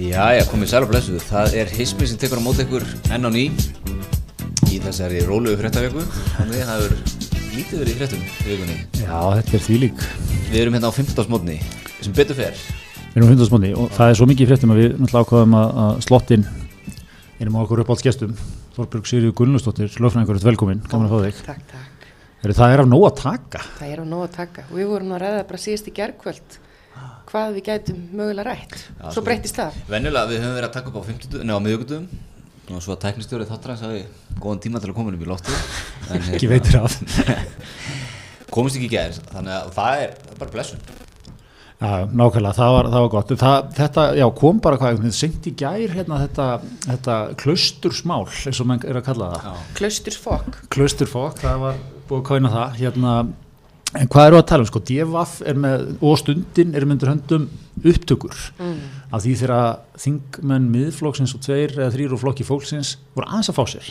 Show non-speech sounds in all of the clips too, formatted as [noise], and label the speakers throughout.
Speaker 1: Jæja, komið sæl og blessuð. Það er hismi sem tekur á móti ykkur enn á ný í þessari róluðu fréttavíku. Þannig það hefur lítið verið í fréttum í vikunni.
Speaker 2: Já, þetta er þvílík.
Speaker 1: Við erum hérna á 15. mótni sem betur fer.
Speaker 2: Við erum hundarsmóndi og það er svo mikið í fréttum að við náttúrulega ákvaðum að, að slottin erum á okkur uppáhaldsgestum. Þorbjörg Sigriður Gunnlustóttir, lögfræðingur, velkomin, gaman að fá þig.
Speaker 3: Takk, takk.
Speaker 2: Heyrðu, Það er af nóg að taka.
Speaker 3: Það er á nóg að taka. Við vorum að ræða bara síðast í gerkvöld hvað við gætum mögulega rætt. Svo breyttist það.
Speaker 1: Venjulega við höfum verið að taka upp á 50, nei á miðugundum og svo að tæknistjóri þáttarans hafi góðan tíma til að koma um í loftu. En,
Speaker 2: Ekki
Speaker 1: hérna,
Speaker 2: veitir af.
Speaker 1: Komist ekki í gæðis, þannig að það er, það er bara blessun.
Speaker 2: Já, nákvæmlega, það var, það var gott. Það, þetta, já, kom bara hvað, þetta senkt í gær, hérna, þetta, þetta klaustursmál, eins og mann er að kalla það.
Speaker 3: Klaustursfokk.
Speaker 2: Klausturfokk, það var búið að kóina það. Hérna, en hvað eru að tala um, sko, DFF er með, og stundin er myndir höndum upptökur. Af því þegar þingmenn miðflóksins og tveir eða þrýr og flokki fólksins voru aðeins að fá sér.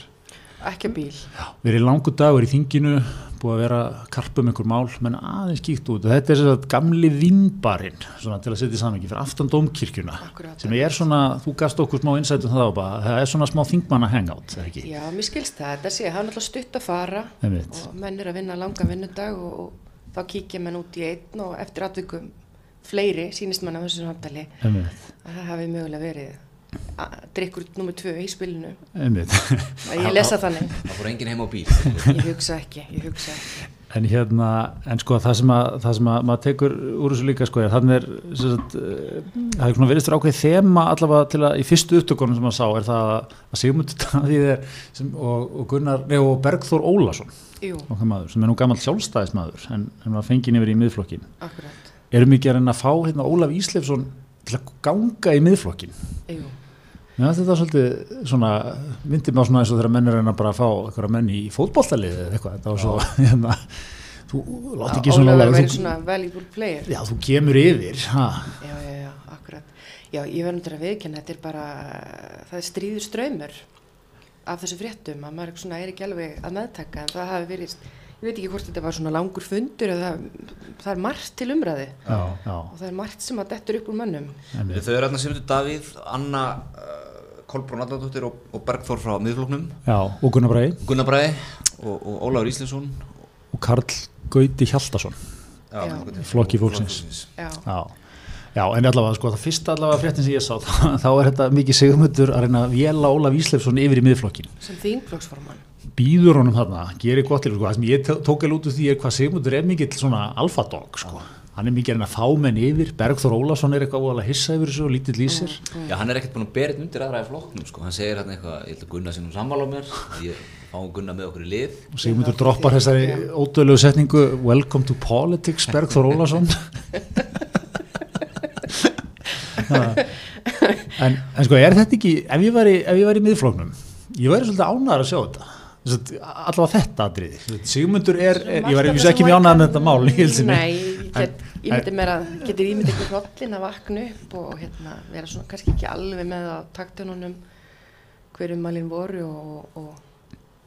Speaker 3: Ekki á bíl.
Speaker 2: Verið langur dagur í þinginu, búið að vera karp um einhver mál, menn aðeins kíkt út. Og þetta er sem sagt gamli vimbarinn, svona til að setja í samhengi, fyrir aftan dómkirkjuna.
Speaker 3: Akkúrat.
Speaker 2: Sem er svona, þú gast okkur smá innsætum það á bara, það er svona smá þingmanna hangout, eða ekki?
Speaker 3: Já, mér skilst það. Þetta sé, það er náttúrulega stutt að fara
Speaker 2: Einmitt.
Speaker 3: og menn er að vinna langan vinnudag og, og þá kíkja menn út í einn og eftir atvikum fleiri, sýnist mann af þessu samtali,
Speaker 2: Einmitt.
Speaker 3: að það hafi mögulega verið að- drykkur nummer tvö í spilinu.
Speaker 2: Einmitt. [laughs]
Speaker 3: Að Ég lesa þannig.
Speaker 1: Það fór enginn heim á bíl.
Speaker 3: Ég hugsa ekki, ég hugsa ekki.
Speaker 2: En hérna, en sko það sem að, það sem að maður tekur úr þessu líka sko er, þannig er, sem sagt, eh, það er svona verið ákveðið þema allavega til að í fyrstu upptökunum sem maður sá er það að Sigmundur [laughs] Davíð er sem, og, og Gunnar, nei og Bergþór Ólason,
Speaker 3: Jú,
Speaker 2: okkar maður, sem er nú gammal sjálfstæðismadur en, en var fenginn yfir í miðflokkin.
Speaker 3: akkurat.
Speaker 2: Erum við ekki að reyna að fá hérna Ólaf Íslefsson til að ganga í miðflokkin?
Speaker 3: Jú.
Speaker 2: Já, þetta er svolítið svona, myndi mig á svona eins og þegar menn er að reyna bara að fá einhverja menn í fótballtaliðið eða eitthvað, þetta var svo, [laughs] hérna, þú látt ekki svona
Speaker 3: Ólafur
Speaker 2: Ólafur,
Speaker 3: verið
Speaker 2: þú-
Speaker 3: svona valuable player.
Speaker 2: Já, þú kemur yfir, ha,
Speaker 3: Já, já, já, akkurat. Já, ég verður náttúrulega að viðkynna, þetta er bara, það er stríður ströymur af þessu fréttum að maður svona er ekki alveg að meðtaka en það hafi verið, ég veit ekki hvort þetta var svona langur fundur eða það er margt til umræði
Speaker 2: já, já,
Speaker 3: og það er margt sem að dettur upp úr mönnum.
Speaker 2: einmitt,
Speaker 1: Þau eru hérna Sigmundur Davíð, Anna uh, Kolbrún Allandóttir og, og Bergþór frá miðfloknum.
Speaker 2: já, og Gunnar Bræði
Speaker 1: Gunnar Bræði og, og Ólafur Íslensson
Speaker 2: og Karl Gauti Hjaltason,
Speaker 1: Já,
Speaker 3: Já.
Speaker 1: Flokki
Speaker 2: Flokki fólksins.
Speaker 3: Já,
Speaker 2: já, já, en allavega, sko, það fyrsta allavega fréttin sem ég sá, [laughs] þá, þá er þetta mikið sigurmöndur að reyna að vjela Ólaf Íslefsson yfir í miðflokkin,
Speaker 3: sem þingflokksformann.
Speaker 2: býður honum þarna, gerir gott til, sko, það sem ég tó- tók alveg út úr því er hvað sigurmöndur er mikill svona alfadog, sko, hann er mikið að reyna að fá menn yfir, Bergþór Ólason er eitthvað óalega hissa yfir þessu og lítill lýsir,
Speaker 1: Já, hann er ekkert búin að bera þetta undir aðra í flokknum sko. hann segir hérna eitthvað, ég ætla að Gunnar sem sammála á mér að ég fá Gunnar með okkur í lið
Speaker 2: og Sigmundur droppar þessari ódöðlegu setningu Welcome to politics, Bergþór Ólason en, en sko er þetta ekki ef ég væri, ef ég væri í miðflóknum ég væri svolítið ánæður að sjá þetta Sem sagt, allavega þetta atriði Sigmundur er, er ég væri vissi ekki mjög ánæður með þetta mál í hilsinni
Speaker 3: Nei, ég get, ég myndi mér að, getur ímyndið ykkur hrollin að vakna upp og hérna, vera svona kannski ekki alveg með á taktununum hverjum malin voru og, og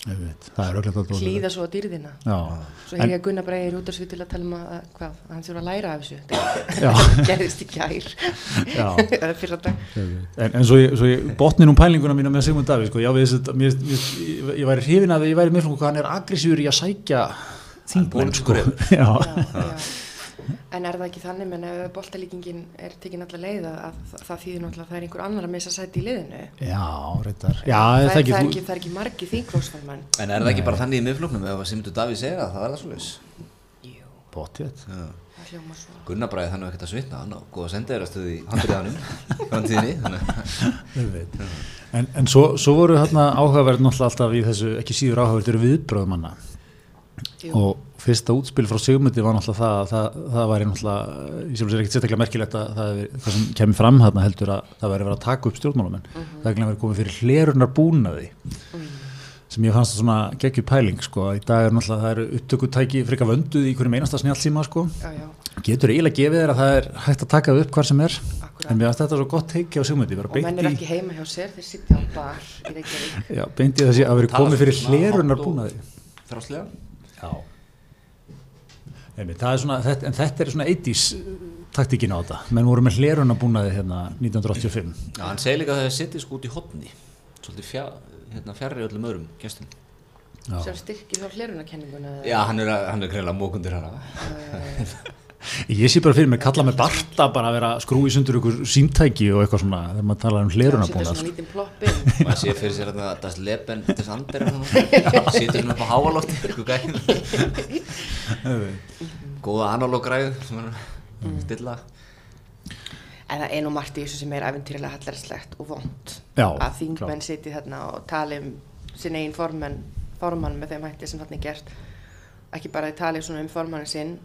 Speaker 2: það er öllum þetta
Speaker 3: hlýða svo á dýrðina.
Speaker 2: Já,
Speaker 3: Svo heyr ég að Gunnar Breiði er út af svo til að tala um að, að hvað, að hann þurfa að læra af þessu.
Speaker 2: Já.
Speaker 3: [laughs] Það gerðist í gær. [laughs]
Speaker 2: Já.
Speaker 3: Eða fyrir að dag.
Speaker 2: en, en svo ég, svo ég botnin um pælinguna mína með Sigmund Davíð sko, já, við, þessi- mér, mér, ég, ég væri hrifin að ég væri með hvað hann er aggressífur í að sækja þingmenn sko.
Speaker 1: bólskur
Speaker 2: [laughs] já,
Speaker 3: Já, já. En er það ekki þannig, menn ef boltalíkingin er tekin allar leið að- að það, það þýðir náttúrulega að það er einhver annar að missa sæti í liðinu.
Speaker 2: já, reyndar já,
Speaker 3: það,
Speaker 2: það
Speaker 3: er,
Speaker 2: ekki,
Speaker 3: það, er
Speaker 2: þú,
Speaker 3: ekki, það er ekki margi þingflóksformann.
Speaker 1: en er það ekki bara þannig í miðfloknum ef að Simundur Davíð segir það, það er það svoleiðis
Speaker 3: Jú,
Speaker 2: potið
Speaker 3: það hljóma svo.
Speaker 1: Gunnar bræði þannig ekkert að svitna hann og góða sendeirastöði í handriðanum framtíðinni þannig að-
Speaker 2: en, en svo, svo voru þarna áhugaverð náttúrulega alltaf í þessu, ekki síður áhugaverð eru viðbröðumanna
Speaker 3: Jú.
Speaker 2: og fyrsta útspil frá Sigmundi var náttúrulega það að það, það væri náttúrulega, ég sem sér ekkert sérstaklega merkilegt að það, hefði- það sem kemur fram þarna heldur að það væri verið að taka upp stjórnmálamenn
Speaker 3: Mhm.
Speaker 2: það er verið komið fyrir hlerunar búnaði sem ég fannst svona geggju pæling sko, að í dag er náttúrulega það eru upptökutæki frekar vönduð í hverjum einasta snjálfsíma sko.
Speaker 3: Já, já,
Speaker 2: getur eiginlega gefið þér að það er hægt að taka það upp hvar sem er
Speaker 3: Akkúrat.
Speaker 2: en mér fannst þetta svo gott heikja á Sigmundi bara
Speaker 3: og menn
Speaker 2: beint
Speaker 3: er
Speaker 2: í,
Speaker 3: ekki heima hjá sér, þeir sitja á bar í Reykjavík.
Speaker 2: já, beint í
Speaker 3: um
Speaker 2: þessi að verið
Speaker 1: Tala
Speaker 2: komið fyrir
Speaker 1: svona hátt
Speaker 2: hlerunar
Speaker 1: og-
Speaker 2: búnaði
Speaker 1: þráslega
Speaker 2: Já. Einmitt, það er svona, þetta, en þetta er svona 80s taktíkin á þetta, menn voru með hleruna búnaði hérna 1985
Speaker 1: Já, hann segir líka að það setjast út í hotni svolítið fjá, hérna, fjarrri öllum öðrum gestum.
Speaker 2: Já.
Speaker 3: sem styrkir þá hlerunarkenninguna
Speaker 1: Já, hann er, að- hann er greinlega mókundir hana.
Speaker 2: ég sé bara fyrir mér kalla með Barta bara að vera að skrúi sundur ykkur símtæki og eitthvað svona þegar maður talar um hleruna
Speaker 3: setja
Speaker 2: búnað
Speaker 3: svona lítinn ploppin
Speaker 1: Maður sé fyrir sér hérna Das Leben des Anderen og
Speaker 3: [laughs]
Speaker 1: svona. Situr hérna upp á háalofti, eitthvað gæðin. Góða analógræð sem hann er stilla.
Speaker 3: en það er nú margt í þessu sem er æfintýrilega hallarslegt og vond
Speaker 2: Já,
Speaker 3: að þingmenn
Speaker 2: klart.
Speaker 3: sitji þarna og tali um sinn eigin formann, formann með þeim hætti sem þarna er gert ekki bara að tali svona um formannin sinn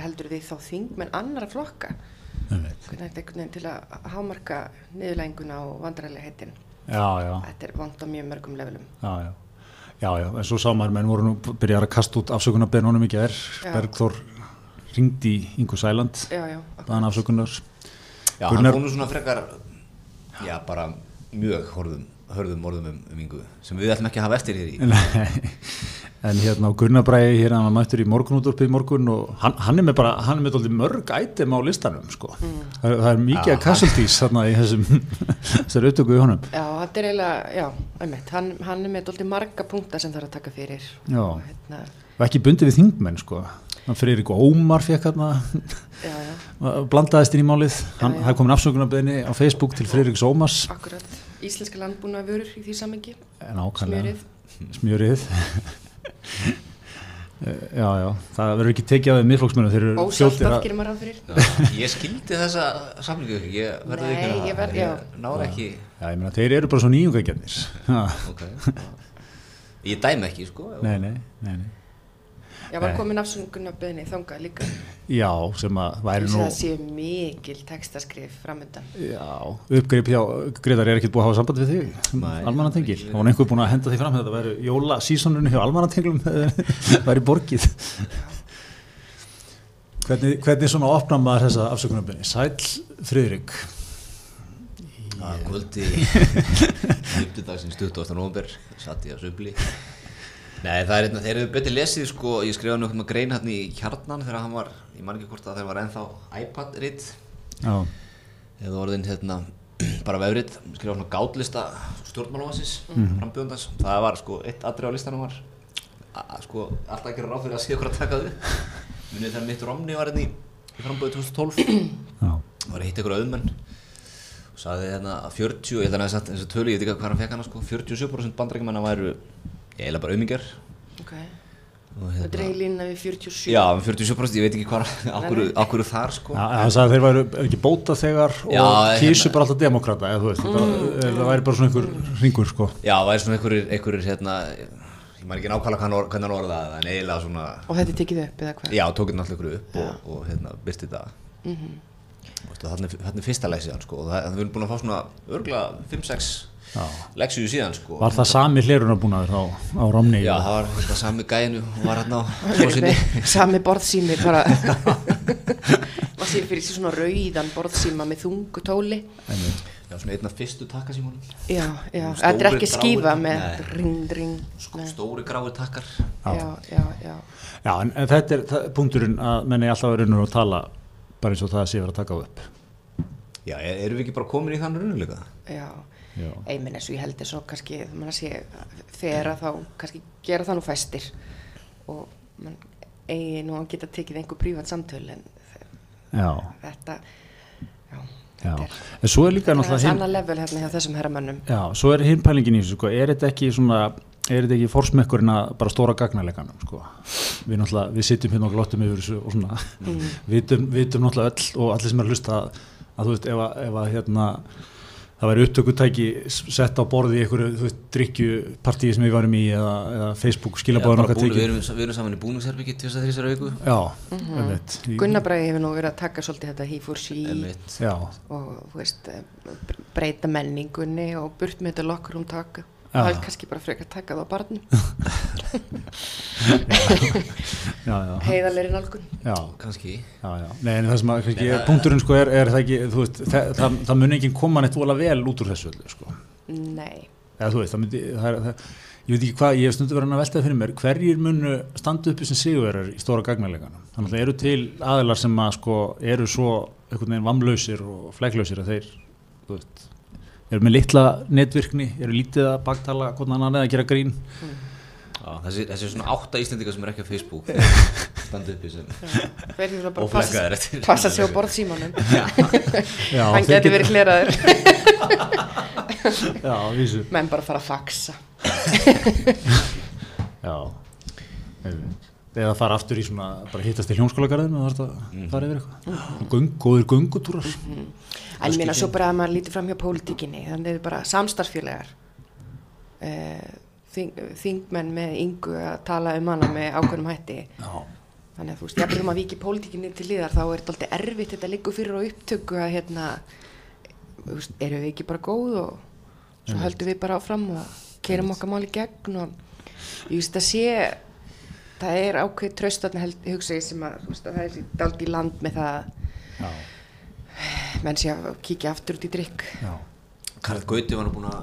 Speaker 3: heldur því þá þingmenn annara flokka
Speaker 2: Einmitt.
Speaker 3: hvernig þetta einhvern veginn til að hámarka niðurlænguna og vandrarlega heitin
Speaker 2: já, já,
Speaker 3: þetta er vond á mjög mörgum levelum
Speaker 2: já, já já, já, en svo sá maður menn voru nú byrjar að kasta út afsökunarbeðnunum í gær
Speaker 3: Já.
Speaker 2: Bergþór ringdi í Ingo Sæland
Speaker 3: já, já,
Speaker 2: baðan afsökunar
Speaker 1: Já,
Speaker 2: Gunnar-
Speaker 1: hann fór nú svona frekar, já, bara mjög horfum, hörðum orðum um, um yngu sem við ætlum ekki að hafa eftir hér í.
Speaker 2: Nei, [laughs] en hérna á Gunnabræði hérna hann var mættur í morgunútorpið í morgun og hann, hann er með bara, hann er með dálítið mörg ætem á listanum sko,
Speaker 3: Mm.
Speaker 2: það, það er mikið
Speaker 1: Já,
Speaker 2: að casualties þarna í þessum [laughs] þessar upptöku í honum
Speaker 3: já, þetta er eiginlega já, einmitt, hann, hann er með dólti marga punkta sem þarf að taka fyrir
Speaker 2: Já.
Speaker 3: og hérna,
Speaker 2: og ekki bundið við þingmenn sko hann fyrir ykkur Ómar fekk hérna
Speaker 3: já, já,
Speaker 2: [laughs] blandaðist inn í málið hann
Speaker 3: Já, já.
Speaker 2: hafði komin afsökunarbeðinni á Facebook til Friðriks Ómars
Speaker 3: akkurat íslenska landbúna vörur í því samengi
Speaker 2: nákvæmlega,
Speaker 3: smjörið
Speaker 2: smjörið [laughs] Eh, já, já, það verður ekki tekið af þeim miðflóksmönnum þeir eru fljótir
Speaker 3: ósaltað
Speaker 2: að
Speaker 3: gerir maður ráð fyrir
Speaker 1: Já, ég skildi þessa samlingu ekki, ég verði
Speaker 3: Nei,
Speaker 1: ekki að
Speaker 3: ég verð- já.
Speaker 1: ég náði ekki,
Speaker 2: Já, ég meina, þeir eru bara svo nýjungagjarnir. Ha,
Speaker 1: ok. Ég dæmi ekki, sko.
Speaker 2: Nei, nei, nei, nei.
Speaker 3: já, var
Speaker 2: Nei.
Speaker 3: komin afsöngunarbyrni þangað líka
Speaker 2: Já, sem að væri
Speaker 3: þess
Speaker 2: nú...
Speaker 3: að það séu mikil textaskrif framöndan
Speaker 2: Já, uppgrip hjá Gretar er ekkert búið að hafa samband við þig,
Speaker 1: Nei.
Speaker 2: almannatengil. Það var einhver búin að henda því fram, þetta væri jólasísonunni hjá [laughs] almannatenglum, það væri borgið. Hvernig, hvernig svona opnar maður þessa afsökunarbyrni? Sæl Friðrik,
Speaker 1: Það kvöldi Fymtudagsins 28. november Satt ég að söbli Nei það er einna, þeir eru betur lesið sko Ég skrifaði nú einhvern grein hérna í kjarnan Þegar hann var, ég man ekki hvort að þeir var ennþá iPad rit
Speaker 2: já,
Speaker 1: Eða orðin hérna [clears throat] bara vefrit Skrifaði svona gátlista stjórnmálumansins Frambjóndans, það var sko Eitt atrið á listanum var a- a- Sko alltaf ekki ráð fyrir að sé okkur að taka þau Munið þegar mitt Romney var hérna í, í frambjóðu 2012
Speaker 2: já,
Speaker 1: var að hitta ykkur auðmenn og sagði hérna að 40, ég held að hann hafi sagt eins og tölu, ég veit ekki hvað hann fekk hana sko, 47% bandrækjumennar væru eiginlega bara auðmingjar
Speaker 3: ok,
Speaker 1: og
Speaker 3: það
Speaker 1: hérna,
Speaker 3: dreigir línuna við 47
Speaker 1: já, en 47% ég veit ekki hvað, okkur, okkur þar sko
Speaker 2: Já, hann sagði að þeir væru ekki bóta þegar og
Speaker 1: Já,
Speaker 2: kísu
Speaker 1: hérna.
Speaker 2: bara alltaf demokrata, eða þú veist, þetta, það væri bara svona einhver ringur, sko.
Speaker 1: já, það er svona einhverjir, einhverjir hérna ég maður ekki nákvæmlega hvað hann or- hvernig hann orðaði það, en eiginlega svona
Speaker 3: og þetta er tekið upp eða hvað
Speaker 1: já, tók hérna alltaf ykkur upp og, og hérna, byrti þetta og þannig er fyrsta læsið hann sko og það, við erum búin að fá svona örgla 5-6
Speaker 2: Já.
Speaker 1: leksíu síðan sko
Speaker 2: Var það sami hlerunarbúnaður á, á Romney?
Speaker 1: Já, það var þetta sami gæðinu og var
Speaker 3: [laughs]
Speaker 1: hérna á
Speaker 3: Þeir eru
Speaker 1: sósinni.
Speaker 3: með [laughs] sami borðsými bara
Speaker 1: [laughs]
Speaker 3: maður sér fyrir sér svona rauðan borðsýma með þungu tóli
Speaker 1: Já, svona einn af fyrstu takkasímónum.
Speaker 3: já, já,
Speaker 1: Stóri
Speaker 3: þetta er ekki skífa
Speaker 1: gráir.
Speaker 3: með
Speaker 1: Nei.
Speaker 3: ring, ring
Speaker 1: Sko,
Speaker 3: nei.
Speaker 1: stóri gráir takkar.
Speaker 3: já, já, já
Speaker 2: Já, en, en þetta er það, punkturinn að menn er alltaf að raunur að tala bara eins og það sé verið að taka á upp.
Speaker 1: Já, e- erum við ekki bara komin í þann raunuleika?
Speaker 3: já,
Speaker 2: Já.
Speaker 3: einminn eins og ég heldur svo kannski, þú mann að sé þegar að þá, kannski gera það nú fæstir og mann eigi nú að geta tekið einhver prívat samtöl en
Speaker 2: Já,
Speaker 3: þetta já,
Speaker 2: já.
Speaker 3: þetta er
Speaker 2: En svo er líka
Speaker 3: Það er
Speaker 2: náttúrulega hinn,
Speaker 3: annar level hérna hjá þessum herramönnum
Speaker 2: já, svo er hinn pælingin í þessu, sko, er þetta ekki svona, er þetta ekki forsmekkurinn að bara stóra gagnaleganum, sko. Við náttúrulega, við sitjum hérna og glottum yfir þessu og svona, vitum, vitum náttúrulega öll og allir sem er að hlusta að, að þú veist, ef að, ef að hérna, það væri upptökutæki s- sett á borði í einhverju, þú veist, drikkjupartíi sem við varum í eða, eða Facebook skilabóðan okkar
Speaker 1: tekið. Við
Speaker 2: tekið.
Speaker 1: erum, við erum saman í búningsherbyggi tvisar þrísar viku.
Speaker 2: Já, mm -hmm.
Speaker 3: Gunnabræði hefur nú verið að taka svolítið þetta he for she
Speaker 1: Einmitt.
Speaker 2: Já,
Speaker 3: og þú veist, eh, br- breyta menningunni og burt með þetta lokkur um taka
Speaker 2: Já.
Speaker 3: það er kannski bara frekar taka það á barnum
Speaker 2: já, já,
Speaker 3: heiðalegri nálgun
Speaker 2: já,
Speaker 1: Kanski.
Speaker 2: já, já. Nei, en það sem að kannski, punkturinn sko er, er það ekki, þú veist, það, það, það mun ekki koma neitt vola vel út úr þessu öllu, sko.
Speaker 3: nei,
Speaker 2: Eða þú veist, það myndi, það er, það, ég veit ekki hvað, ég hef stundu verið að veltaði fyrir mér hverjir munu standa uppi sem sigurverar í stóra gagnmæleikanum þannig að eru til aðilar sem að sko eru svo einhvern veginn vamlausir og flæklausir að þeir þú veist, eru með litla netvirkni eru lítið að baktala hvernig annan eða gera grín
Speaker 1: Já, þessi, þessi svona átta Íslendingar sem er ekki á
Speaker 3: [laughs]
Speaker 1: Facebook standa upp í sem
Speaker 3: Fyrir svona bara
Speaker 1: Og
Speaker 3: passa,
Speaker 1: flaggaðir eftir.
Speaker 3: passa sig á borð símanum
Speaker 2: já,
Speaker 3: Hann
Speaker 2: þeir
Speaker 3: getur verið hleraður [laughs]
Speaker 2: geta- já, vísu
Speaker 3: Menn bara fara að faxa
Speaker 2: já Einmitt. eða fara aftur í svona bara hittast í hljómskólagarðinu og það er fara yfir eitthvað Göng, góðir göngutúrar
Speaker 3: En ég meina svo bara að maður lítur fram hjá pólitíkinni Þannig er bara samstarfsfélagar Eh, þing, Þingmenn með yngu að tala um hana með ákveðnum hætti
Speaker 2: já,
Speaker 3: Þannig að þú veist, ég byrjum að viki pólitíkinni til líðar þá er þetta alltaf erfitt, þetta liggur fyrir á upptöku að hérna, þú veist, erum við ekki bara góð og svo höldum við bara áfram og kerum okkar mál í gegn og ég veist að sé, það er ákveð tröstarni held, hugsa ég sem að, þú veist, að það er dalt í land með það
Speaker 2: já,
Speaker 3: að menn sé að kíkja aftur út í drikk.
Speaker 2: já
Speaker 1: Karl Gauti var nú búinn að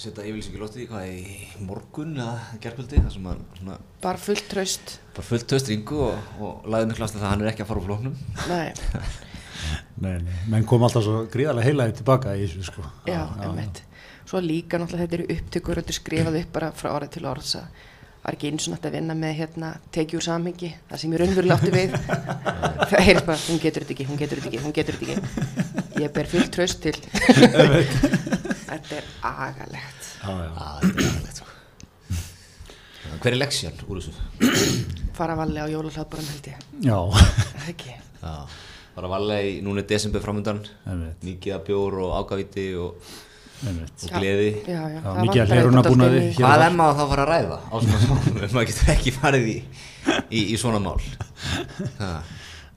Speaker 1: setja yfirlýsingi lótið í loftið, hvað í morgun eða gerkvöldi þar sem hann svona
Speaker 3: Bara fullt tröst,
Speaker 1: bara fullt töst ringu og, og laði miklu ástæð það að hann er ekki að fara úr flóknum
Speaker 3: nei,
Speaker 2: Nei, nei, menn kom alltaf svo gríðarlega heilaði tilbaka í þessu sko.
Speaker 3: já,
Speaker 2: [laughs]
Speaker 3: einmitt. Svo líka náttúrulega þetta eru upptökur og þetta er skrifað upp bara frá orði til orðs að það er ekki eins og nátt að vinna með hérna tekið úr samhengi, það sem ég raunverulega átti við það er bara, hún getur þetta ekki hún getur þetta ekki, hún getur þetta ekki ég ber fullt tröst til þetta er agalegt
Speaker 2: Já, já.
Speaker 1: að þetta er aðeins hver er leksjan úr þessu?
Speaker 3: fara valli á jólahlaðbúrum held ég
Speaker 2: já.
Speaker 3: Það ekki,
Speaker 1: Já, var að valga í núna í desember framöndan
Speaker 2: Einmitt.
Speaker 1: mikið af bjór og ágavíti og,
Speaker 2: einmitt.
Speaker 1: og
Speaker 3: Já.
Speaker 1: gleði
Speaker 3: já, já,
Speaker 2: Já,
Speaker 3: það
Speaker 2: mikið af
Speaker 3: vantar
Speaker 2: hlerunarbúnaði.
Speaker 3: þetta dálítið inn í-
Speaker 2: Hér
Speaker 1: Hvað
Speaker 2: var-
Speaker 1: er maður þá að fara að ræða á svona málum ef maður getur ekki farið í, í, í svona mál?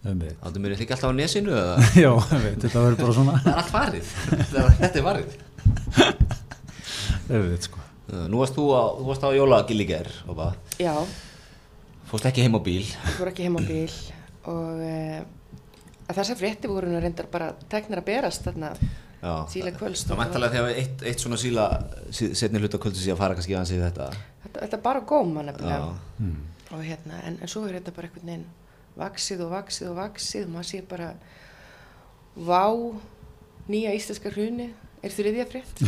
Speaker 2: Einmitt. [laughs]
Speaker 1: Áttu mér ekki alltaf á nesinu eða?
Speaker 2: já, einmitt, þetta verður bara svona
Speaker 1: Það er allt farið, Það er- þetta er farið.
Speaker 2: einmitt, sko.
Speaker 1: Já, Nú varst þú á, þú varst á jólagilliger og bara,
Speaker 3: Já,
Speaker 1: fórst ekki heim á bíl.
Speaker 3: ég voru ekki heim á bíl og uh, þessar frétti voru nú reyndar bara teknar að berast þarna
Speaker 1: Já,
Speaker 3: Síla kvölds.
Speaker 1: Það mættalega þegar eitt, eitt svona síla, sí- setni hluta kvöldu síðan fara kannski aðeins í þetta.
Speaker 3: Þetta, þetta er bara góma nefnilega
Speaker 1: Já.
Speaker 2: Hmm.
Speaker 3: og hérna, en, en svo er þetta bara einhvern veginn vaksið og vaksið og vaksið maður sé bara vá, nýja íslenska hruni er þriðja frétt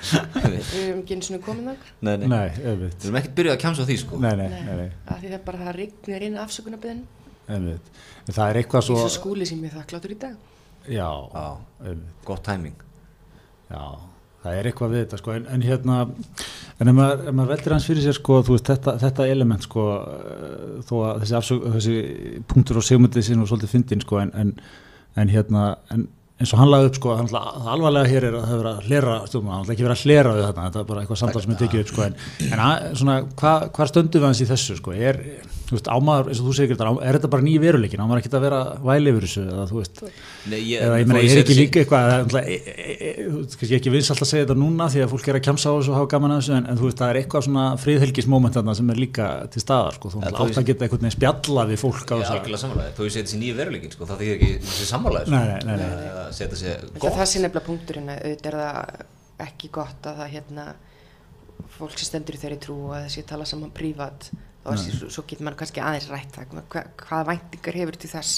Speaker 2: [laughs]
Speaker 3: við erum ekki eins og komin þang
Speaker 1: nei, nei.
Speaker 2: nei, einmitt
Speaker 1: Við erum ekkert byrjuð að kjamsa á því sko.
Speaker 2: nei, nei, nei, nei,
Speaker 3: að því það er bara það rignir inn afsökunarbyrðin
Speaker 2: einmitt En það er eitthvað svo
Speaker 3: eins og skúli sem ég þakkláttur í dag
Speaker 2: já,
Speaker 1: Já.
Speaker 2: einmitt
Speaker 1: Gott tæming.
Speaker 2: já, það er eitthvað við þetta sko. en, en hérna en ef maður, ef maður veldir hans fyrir sér sko, þú veist, þetta, þetta element sko, eh, þó að þessi, afsök, þessi punktur og segmyndið sinn og svolítið fyndin sko, en, en, en hérna en, eins og hann lagði upp sko, hann, það alvarlega hér er að það er verið að hlera stjórnum, hann er ekki verið að hlera við þetta, þetta er bara eitthvað samtal sem er tekið upp sko, en, en að, svona, hva, hvað stöndum við hans í þessu sko, er, þú veist, ámaður eins og þú segir þetta, er þetta bara ný veruleikin ámaður ekki að vera væli yfir þessu, eða þú veist
Speaker 1: Nei, ég,
Speaker 2: eða ég
Speaker 1: þó
Speaker 2: meina,
Speaker 1: sé
Speaker 2: er ekki
Speaker 1: þessi-
Speaker 2: líka eitthvað það er náttúrulega, e- e- e- þú veist, kannski ekki vinsalt að segja þetta núna því að fólk er að kjamsa á þessu og hafa gaman að þessu en, en þú veist, það er eitthvað svona friðhelgismoment þarna sem er líka til staðar sko, þú
Speaker 1: Ja,
Speaker 2: veist,
Speaker 1: þú
Speaker 2: átt
Speaker 1: veist-
Speaker 2: að geta einhvern veginn spjalla við fólk á
Speaker 1: Ég er
Speaker 2: þessu
Speaker 1: algjörlega samanlega, þó ég seti þessi nýja veruleikin sko, það þykir ekki þessi samanlega sko.
Speaker 2: Nei, nei, nei, nei.
Speaker 1: Að sko. Setja sér
Speaker 3: Gott.
Speaker 1: gott
Speaker 3: Það sé nefnilega punkturinn að auðvitað er það ekki gott að það hérna fólk sem stendur í þeirri trú og að þessi tala saman prívat og þessi, svo, svo getur mann kannski aðeins rætt það hva, hvaða væntingar hefur til þess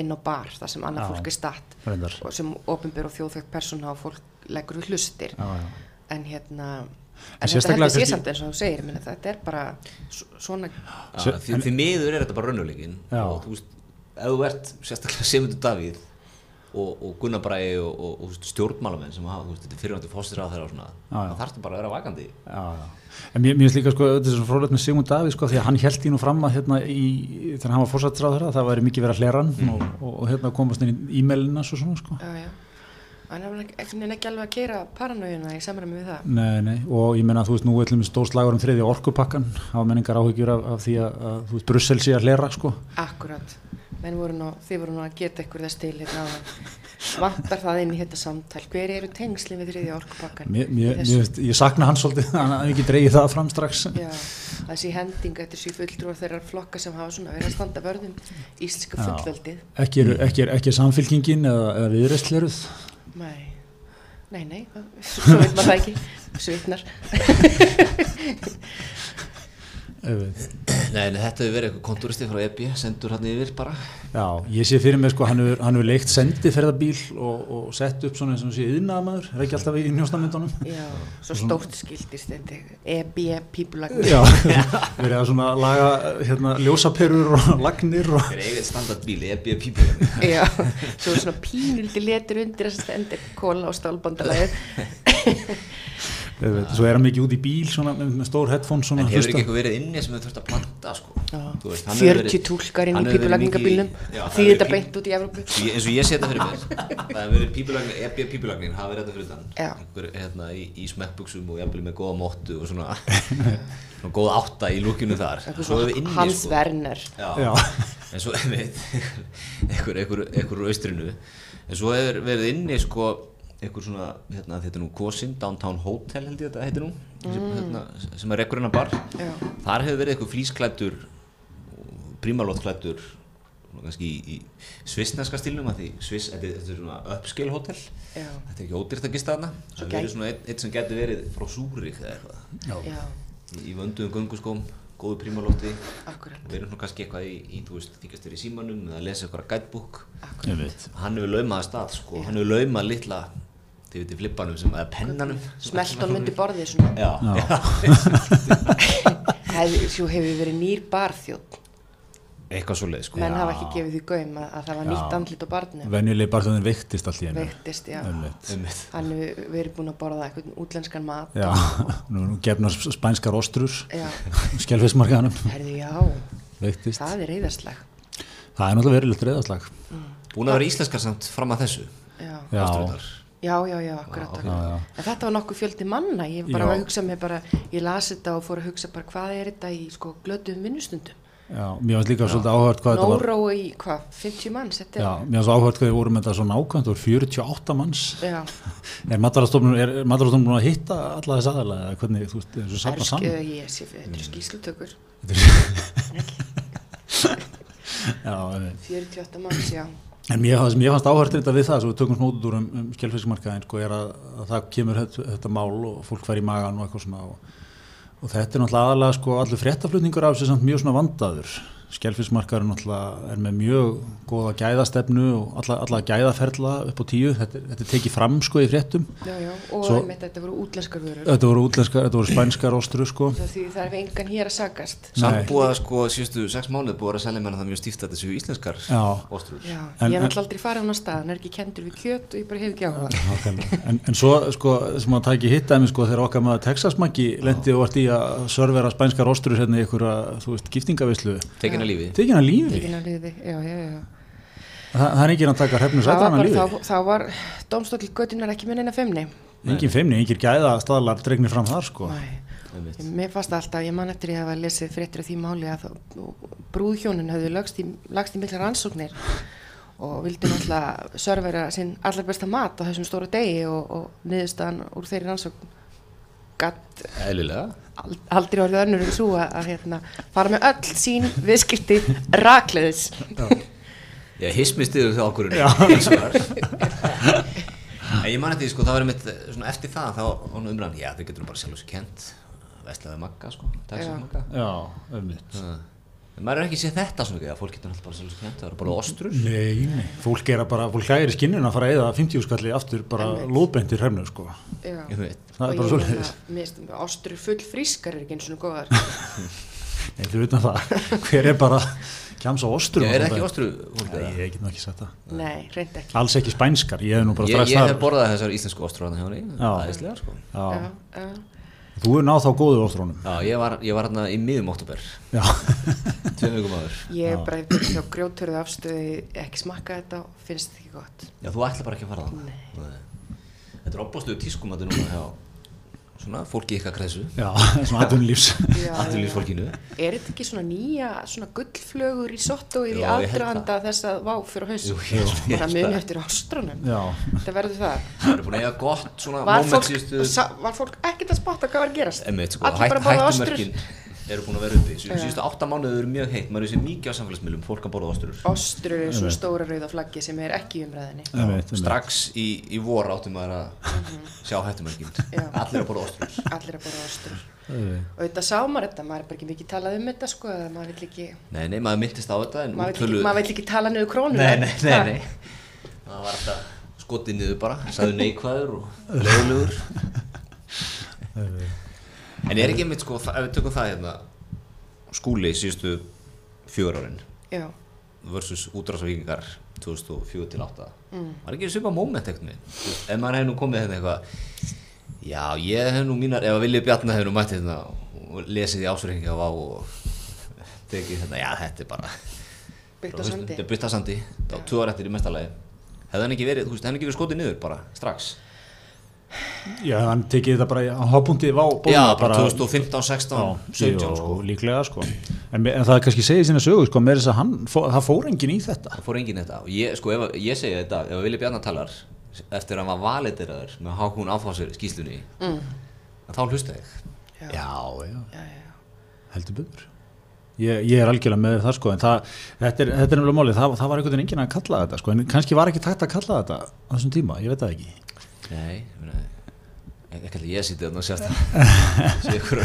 Speaker 3: inn á bar þar sem annað
Speaker 2: Já,
Speaker 3: fólk er statt
Speaker 2: reyndar.
Speaker 3: og sem opinber og þjóðþögt persóna og fólk leggur við hlustir
Speaker 2: Já, já.
Speaker 3: en hérna
Speaker 2: En
Speaker 3: en þetta
Speaker 2: sérstaklega
Speaker 3: heldur sé
Speaker 2: kannski-
Speaker 3: samt eins og þú segir minna, þetta er bara s- svona
Speaker 1: Já, því, því miður er þetta bara raunuleikin
Speaker 2: Já.
Speaker 1: og þú veist, ef þú ert sérstaklega Simundur Davíð og, og Gunnar Bræði og, og, og þú veist, stjórnmálamenn sem hafa þú veist, þetta fyrirvændi fóstir á þeirra og svona
Speaker 2: Já, já.
Speaker 1: það þarfst bara að vera vakandi
Speaker 2: Já, já. En mér mér finnst líka sko, þetta er svona frólægt með Sigmund Davíð sko, því að hann held í nú fram að hérna í, þegar hann var fórsættisráð þeirra, það væri mikið verið að hlera hann
Speaker 1: Mm.
Speaker 2: og, og, og hérna komast inn í e-mailina svo svona sko.
Speaker 3: já, já. en það er ekki, ekki alveg að keira paranóina í samræmi við það
Speaker 2: Nei, nei, og ég meina að þú veist nú er til dæmis stór slagur um þriði orkupakkan hafa menningar áhyggjur af, af því að, að þú veist Brussel sé að hlera sko
Speaker 3: Akkurat, menn voru nú, þið voru nú að geta ykkur þess til hérna áðan. Vantar það inn í þetta samtal, hver eru tengslinn við þriðja orkupakkan?
Speaker 2: mér, mér, mér, veist, ég sakna hans svolítið [laughs] hann hafði ekki dreigið það fram strax
Speaker 3: Já, þessi hending eftir sér fulltrúar þeirra flokka sem hafa svona verið að standa vörðum íslenska
Speaker 2: Já.
Speaker 3: fullveldið.
Speaker 2: ekki er, ekki er, ekki er samfylkingin eða, eða viðreistleruð
Speaker 3: Nei, Nei, nei, svo veit maður það ekki, svitnar.
Speaker 2: Auðvitað.
Speaker 1: Nei, nei, þetta hefur verið eitthvað kontúristi frá EB, sendur hann yfir bara.
Speaker 2: Já, ég sé fyrir mig sko, hann hefur, hann hefur leikt sendiferðabíl og, og sett upp svona eins og sé yðnaðamaður, er ekki alltaf í njóstamyndunum?
Speaker 3: Já, svo stórt skildi stendi, EB, pípulagn.
Speaker 2: Já, [laughs] verið að svona laga hérna, ljósaperur og [laughs] lagnir og...
Speaker 1: Þeir eru eigin standardbíl, EB pípur.
Speaker 3: Já, svo er svona pínuldi letur undir þess að stendi kóla og stálbandalæðið.
Speaker 2: Auðvitað, Svo er hann mikið út í bíl svona, með, með stór headphone svona,
Speaker 1: En hefur
Speaker 2: hlusta.
Speaker 1: ekki eitthvað verið inni sem þau þurft að planta, sko.
Speaker 3: Já,
Speaker 1: Þú veist, hann hefur
Speaker 3: 40
Speaker 1: verið-
Speaker 3: túlkar inn
Speaker 1: hann
Speaker 3: í
Speaker 1: hefur verið
Speaker 3: pípulagningabílnum,
Speaker 1: mikið í- Já,
Speaker 3: því
Speaker 1: það hefur
Speaker 3: þetta
Speaker 1: verið pí-
Speaker 3: beint út í Evrópu.
Speaker 1: Ég- eins og ég sé þetta fyrir
Speaker 3: [laughs]
Speaker 1: mér það hefur verið pípulagnin, EB pípulagnin hafa verið þetta fyrir utan
Speaker 3: Já.
Speaker 1: einhver hérna í, í smekkbuksum og jafnvel með góða móttu og svona [laughs] svona góða átta í lúkinu þar
Speaker 3: Eitthvað
Speaker 1: svo hefur inni
Speaker 3: Hans
Speaker 1: sko.
Speaker 3: Werner.
Speaker 2: Já.
Speaker 1: Já. en svo [laughs] einmitt, einhver, einhver, einhver úr austrinu en svo hefur verið inni sko einhver svona, hérna, þetta er nú Kosin Downtown Hotel held ég þetta heitir nú sem, hérna, sem er rekkur hennar bar
Speaker 3: Mm. Já.
Speaker 1: þar hefur verið einhver flýsklættur primalótklættur kannski í, í svissneska stílnum að því sviss, þetta, er- þetta er svona uppscale hotel
Speaker 3: Já.
Speaker 1: þetta er ekki ódýrt að gista þarna það hefur verið
Speaker 3: gæ-
Speaker 1: svona einn, einn sem getur verið frá Súrik eða eitthvað
Speaker 2: Já.
Speaker 3: Já,
Speaker 1: í, í vönduðum gönguskóm, góðu primalótti
Speaker 3: akkurat,
Speaker 1: og við erum svona kannski eitthvað í, í þú veist, þykjast þér í símanum eða lesa eitthvað guidebook
Speaker 3: akkurat.
Speaker 2: Auðvitað.
Speaker 1: hann hefur laumað að stað, sko, hann hefur laumað litla, þið veitir flippanum sem, eða pennanum
Speaker 3: Smelt honum undir borðið svona.
Speaker 1: Já, já,
Speaker 3: Hef, svo hefur verið nýr barþjótt
Speaker 1: [laughs] eitthvað svo leið, sko
Speaker 3: menn hafa ekki gefið því gaum að, að það var nýtt
Speaker 2: Já.
Speaker 3: andlit á barnum
Speaker 2: Venjuleg bara þannig veiktist allt í hennu.
Speaker 3: veiktist, já
Speaker 2: Einmitt.
Speaker 1: Einmitt.
Speaker 3: hann hefur verið búinn að borða eitthvað útlenskan mat
Speaker 2: Já, [laughs] nú, nú gefnar sp- spænskar ostrur,
Speaker 3: já,
Speaker 2: skjálfismarkaðanum,
Speaker 3: herðu já
Speaker 2: veiktist.
Speaker 3: það er reyðarslag
Speaker 2: Það er náttúrulega verilegt reyðarslag.
Speaker 1: Búin að vera íslenskar samt fram að þessu
Speaker 3: já,
Speaker 2: Já.
Speaker 1: ástrurnar.
Speaker 3: já, já, já, akkurat, akkurat.
Speaker 2: já.
Speaker 3: en þetta var nokkuð fjöldi manna ég var bara
Speaker 2: Já.
Speaker 3: að hugsa mér bara, ég las þetta og fór að hugsa bara hvað er þetta í sko glötuðum vinnustundum
Speaker 2: Já, mér finnst líka svolítið áhört hvað þetta var.
Speaker 3: Nóró í hvað, 50 manns þetta
Speaker 2: Já,
Speaker 3: er,
Speaker 2: mér finnst áhört hvað þið voru með þetta svo nákvæmt, það voru 48 manns.
Speaker 3: já,
Speaker 2: Er matarastofnun, er matarastofnun búin að hitta alla þess aðalega, eða hvernig, þú veist, er svo
Speaker 3: Ersk,
Speaker 2: safna saman? Mm.
Speaker 3: ég sé, þetta eru skýrslutökur
Speaker 2: Já, einmitt.
Speaker 3: 48 manns, já
Speaker 2: En mér, það sem ég fannst áhært þetta við það, svo við tökum smótið úr um, um skjálfismarkaðin, sko, er að, að það kemur þetta, þetta mál og fólk fær í magan og eitthvað svona og, og þetta er náttúrulega aðalega, sko, allir fréttaflutningur af sér samt mjög svona vandaður. Skjálfismarkaður náttúrulega er með mjög góða gæðastefnu og alla, alla gæðaferla upp á tíu, þetta, er- þetta er tekið fram, sko, í fréttum.
Speaker 3: Já, já, og
Speaker 2: Svo-
Speaker 3: einmitt þetta voru útlenskar vörur
Speaker 2: Þetta voru útlenskar, þetta voru spænskar ostru, sko.
Speaker 3: það því það er engan hér að sakast
Speaker 2: Nei.
Speaker 1: Samt búið að, sko, síðustu sex mánuð búið að vera að selja mér það mjög stíft að þetta séu íslenskar
Speaker 2: Já.
Speaker 1: ástrur
Speaker 3: Já,
Speaker 2: En-
Speaker 3: ég hef
Speaker 2: en-
Speaker 3: alltaf aldrei farið á hann að stað, hann er ekki kendur við kjöt og ég bara hef ekki á hann
Speaker 2: Nákvæmlega. En, en svo, sko, sem að tæki hittaði mig, sko, þegar okkar maður Texas-maggi lendi og vart í að sörvera spænskar osturur hérna í einhverja, þú veist, giftingavislu.
Speaker 1: Tekin að lífi
Speaker 2: Tekin að lífi.
Speaker 3: Tekin að liði, já, já, já
Speaker 2: Þa, það er enginn að taka hrefnu
Speaker 3: Það var
Speaker 2: sætran að
Speaker 3: bara,
Speaker 2: lífi.
Speaker 3: þá, þá var dómstóll göttunar ekki með neina femni
Speaker 2: Engin feimni, engin gæða staðlar dregnir fram þar, sko.
Speaker 3: Nei,
Speaker 1: Einmitt.
Speaker 3: mér fannst alltaf, ég man eftir ég hafa lesið fréttir af því máli að þá- og brúðhjónin höfðu lagst í, lagst í mikla rannsóknir og vildu náttúrulega sörvera sinn allar besta mat á þessum stóra degi og, og niðurstaðan úr þeirri rannsókn gatt
Speaker 1: Eðlilega
Speaker 3: Ald- aldrei orðið önnur en svo að, að hérna, fara með öll sín viðskipti rakleðis
Speaker 1: Já, hismi stiður þau ákvörðunum [laughs] eins
Speaker 2: [laughs]
Speaker 1: og þar En ég man eftir, því, sko, það var einmitt eh, svona eftir það, þá var hún umræðan Já, þau getur nú bara sjálf þessu kent Vestlaði Magga, sko,
Speaker 3: Já.
Speaker 1: Texas Magga
Speaker 2: Já, ömmit.
Speaker 1: Ha. En maður er ekki séð þetta svona ekki, að fólk getur alltaf bara sjálf þessu kent Það eru bara ostrur
Speaker 2: Nei, nei. Fólk er að bara, fólk hægir í skinnuna að fara að eða 50 skalli aftur bara lóðbendir hrefnu, sko.
Speaker 3: Já.
Speaker 1: Ég veit.
Speaker 2: Það
Speaker 3: Og
Speaker 2: er
Speaker 3: ég
Speaker 2: bara
Speaker 3: meina,
Speaker 2: svolítið.
Speaker 3: mér finnst ástrur full frískar er ekki eins og góðar
Speaker 2: Nei, þú veit það. [laughs] Hver er bara kjams á osturum?
Speaker 1: Ég er
Speaker 2: og
Speaker 1: ekki
Speaker 2: svona?
Speaker 1: ostru fólk
Speaker 2: Nei,
Speaker 1: eða?
Speaker 2: Ég get nú ekki sagt það.
Speaker 3: nei, reynd ekki
Speaker 2: Alls ekki spænskar, ég hef nú bara
Speaker 1: Ég,
Speaker 2: strax
Speaker 1: ég
Speaker 2: þar-
Speaker 1: hef borðað þessar íslensku ostrur hann hjá henni
Speaker 2: Já.
Speaker 1: Æðislega, sko
Speaker 2: Já.
Speaker 3: Já, já.
Speaker 2: Þú er náð þá góðu óstrónum.
Speaker 1: Já, ég var, ég var hérna í miðum óttúber
Speaker 2: Já.
Speaker 1: Tveim vikum áður
Speaker 3: ég er bara eftir hjá grjótörðu afstöði ekki smakka þetta og finnst þetta ekki gott
Speaker 1: Já, þú ætla bara ekki að fara það Nei Þetta er opbóðsluðu tískum að núna hjá Svona, fólki í ykkar kreðsu
Speaker 2: [laughs] Já, svona aðunlífs.
Speaker 3: Já,
Speaker 1: Atvinnlýsfólkinu
Speaker 3: er þetta ekki svona nýja svona gullflögur í sottóið í
Speaker 1: Jú, ég held
Speaker 3: aðdrahanda þess að vá fyrir haus
Speaker 1: Jú, ég held
Speaker 3: bara
Speaker 1: það.
Speaker 3: muni eftir ástrunum
Speaker 2: Já.
Speaker 3: þetta verður það
Speaker 1: Það eru búin að eiga gott svona
Speaker 3: var
Speaker 1: moment
Speaker 3: fólk,
Speaker 1: síðustu
Speaker 3: sa, var fólk ekkert að spotta hvað var að gerast
Speaker 1: Einmitt, sko,
Speaker 3: allir bara
Speaker 1: hætt-
Speaker 3: báða
Speaker 1: hættumerkin.
Speaker 3: ástrur
Speaker 1: eru búin að vera uppi Sýn- síðustu átta mánuðið eru mjög heitt maður er sér mikið á samfélagsmiðlum, fólk að borða osturur
Speaker 3: Ostru, svona
Speaker 2: Einmitt.
Speaker 3: stóra rauða flaggi sem er ekki í umræðinni.
Speaker 2: Einmitt, einmitt.
Speaker 1: strax í, í vor áttum maður að sjá hættumörkin
Speaker 3: Mhm. Já.
Speaker 1: allir að borða osturur
Speaker 3: Allir að borða ostur.
Speaker 2: Einmitt.
Speaker 3: Og þetta sá maður þetta, maður er bara ekki mikið talað um þetta sko, eða maður vill ekki,
Speaker 1: nei, nei, maður myndist á þetta en
Speaker 3: maður vill
Speaker 1: úttöluðu-
Speaker 3: ekki, maður vill ekki tala niður krónuna.
Speaker 1: nei, nei, nei, nei. maður var alltaf skotið niður bara sagði neikvæður [laughs] og lögulegur en er ekki einmitt sko þa- ef við tökum það hérna skúli síðustu fjögur árin
Speaker 3: Já,
Speaker 1: versus útrásvíkingar 2004 til 8 var ekki svipa moment ekkert með ef maður hefði nú komið hérna eitthvað já ég hef nú mínar ef að Vilja Bjarnar hefði nú mætt hérna og lesið í ásverðingja á og tekið hérna já þetta er bara
Speaker 3: byggt á sandi.
Speaker 1: þetta er byrta sandi á tvö ára eftir í mestalagi hefði hann ekki verið þú veist hefði hann ekki verið skotið niður bara strax
Speaker 2: Já, hann tekið þetta bara, í- hann hafbúndið vá bólna
Speaker 1: já bara 2015, 16, 17
Speaker 2: já,
Speaker 1: sko
Speaker 2: líklega sko en, en það kannski segir sína sögu sko, meira þess að hann, fó, það fór enginn í þetta
Speaker 1: það fór enginn í þetta og ég, sko, ef, að- ég segi þetta ef að Vili Bjarnar talar eftir að hann var valiteraður með hákún áfásir skýslunni mm. þá hlusta ég
Speaker 3: Já.
Speaker 2: já, já,
Speaker 3: Já, já, já.
Speaker 2: heldur byrður ég, ég er algjörlega með það sko en það, þetta er, þetta er nefnilega málið, það, það var einhvern veginn enginn að kalla þetta sko, en kannski var ekki takt að kalla þetta á þessum tíma, ég veit það ekki
Speaker 1: nei, ég meina, ek- ekki alltaf ég sýtti þarna og sérst [laughs] sé ykkur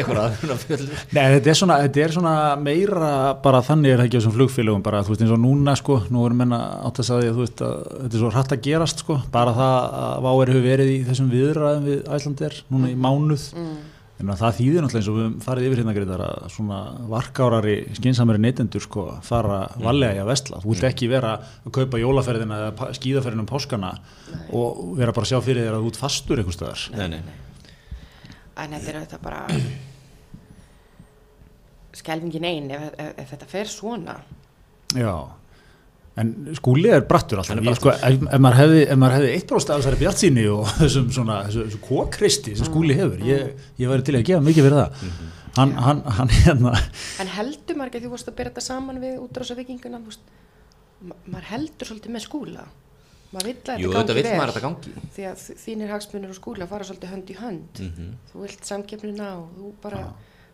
Speaker 1: ykkur aðruna fjöllur
Speaker 2: Nei, þetta er, svona, þetta er svona meira bara þannig er það ekki á þessum flugfélögum bara, þú veist, eins og núna, sko, nú erum menna átt að sagði, þú veist, að þetta er svo hratt að gerast, sko, bara það að Váer hefur verið í þessum viðræðum við Æslandir núna í mánuð, ég meina það þýðir náttúrulega eins og við höfum farið yfir hérna greitar að svona varkárari, skinsamari neytendur, sko, fara valega í að vestla, þú vilt ekki vera að kaupa jólaferðina eða skýðaferðina um páskana og vera bara að sjá fyrir þér að þú ert fastur einhvers staðar.
Speaker 1: nei, nei, nei.
Speaker 3: En þetta er auðvitað bara skelfingin einn ef, ef, ef þetta fer svona.
Speaker 2: Já, en skúli er brattur alltaf.
Speaker 1: Hann er
Speaker 2: Ég, Sko, ef, ef maður hefði, ef maður hefði eitt bróst af þessari bjartsýni og [laughs] þessum svona, þessu, þessu kókristi sem skúli
Speaker 3: Mm.
Speaker 2: hefur, ég, ég væri til í að gefa mikið fyrir það.
Speaker 1: Mhm.
Speaker 2: Hann, hann, hann, hérna,
Speaker 3: En heldur maður ekki því vorst að bera þetta saman við útrásavikinguna, þú veist, ma maður heldur svolítið með skúla. Maður vill að þetta
Speaker 1: Jú,
Speaker 3: gangi
Speaker 1: auðvitað vill
Speaker 3: vel.
Speaker 1: maður að þetta gangi.
Speaker 3: Því að þ- þínir hagsmunir og skúla fara svolítið hönd í
Speaker 1: Mm.
Speaker 3: hönd.
Speaker 1: Mhm.
Speaker 3: Þú vilt samkeppnina og þú bara,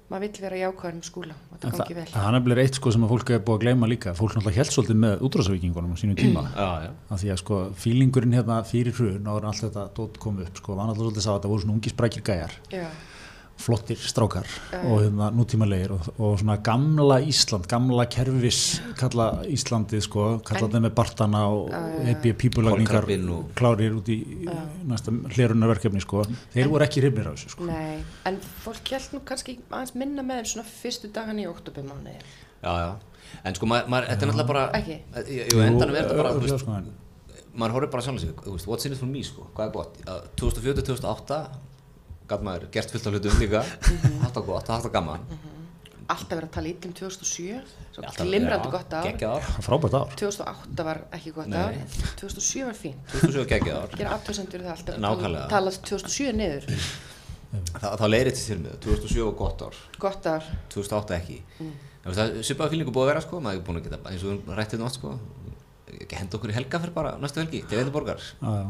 Speaker 3: maður vill vera jákvæður með skúla
Speaker 2: [laughs]
Speaker 3: og þetta
Speaker 2: en það,
Speaker 3: gangi vel.
Speaker 2: það er nefnilega eitt sko sem að fólk er búið að gleyma líka. Fólk náttúrulega held svolítið með útrásavíkingunum á sínu tíma.
Speaker 3: Mm.
Speaker 1: Já, já.
Speaker 2: Af því að sko fílingurinn hérna fyrir hrun áður en allt þetta dótt kom upp sko var náttúrulega svolítið sá að þetta voru svona ungi sprækir gæjar
Speaker 3: Já,
Speaker 2: flottir strákar og hérna, nútímalegir og, og svona gamla Ísland, gamla kerfis kalla Íslandið sko, kalla þetta með bartana og heppið pípulagningar
Speaker 1: Kolkrabbinn og-
Speaker 2: klárir út í næsta hlerunarverkefni sko, þeir voru ekki hrifnir á þessu sko.
Speaker 3: nei, en fólk held nú kannski aðeins minna með þeim svona fyrstu dagan í oktobermánuði.
Speaker 1: já, já en sko maður, maður þetta er náttúrulega bara
Speaker 3: Ekki?
Speaker 1: Jú, jú, endanum er þetta bara, þú
Speaker 2: Jú,
Speaker 1: veist,
Speaker 2: sko, en-
Speaker 1: maður horfir bara sjálf sig, þú veist, what's in it for me, sko, hvað er gott? Að 2004-2008 gæt maður gert fullt af hlutum líka,
Speaker 3: Mhm.
Speaker 1: [laughs] haft það gott, haft það gaman.
Speaker 3: Alltaf verið að tala um ítlum 2007, svo
Speaker 1: Alltaf-
Speaker 3: glimrandi
Speaker 1: já,
Speaker 3: gott ár.
Speaker 1: Geggjað ár,
Speaker 2: frábært ár
Speaker 3: 2008 var ekki gott
Speaker 1: Nei.
Speaker 3: ár, 2007 var fínt
Speaker 1: 2007 geggjað ár.
Speaker 3: gera aftursendur það alltaf
Speaker 1: Nákvæmlega.
Speaker 3: talað 2007 niður,
Speaker 1: Þa, það leirið til mér, 2007 var gott ár,
Speaker 3: gott ár
Speaker 1: 2008 ekki. Mm. Það er svipaða fílingu búið að vera, sko, maður er búin að geta, eins og við höfum rættið nátt, sko, ekki henda okkur í helgaferð bara, næstu helgi, til eitthvað borgar.
Speaker 2: Já, já.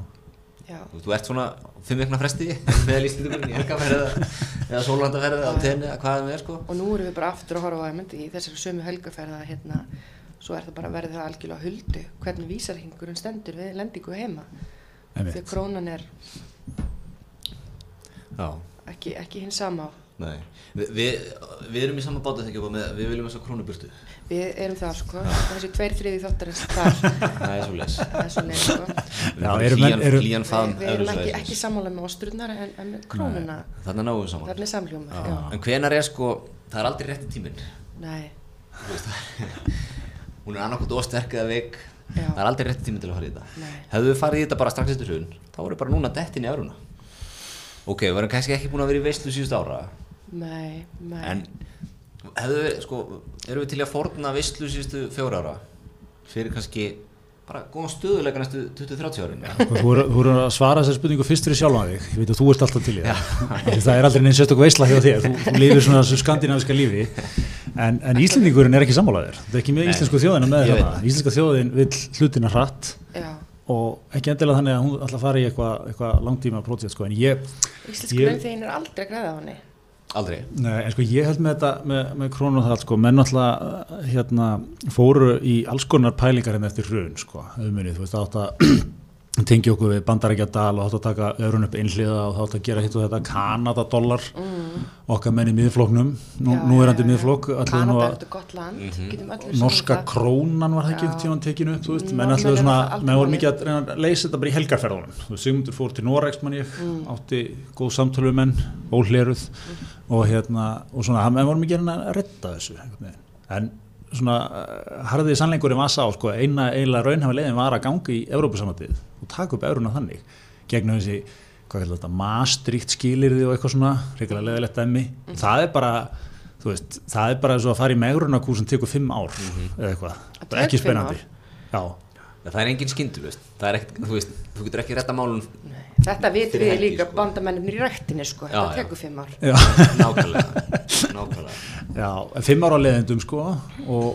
Speaker 3: já,
Speaker 1: Þú veist, Þú ert svona fimm vekna fresti [laughs] með lístundumurinn í helgaferð eða, eða sólhandaferð eða tenni eða hvað það er, sko.
Speaker 3: og nú erum við bara aftur að horfa á það myndi í þessari sömu helgaferða hérna, svo er það bara verið það algjörlega á huldu hvernig vísarhingurinn stendur við lendingu heima
Speaker 2: Einmitt.
Speaker 3: því að krónan er
Speaker 1: Já.
Speaker 3: ekki, ekki hins sama á.
Speaker 1: Nei, Vi, við, við erum í saman báta þegar með, við viljum þess að krónuburtu
Speaker 3: við erum það sko, þessi tveir þriði þáttarins þar
Speaker 1: Það er svo
Speaker 2: [laughs]
Speaker 1: les
Speaker 3: það er svo leið sko
Speaker 2: Já, erum menn-
Speaker 1: Hlíjan,
Speaker 2: erum-
Speaker 1: hlíjan faðm
Speaker 3: við, við erum ekki,
Speaker 1: Evrópusvæðisins.
Speaker 3: ekki sammála með ostrurnar en, en með krónuna,
Speaker 1: Þarna náum við saman
Speaker 3: þarna er samljóma já.
Speaker 1: En hvenar er sko, það er aldrei rétti tíminn
Speaker 3: nei,
Speaker 1: [laughs] Hún er annarkot ósterk eða veik
Speaker 3: Já.
Speaker 1: Það er aldrei rétti tíminn til að fara í þetta
Speaker 3: Nei.
Speaker 1: Hefðu við farið í þetta bara strax eftir hrun Þá voru bara núna dettin í áruna Ok, við erum kannski ekki búin að vera í veistlu síðust ára
Speaker 3: nei, nei
Speaker 1: En hefðu við, sko, erum við til í að forna veistlu síðustu fjóra ára Fyrir kannski bara góðan stöðuleika næstu 20-30 árin
Speaker 3: [laughs]
Speaker 1: Já
Speaker 2: Þú voru, þú voru að svara þessar spurningu fyrst fyrir sjálfan þig, ég veit að þú ert alltaf til í það það er aldrei neins sérstök veisla hjá þér þú, þú lifir svona þessu skandinaviska lífi en, en Íslendingurinn er ekki sammálaðir það er ekki með
Speaker 1: Nei.
Speaker 2: íslensku þjóðina með
Speaker 1: Ég veit
Speaker 2: þarna íslenska þjóðin vil hlutina hratt
Speaker 3: já
Speaker 2: og ekki endilega þannig að hún ætla að fara í eitthvað eitthva langtíma prótíð sko. en ég,
Speaker 3: Íslensk
Speaker 2: Ég-
Speaker 3: launþegin er aldrei að græða á henni
Speaker 1: Aldrei.
Speaker 2: Nei, en sko ég held með þetta með, með krónu og það allt sko, menn alltaf hérna, fóru í alls konar pælingar hérna eftir hrun sko, auðmunni, þú veist, það átt að [clears throat] tengja okkur við bandarækjadal og átt að taka öðrun upp einhliða og það átt að gera hitt og þetta Kanadadollar, okkar menn í miðflóknum, nú,
Speaker 3: Mm. Já,
Speaker 2: nú er hann
Speaker 3: já,
Speaker 2: í
Speaker 3: já.
Speaker 2: miðflók, allir nú
Speaker 3: Kanada er
Speaker 2: að
Speaker 3: þetta gott land,
Speaker 1: Mhm.
Speaker 3: getum allir sagt
Speaker 2: norska
Speaker 3: það.
Speaker 2: krónan var það ekki
Speaker 3: Já. Mm,
Speaker 2: tíma tekinu upp, þú veist, menn
Speaker 3: Norðmenn
Speaker 2: ætluðu
Speaker 3: eru
Speaker 2: svona,
Speaker 3: alltaf
Speaker 2: menn voru
Speaker 3: alkohólir.
Speaker 2: mikið að reyna að leysa þetta bara í helgarferðunum, þú veist, Sigmundur fór til Noregs mann ég, átti góð samtölu við menn, óhleruð og hérna, og svona, menn voru mikið að reyna að retta þessu, einhvern veginn. en svona, eh, harðið sannleikurinn var sá, sko, eina eiginlega raunhafi leiðin var að ganga í Evrópusamandið og taka upp euruna þannig, gegnum þessi hvað kallar þetta, maastrikt skilirði og eitthvað svona, reyngilega leðilegt dæmi það er bara, þú veist, það er bara eins og að fara í megrunarkúr sem tekur fimm ár eða eitthvað,
Speaker 3: Það
Speaker 2: það er ekki
Speaker 3: tekur fimm
Speaker 2: spennandi já,
Speaker 1: Nei, Það er engin skyndu, veist. Það er ekkert, þú veist, þú getur ekki retta
Speaker 3: [laughs]
Speaker 1: málun
Speaker 3: Þetta vitum
Speaker 1: Fyrir
Speaker 3: við
Speaker 1: helgi,
Speaker 3: líka
Speaker 1: sko.
Speaker 3: bandamennir í rættinni sko,
Speaker 1: Já, já.
Speaker 3: þetta tekur fimm ár.
Speaker 2: já,
Speaker 1: nákvæmlega. nákvæmlega.
Speaker 2: já fimm ára leðindum sko og,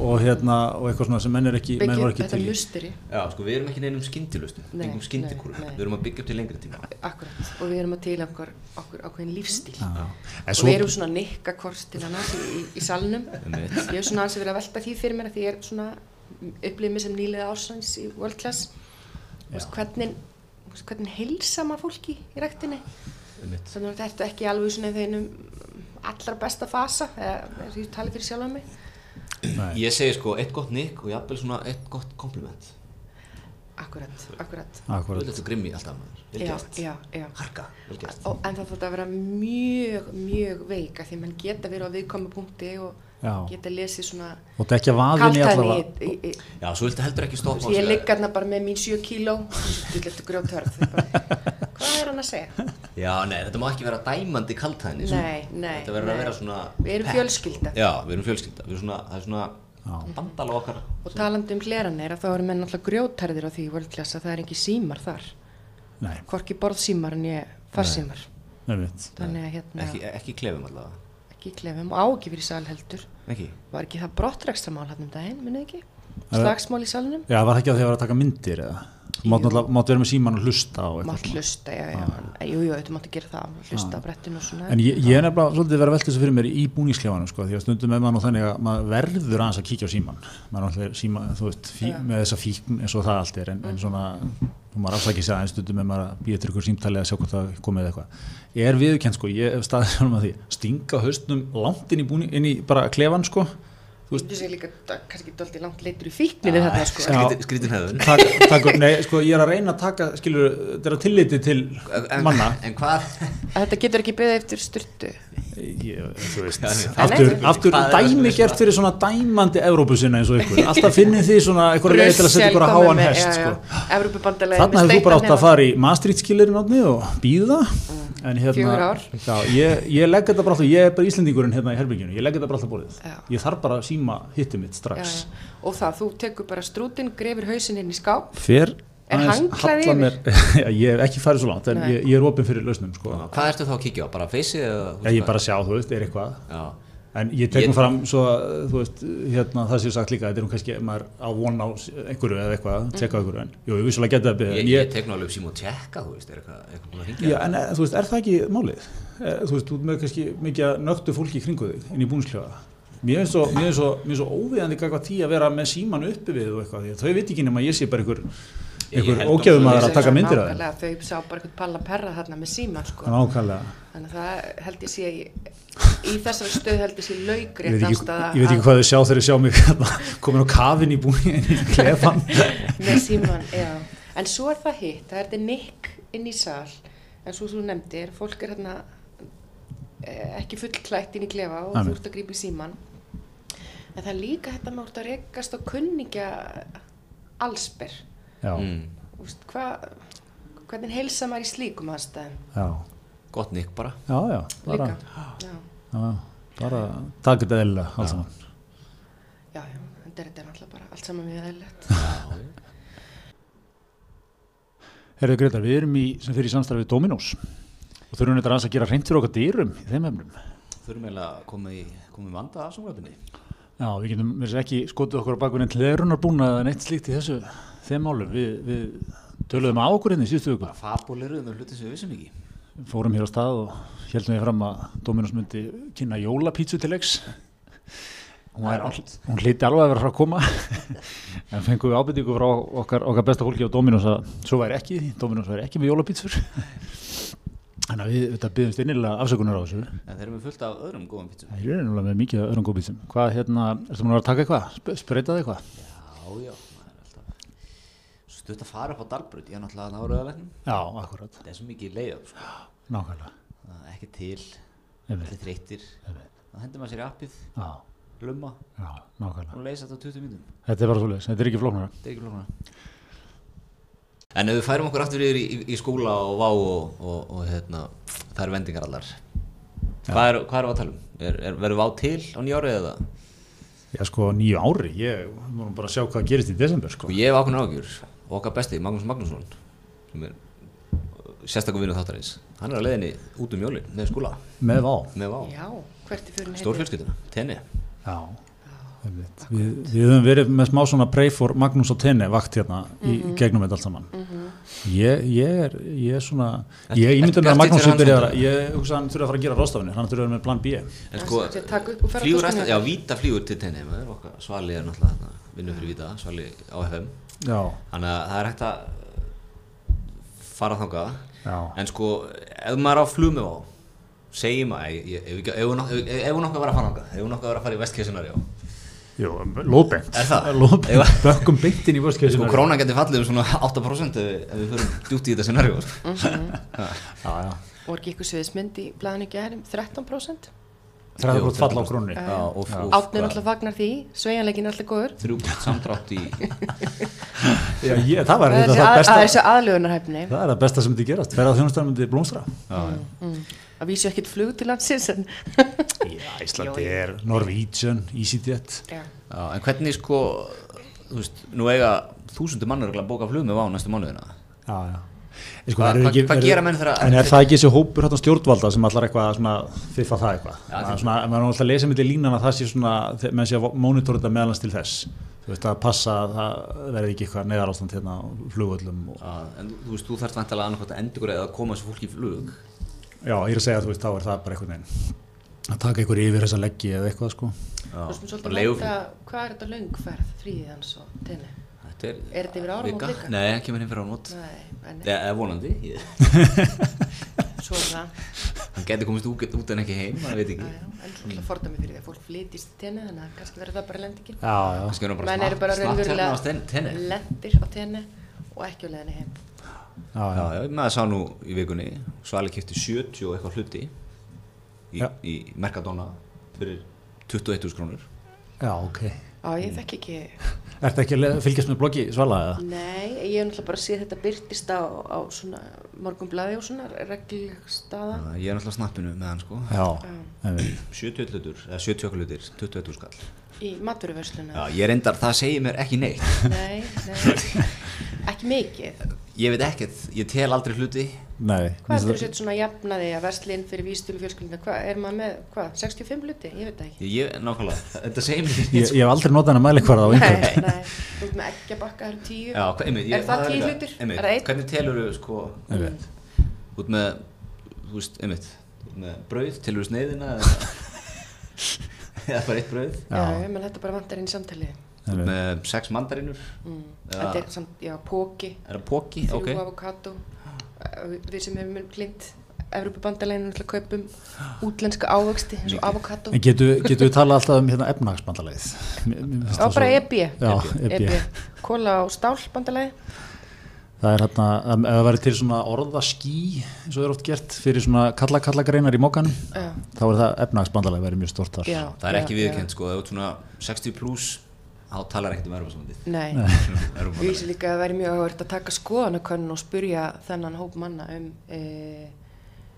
Speaker 2: og hérna, og eitthvað svona sem menn er ekki menn
Speaker 3: Byggjum
Speaker 2: voru ekki
Speaker 3: þetta
Speaker 2: til í
Speaker 3: musteri,
Speaker 1: Já, sko, við erum ekki neinum skyndilustum,
Speaker 3: Nei,
Speaker 1: engum skyndikúlum.
Speaker 3: nei, nei.
Speaker 1: Við erum að byggja upp til lengri tíma.
Speaker 3: akkurat, og við erum að til okkur, okkur ákveðin lífstíl.
Speaker 2: Já. En
Speaker 3: Og
Speaker 2: svo-
Speaker 3: við erum svona nikkakort til hann í, í, í salnum.
Speaker 1: Einmitt.
Speaker 3: Ég hef svona aðeins að vera að velta því fyrir mér að því ég er svona upplifið mér sem nýlega ársans í World Class. Þú veist, Hvernig, þú veist, hvernig heilsa maður fólki í rættinni?
Speaker 1: Einmitt.
Speaker 3: Þannig að þetta er ekki alveg svona í þeinum allra besta fasa, eða ég tala fyrir sjálf um mig.
Speaker 2: Nei.
Speaker 1: Ég segi sko, eitt gott nikk og jafnvel svona eitt gott kompliment.
Speaker 3: Akkurat, akkurat.
Speaker 1: Þú veit
Speaker 2: Akkúrat.
Speaker 1: þetta grimmi alltaf maður. Vel
Speaker 3: Já,
Speaker 1: gert.
Speaker 3: já, já.
Speaker 1: Harka, vel gert.
Speaker 3: Og, en það þótt að vera mjög, mjög veik að því mann geta verið á viðkomi punkti og
Speaker 2: Já.
Speaker 3: geta lesið svona
Speaker 2: og dekja vaðin í
Speaker 3: kaltaðni.
Speaker 2: allavega
Speaker 3: í- í-
Speaker 1: Já, svo viltu heldur ekki stoppa. á
Speaker 3: Þú veist, Ég
Speaker 1: sig.
Speaker 3: ligg hérna bara með mín 7 kíló, ég letur grjóthörð. Hvað er hann að segja?
Speaker 1: Já, nei, þetta má ekki vera dæmandi kaltæðin
Speaker 3: Nei, nei,
Speaker 1: Þetta verður
Speaker 3: nei.
Speaker 1: að vera svona
Speaker 3: Við erum
Speaker 1: pep,
Speaker 3: fjölskylda.
Speaker 1: sko. Já, við erum fjölskylda Við erum svona, það er svona
Speaker 2: Já.
Speaker 1: bandala okkar
Speaker 3: Og talandi um hleranir að þá eru menn alltaf grjóthörðir á því í völdklassa, það er ekki símar þar.
Speaker 2: nei,
Speaker 3: Hvorki borðsímar en ég farsímar.
Speaker 2: nefnitt
Speaker 3: Þannig að hérna,
Speaker 1: Ekki, ekki klefum allavega
Speaker 3: ekki klefum og á ekki fyrir sal heldur.
Speaker 1: Ekki
Speaker 3: Var ekki það brottrækstamál hann um daginn, minnið ekki?
Speaker 2: Er það-
Speaker 3: Slagsmál í salnum?
Speaker 2: já, var það ekki að þið var að taka myndir eða Þú mátt
Speaker 3: Jú.
Speaker 2: náttúrulega- mátt vera með síman og hlusta og eitthvað
Speaker 3: Mátt
Speaker 2: svona.
Speaker 3: hlusta, já, já, ah. jú, jú, þetta máttu gera það, hlusta á brettinu og svona.
Speaker 2: Ah. En ég, ég er nefnilega svolítið verið að velta þessu fyrir mér í búningsklefanum sko, því að stundum er maður nú þannig að maður verður aðeins að kíkja á síman maður er alltaf síma, þú veist, fí,
Speaker 3: Já.
Speaker 2: með þessa fíkn eins og það allt er, en, en svona þú maður afsakið sér aðeins stundum er maður að býja til ykkur símtalið að sjá hvort það er komið eitthvað ég er viðurkend sko, ég hef staðið sjálfum að því stinga haustnum langt inn í, búning, inn í bara klefan sko, þú veist
Speaker 3: Þú sé líka, d- kannski doldi langt leitur í fíkninni þetta, sko.
Speaker 2: Ah, Já.
Speaker 1: Skrítin, skrítin hefur
Speaker 2: tak, tak, nei, sko, ég er að reyna að taka, skilur, þetta er að tilliti til
Speaker 1: [laughs]
Speaker 2: manna
Speaker 1: En hvað
Speaker 3: Að Þetta getur ekki beðið eftir styrtu.
Speaker 2: Ég, þú veist,
Speaker 1: Já, nei.
Speaker 2: aftur,
Speaker 3: Nei, nei.
Speaker 2: aftur
Speaker 1: Hvað er það sem
Speaker 2: dæmi
Speaker 1: er
Speaker 3: sko.
Speaker 2: gert fyrir svona dæmandi Evrópusina eins og ykkur, alltaf finnið þið svona eitthvað leið til að setja ykkur að
Speaker 3: Brussel
Speaker 2: háan
Speaker 3: komið með-
Speaker 2: hest
Speaker 3: já, já.
Speaker 2: sko.
Speaker 3: Evrópubandalæðið
Speaker 2: Þarna hefur þú bara átt að fara í Maastricht skilirinn átni og býða en hérna,
Speaker 3: Mm. Fjögur ár.
Speaker 2: já, ég, ég legg þetta bara alltaf, ég er bara Íslendingurinn hérna í herbyggjunum, ég legg þetta bara alltaf borðið,
Speaker 3: Já.
Speaker 2: ég þarf bara að síma hittið mitt
Speaker 3: Já,
Speaker 2: strax.
Speaker 3: já. Og það, þú tekur bara strútin, grefur hausinn inn í skáp.
Speaker 2: Fer
Speaker 3: Er
Speaker 2: aðeins
Speaker 3: handklæði
Speaker 2: halla
Speaker 3: yfir?
Speaker 2: mér, [laughs] já, ég hef ekki farið svo langt en
Speaker 3: Nei.
Speaker 2: ég, ég er opinn fyrir lausnum sko.
Speaker 1: Hvað ertu þá að kíkja á? Bara feysið eða þú
Speaker 2: Já, ég
Speaker 1: veist
Speaker 2: er bara að sjá, þú veist, er
Speaker 1: hvað?
Speaker 2: eitthvað
Speaker 1: Já
Speaker 2: En ég tek
Speaker 1: Ég-
Speaker 2: nú fram svo að, þú veist, hérna, það séu sagt líka, þetta er nú kannski, maður á von á s- einhverju eða eitthvað, tjekka á einhverju, en jú, ég vissulega geta það beðið,
Speaker 1: Mhm. Ég,
Speaker 2: en
Speaker 1: ég
Speaker 2: ég,
Speaker 1: tek nú alveg upp síma og tjekka, þú veist, er eitthvað, eitthvað búin að hringja?
Speaker 2: já, en eh, þú veist, er það ekki málið? Er, þú veist, þú ert með kannski mikið að nögtu fólki í kringu þig, inn í búinsklefa. Mér finnst svo, mér finnst svo, mér finnst svo óviðandi gagvað því að vera með síman uppi við og eitthvað, því að þau veit ekki nema ég sé bara einhver,
Speaker 1: Ég- ég
Speaker 2: einhver
Speaker 1: held að-
Speaker 2: ógæfum að
Speaker 1: Ég
Speaker 2: vera að taka myndir af þeim.
Speaker 3: Nákvæmlega, þau sá bara eitthvað palla perra þarna með síma, sko.
Speaker 2: Nákvæmlega.
Speaker 3: Þannig að það held ég sé, í- í þessari stöð held ég sé laugri
Speaker 2: Ég veit, ekki, ég veit ekki hvað þau sjá þegar þau sjá mig hérna, [laughs] komin á kafin í búin, í klefan.
Speaker 1: [laughs]
Speaker 3: með síman, já. En svo er það hitt, það er þetta nikk inn í sal, en svo þú nefndir, fólk er hérna eh, ekki fullklætt inn í klefa og
Speaker 2: Amen.
Speaker 3: þú ert að grípa í síman. En það er líka þetta með að rekast á kunningja allsber.
Speaker 2: Já,
Speaker 1: mm,
Speaker 3: Þú veist, hvað, hvernig heilsa maður í slíkum aðstæðum
Speaker 2: já,
Speaker 1: Gott nikk bara
Speaker 2: já, já, bara.
Speaker 3: líka? Já,
Speaker 2: Já, bara taka þetta eðlilega allt saman.
Speaker 3: já, já, en þetta er náttúrulega bara allt saman mjög eðlilegt.
Speaker 2: Herðu Gretar, við erum í, sem fyrir í samstarfið við Dominós og þurfum þetta aðeins að gera reynd fyrir okkar dýrum í þeim efnum.
Speaker 1: Þurfum eiginlega að koma í, koma í vanda að samræðinni
Speaker 2: Já, við getum mér sér ekki skotið okkur á bakvinni til erunar búna eða neitt slíkt í þessu þeim málum. Við, við töluðum á okkur hérna í síðustu viku.
Speaker 1: Fabuleiruðum við hluti um sem við vissum ekki
Speaker 2: fórum hér á stað og heldum við fram að Dominos myndi kynna jólapítsu til leiks hún, er, all- hún hliti alveg að vera frá að koma en fengum við ábyrtingu frá okkar, okkar besta fólki á Dominos að svo væri ekki, Dominos væri ekki með jólapítsur þannig að við þetta byggumst innilega afsökunar á þessu
Speaker 1: En þeir eru með fullt af öðrum góðum pítsum.
Speaker 2: það er náttúrulega með mikið af öðrum góð pítsum hvað hérna, ertu múin að vera að taka eitthvað, Sp spreitaði eitthvað
Speaker 1: Já, já, það er alltaf. Svo stutt að fara upp á Dalbrut, ég er náttúrulega að nára öðalegnum.
Speaker 2: já, akkurat,
Speaker 1: Það er svo mikið leið upp, sko.
Speaker 2: nákvæmlega
Speaker 1: Það er ekki til,
Speaker 2: Einmitt,
Speaker 1: allir þreyttir.
Speaker 2: einmitt.
Speaker 1: Það hendur maður sér í appið,
Speaker 2: já,
Speaker 1: lumma
Speaker 2: já, nákvæmlega
Speaker 1: og leysa þetta á 20 mínútum.
Speaker 2: þetta er bara svo þetta er ekki flóknara
Speaker 1: Þetta er ekki flóknara. En ef við færum okkur aftur yfir í, í, í skóla og vá og, og, og hérna, það eru vendingar allar. Hvað er, hvað er að tala um? Er, er, verður vá til á nýjárið eða?
Speaker 2: Já sko, nýju ári, ég vorum bara að sjá hvað gerist í desember sko.
Speaker 1: Sko ég hef ákveðin áhugjur og okkar besti, Magnús Magnússon sem er sérstakum vinnu þáttarins hann er á leiðinni út um jólin með skúla,
Speaker 2: Með vá.
Speaker 1: með vá,
Speaker 3: Já, hvert er fyrir henni?
Speaker 1: stórfjölskylduna tenni,
Speaker 2: Já. einmitt. Við, við höfum verið með smá svona pray for Magnús og Tenni vakt hérna
Speaker 3: Mhm.
Speaker 2: í gegnum þetta allt saman. ég, ég er, ég er svona,
Speaker 1: Ertu-
Speaker 2: ég ímynda mér
Speaker 1: ertu
Speaker 2: að Magnús
Speaker 1: bjartsýnn
Speaker 2: er
Speaker 1: fyrir
Speaker 2: byrjað
Speaker 1: hann
Speaker 2: að, ég hugsa að hann þurfa að fara að gera rástafinu, hann þurfa að vera með plan B.
Speaker 1: en sko
Speaker 3: Það er að taka upp og fara
Speaker 1: flýgur
Speaker 3: að
Speaker 1: alltaf,
Speaker 3: skoða.
Speaker 1: já, víta flýgur til tenni maður, okkar Svali er náttúrulega þarna, vinnu fyrir víta, Svali á FM
Speaker 2: Já,
Speaker 1: þannig að það er hægt að uh, fara þangað
Speaker 2: já,
Speaker 1: en sko, ef maður er á flug með vá segjum að, ég- ég- ef ekki- ef hún ef- ef hún okkar var að fara þangað, ef hún okkar var að fara í vestkjössunar, já
Speaker 2: jú, lóðbent.
Speaker 1: Er
Speaker 2: [laughs]
Speaker 1: það? Ef
Speaker 2: Lóðbent,
Speaker 1: að-
Speaker 2: bökkum beintin í vörskjöðsum.
Speaker 1: Sko krónan geti fallið um svona 8% ef, ef við förum djútt í þetta scenarjó sko.
Speaker 3: Mm.
Speaker 2: Já, já,
Speaker 3: Voru ekki ykkur sviðismynd í um blæðinu gærum 13%?
Speaker 2: 30% fall á krónunni.
Speaker 1: Já, og, og,
Speaker 3: Átnir alltaf fagnar því, sveigjanleikin alltaf góður.
Speaker 1: Þrjú samdrátt í
Speaker 3: [laughs]
Speaker 2: Já, ég, það var
Speaker 3: Það er
Speaker 2: þetta
Speaker 3: þessi
Speaker 2: það
Speaker 3: að- að
Speaker 2: besta,
Speaker 3: þessi aðlögunarhæfni.
Speaker 2: það er það besta sem þið gerast, ferða þjónustafinu myndi blómstra.
Speaker 3: Það vísi ekkit flug til landsins en...
Speaker 2: Já, Íslandi er Norwegian, EasyJet
Speaker 3: Já.
Speaker 1: Já, en hvernig sko þú veist, nú eiga þúsundu mannur að bóka flug með vá næstu mánuðina
Speaker 2: Já, já En sko,
Speaker 1: Hva-
Speaker 2: það eru
Speaker 1: hva-
Speaker 2: ekki-
Speaker 1: hvað
Speaker 2: eru-
Speaker 1: gera menn þegar-
Speaker 2: En er það ekki þessi hópur hérna stjórnvalda sem allar eitthvað svona fiffa það eitthvað
Speaker 1: Já,
Speaker 2: Það
Speaker 1: þeim-
Speaker 2: er svona, maður er alltaf að lesa millir línan að það sé svona þegar menn sé að monitora þetta meðalans til þess þú veist að passa að það verði ekki eitthvað neðar ástand hérna á flugvöllum og,
Speaker 1: Já, en þú- þú veist, þú þarft vantilega annarkvæmt að endur eða að koma þessu fólki í flug
Speaker 2: Já, ég er að segja að þú veist þá er það bara eitthvað neginn að taka einhver yfir þessa leggi eða eitthvað sko
Speaker 1: Já,
Speaker 3: Þú veist,
Speaker 1: bara
Speaker 3: svolítið
Speaker 1: leiguflug.
Speaker 3: mæta, hvað er þetta löngferð, fríðið hans og tenni?
Speaker 1: Þetta er,
Speaker 3: Er þetta yfir áramót
Speaker 1: vika?
Speaker 3: líka?
Speaker 1: Nei, hann kemur inn fyrir áramót
Speaker 3: Nei, en
Speaker 1: Eða eða vonandi ég-
Speaker 3: [laughs] svo er það.
Speaker 1: Hann geti komist út, út en ekki heim, maður veit
Speaker 3: Já,
Speaker 1: ekki Mm.
Speaker 3: já, En svo ætla að forda mig fyrir því að fólk flytist til tenni, þannig að kannski verður það bara lendingin.
Speaker 2: Já, já
Speaker 1: Kannski er hann
Speaker 3: Menn eru
Speaker 1: bara
Speaker 3: bara
Speaker 1: snatt hérna á
Speaker 3: raunverulega
Speaker 1: tenni
Speaker 3: lendir á tenni og ekki á leðinni heim.
Speaker 2: Já, já,
Speaker 1: Já, já, maður sá nú í vikunni, Svali kipti 70 og eitthvað hluti í,
Speaker 2: Já.
Speaker 1: í Mercadona fyrir 21.000 krónur.
Speaker 2: já ok
Speaker 3: Á, ég
Speaker 1: Mm.
Speaker 3: þekk ekki,
Speaker 2: Ertu ekki að le- fylgjast með bloggi Svala eða?
Speaker 3: nei, ég hef náttúrulega bara séð þetta byrtist á, á svona morgunblæði og svona reglstaða.
Speaker 1: Þannig að Ég er náttúrulega á snappinu með hann sko.
Speaker 2: Já,
Speaker 3: Já.
Speaker 2: en við
Speaker 1: 70 hlutur, eða 70 okkur hlutir, 21.000 skall.
Speaker 3: Í maturversluna?
Speaker 1: Já, ég reyndar, það segir mér ekki neitt.
Speaker 3: Nei, nei, ekki mikið.
Speaker 1: Ég veit ekkert, ég tel aldrei hluti.
Speaker 2: Nei
Speaker 3: Hvað er þetta svona jafnaði að verslinn fyrir vístölu fjölskyldina? Hvað er maður með, hvað, 65 hluti? Ég veit það ekki.
Speaker 1: Ég, ég nákvæmlega, þetta segir mér ekki
Speaker 2: Ég,
Speaker 1: neitt. sko.
Speaker 2: ég hef aldrei notað hann að mæli á einhverjum
Speaker 3: Nei, nei, þú ert með ekki að bakka þar um tíu.
Speaker 1: Já, hva- einmitt, ég,
Speaker 3: er það tíu
Speaker 1: líka-
Speaker 3: hlutir?
Speaker 1: Einmitt,
Speaker 3: Er það einn?
Speaker 1: hvernig telur þú sko,
Speaker 2: Einmitt.
Speaker 3: Mm.
Speaker 1: út með, þú veist, einmitt, þú ert með brauð, telur þú sneiðina eða,
Speaker 2: [laughs]
Speaker 1: eða bara eitt brauð?
Speaker 3: Já, já, menn þetta bara vantar inn í samtalið.
Speaker 1: Þú ert með sex mandarinur
Speaker 3: Mm.
Speaker 1: Já.
Speaker 3: Þetta er samt, já, póki,
Speaker 1: Er það póki? Ok.
Speaker 3: þrjú
Speaker 1: Ah.
Speaker 3: okay. avokado, við sem hefum glind Evrópubandaleginu til að kaupum
Speaker 1: Ah.
Speaker 3: útlenska ávöxti eins og avokado.
Speaker 2: En getum getu við talað alltaf um hérna efnahagsbandalæðið? Mér- mér finnst
Speaker 3: Já,
Speaker 2: það
Speaker 3: bara E
Speaker 2: svo-
Speaker 3: EB.
Speaker 2: Já, E
Speaker 3: E
Speaker 1: E
Speaker 2: EB.
Speaker 3: Kóla og stálbandalegi.
Speaker 2: Það er hérna, em, ef það væri til svona orðaský, eins og það er oft gert, fyrir svona kalla-kalla-greinar í mókanum,
Speaker 3: Já,
Speaker 2: þá er það efnahagsbandalæðið verið mjög stort þar.
Speaker 3: já.
Speaker 1: Það er ekki
Speaker 3: já,
Speaker 1: viðurkend sko, ef þú ert svona 60 pluss, þá talar ekkert um
Speaker 3: [laughs]
Speaker 1: Europasambandið.
Speaker 3: já. Nei. Ég
Speaker 1: Europasambandið.
Speaker 3: vissi líka að það væri mjög áhverjt að taka skoðanakönn og spurja þennan hóp manna um e,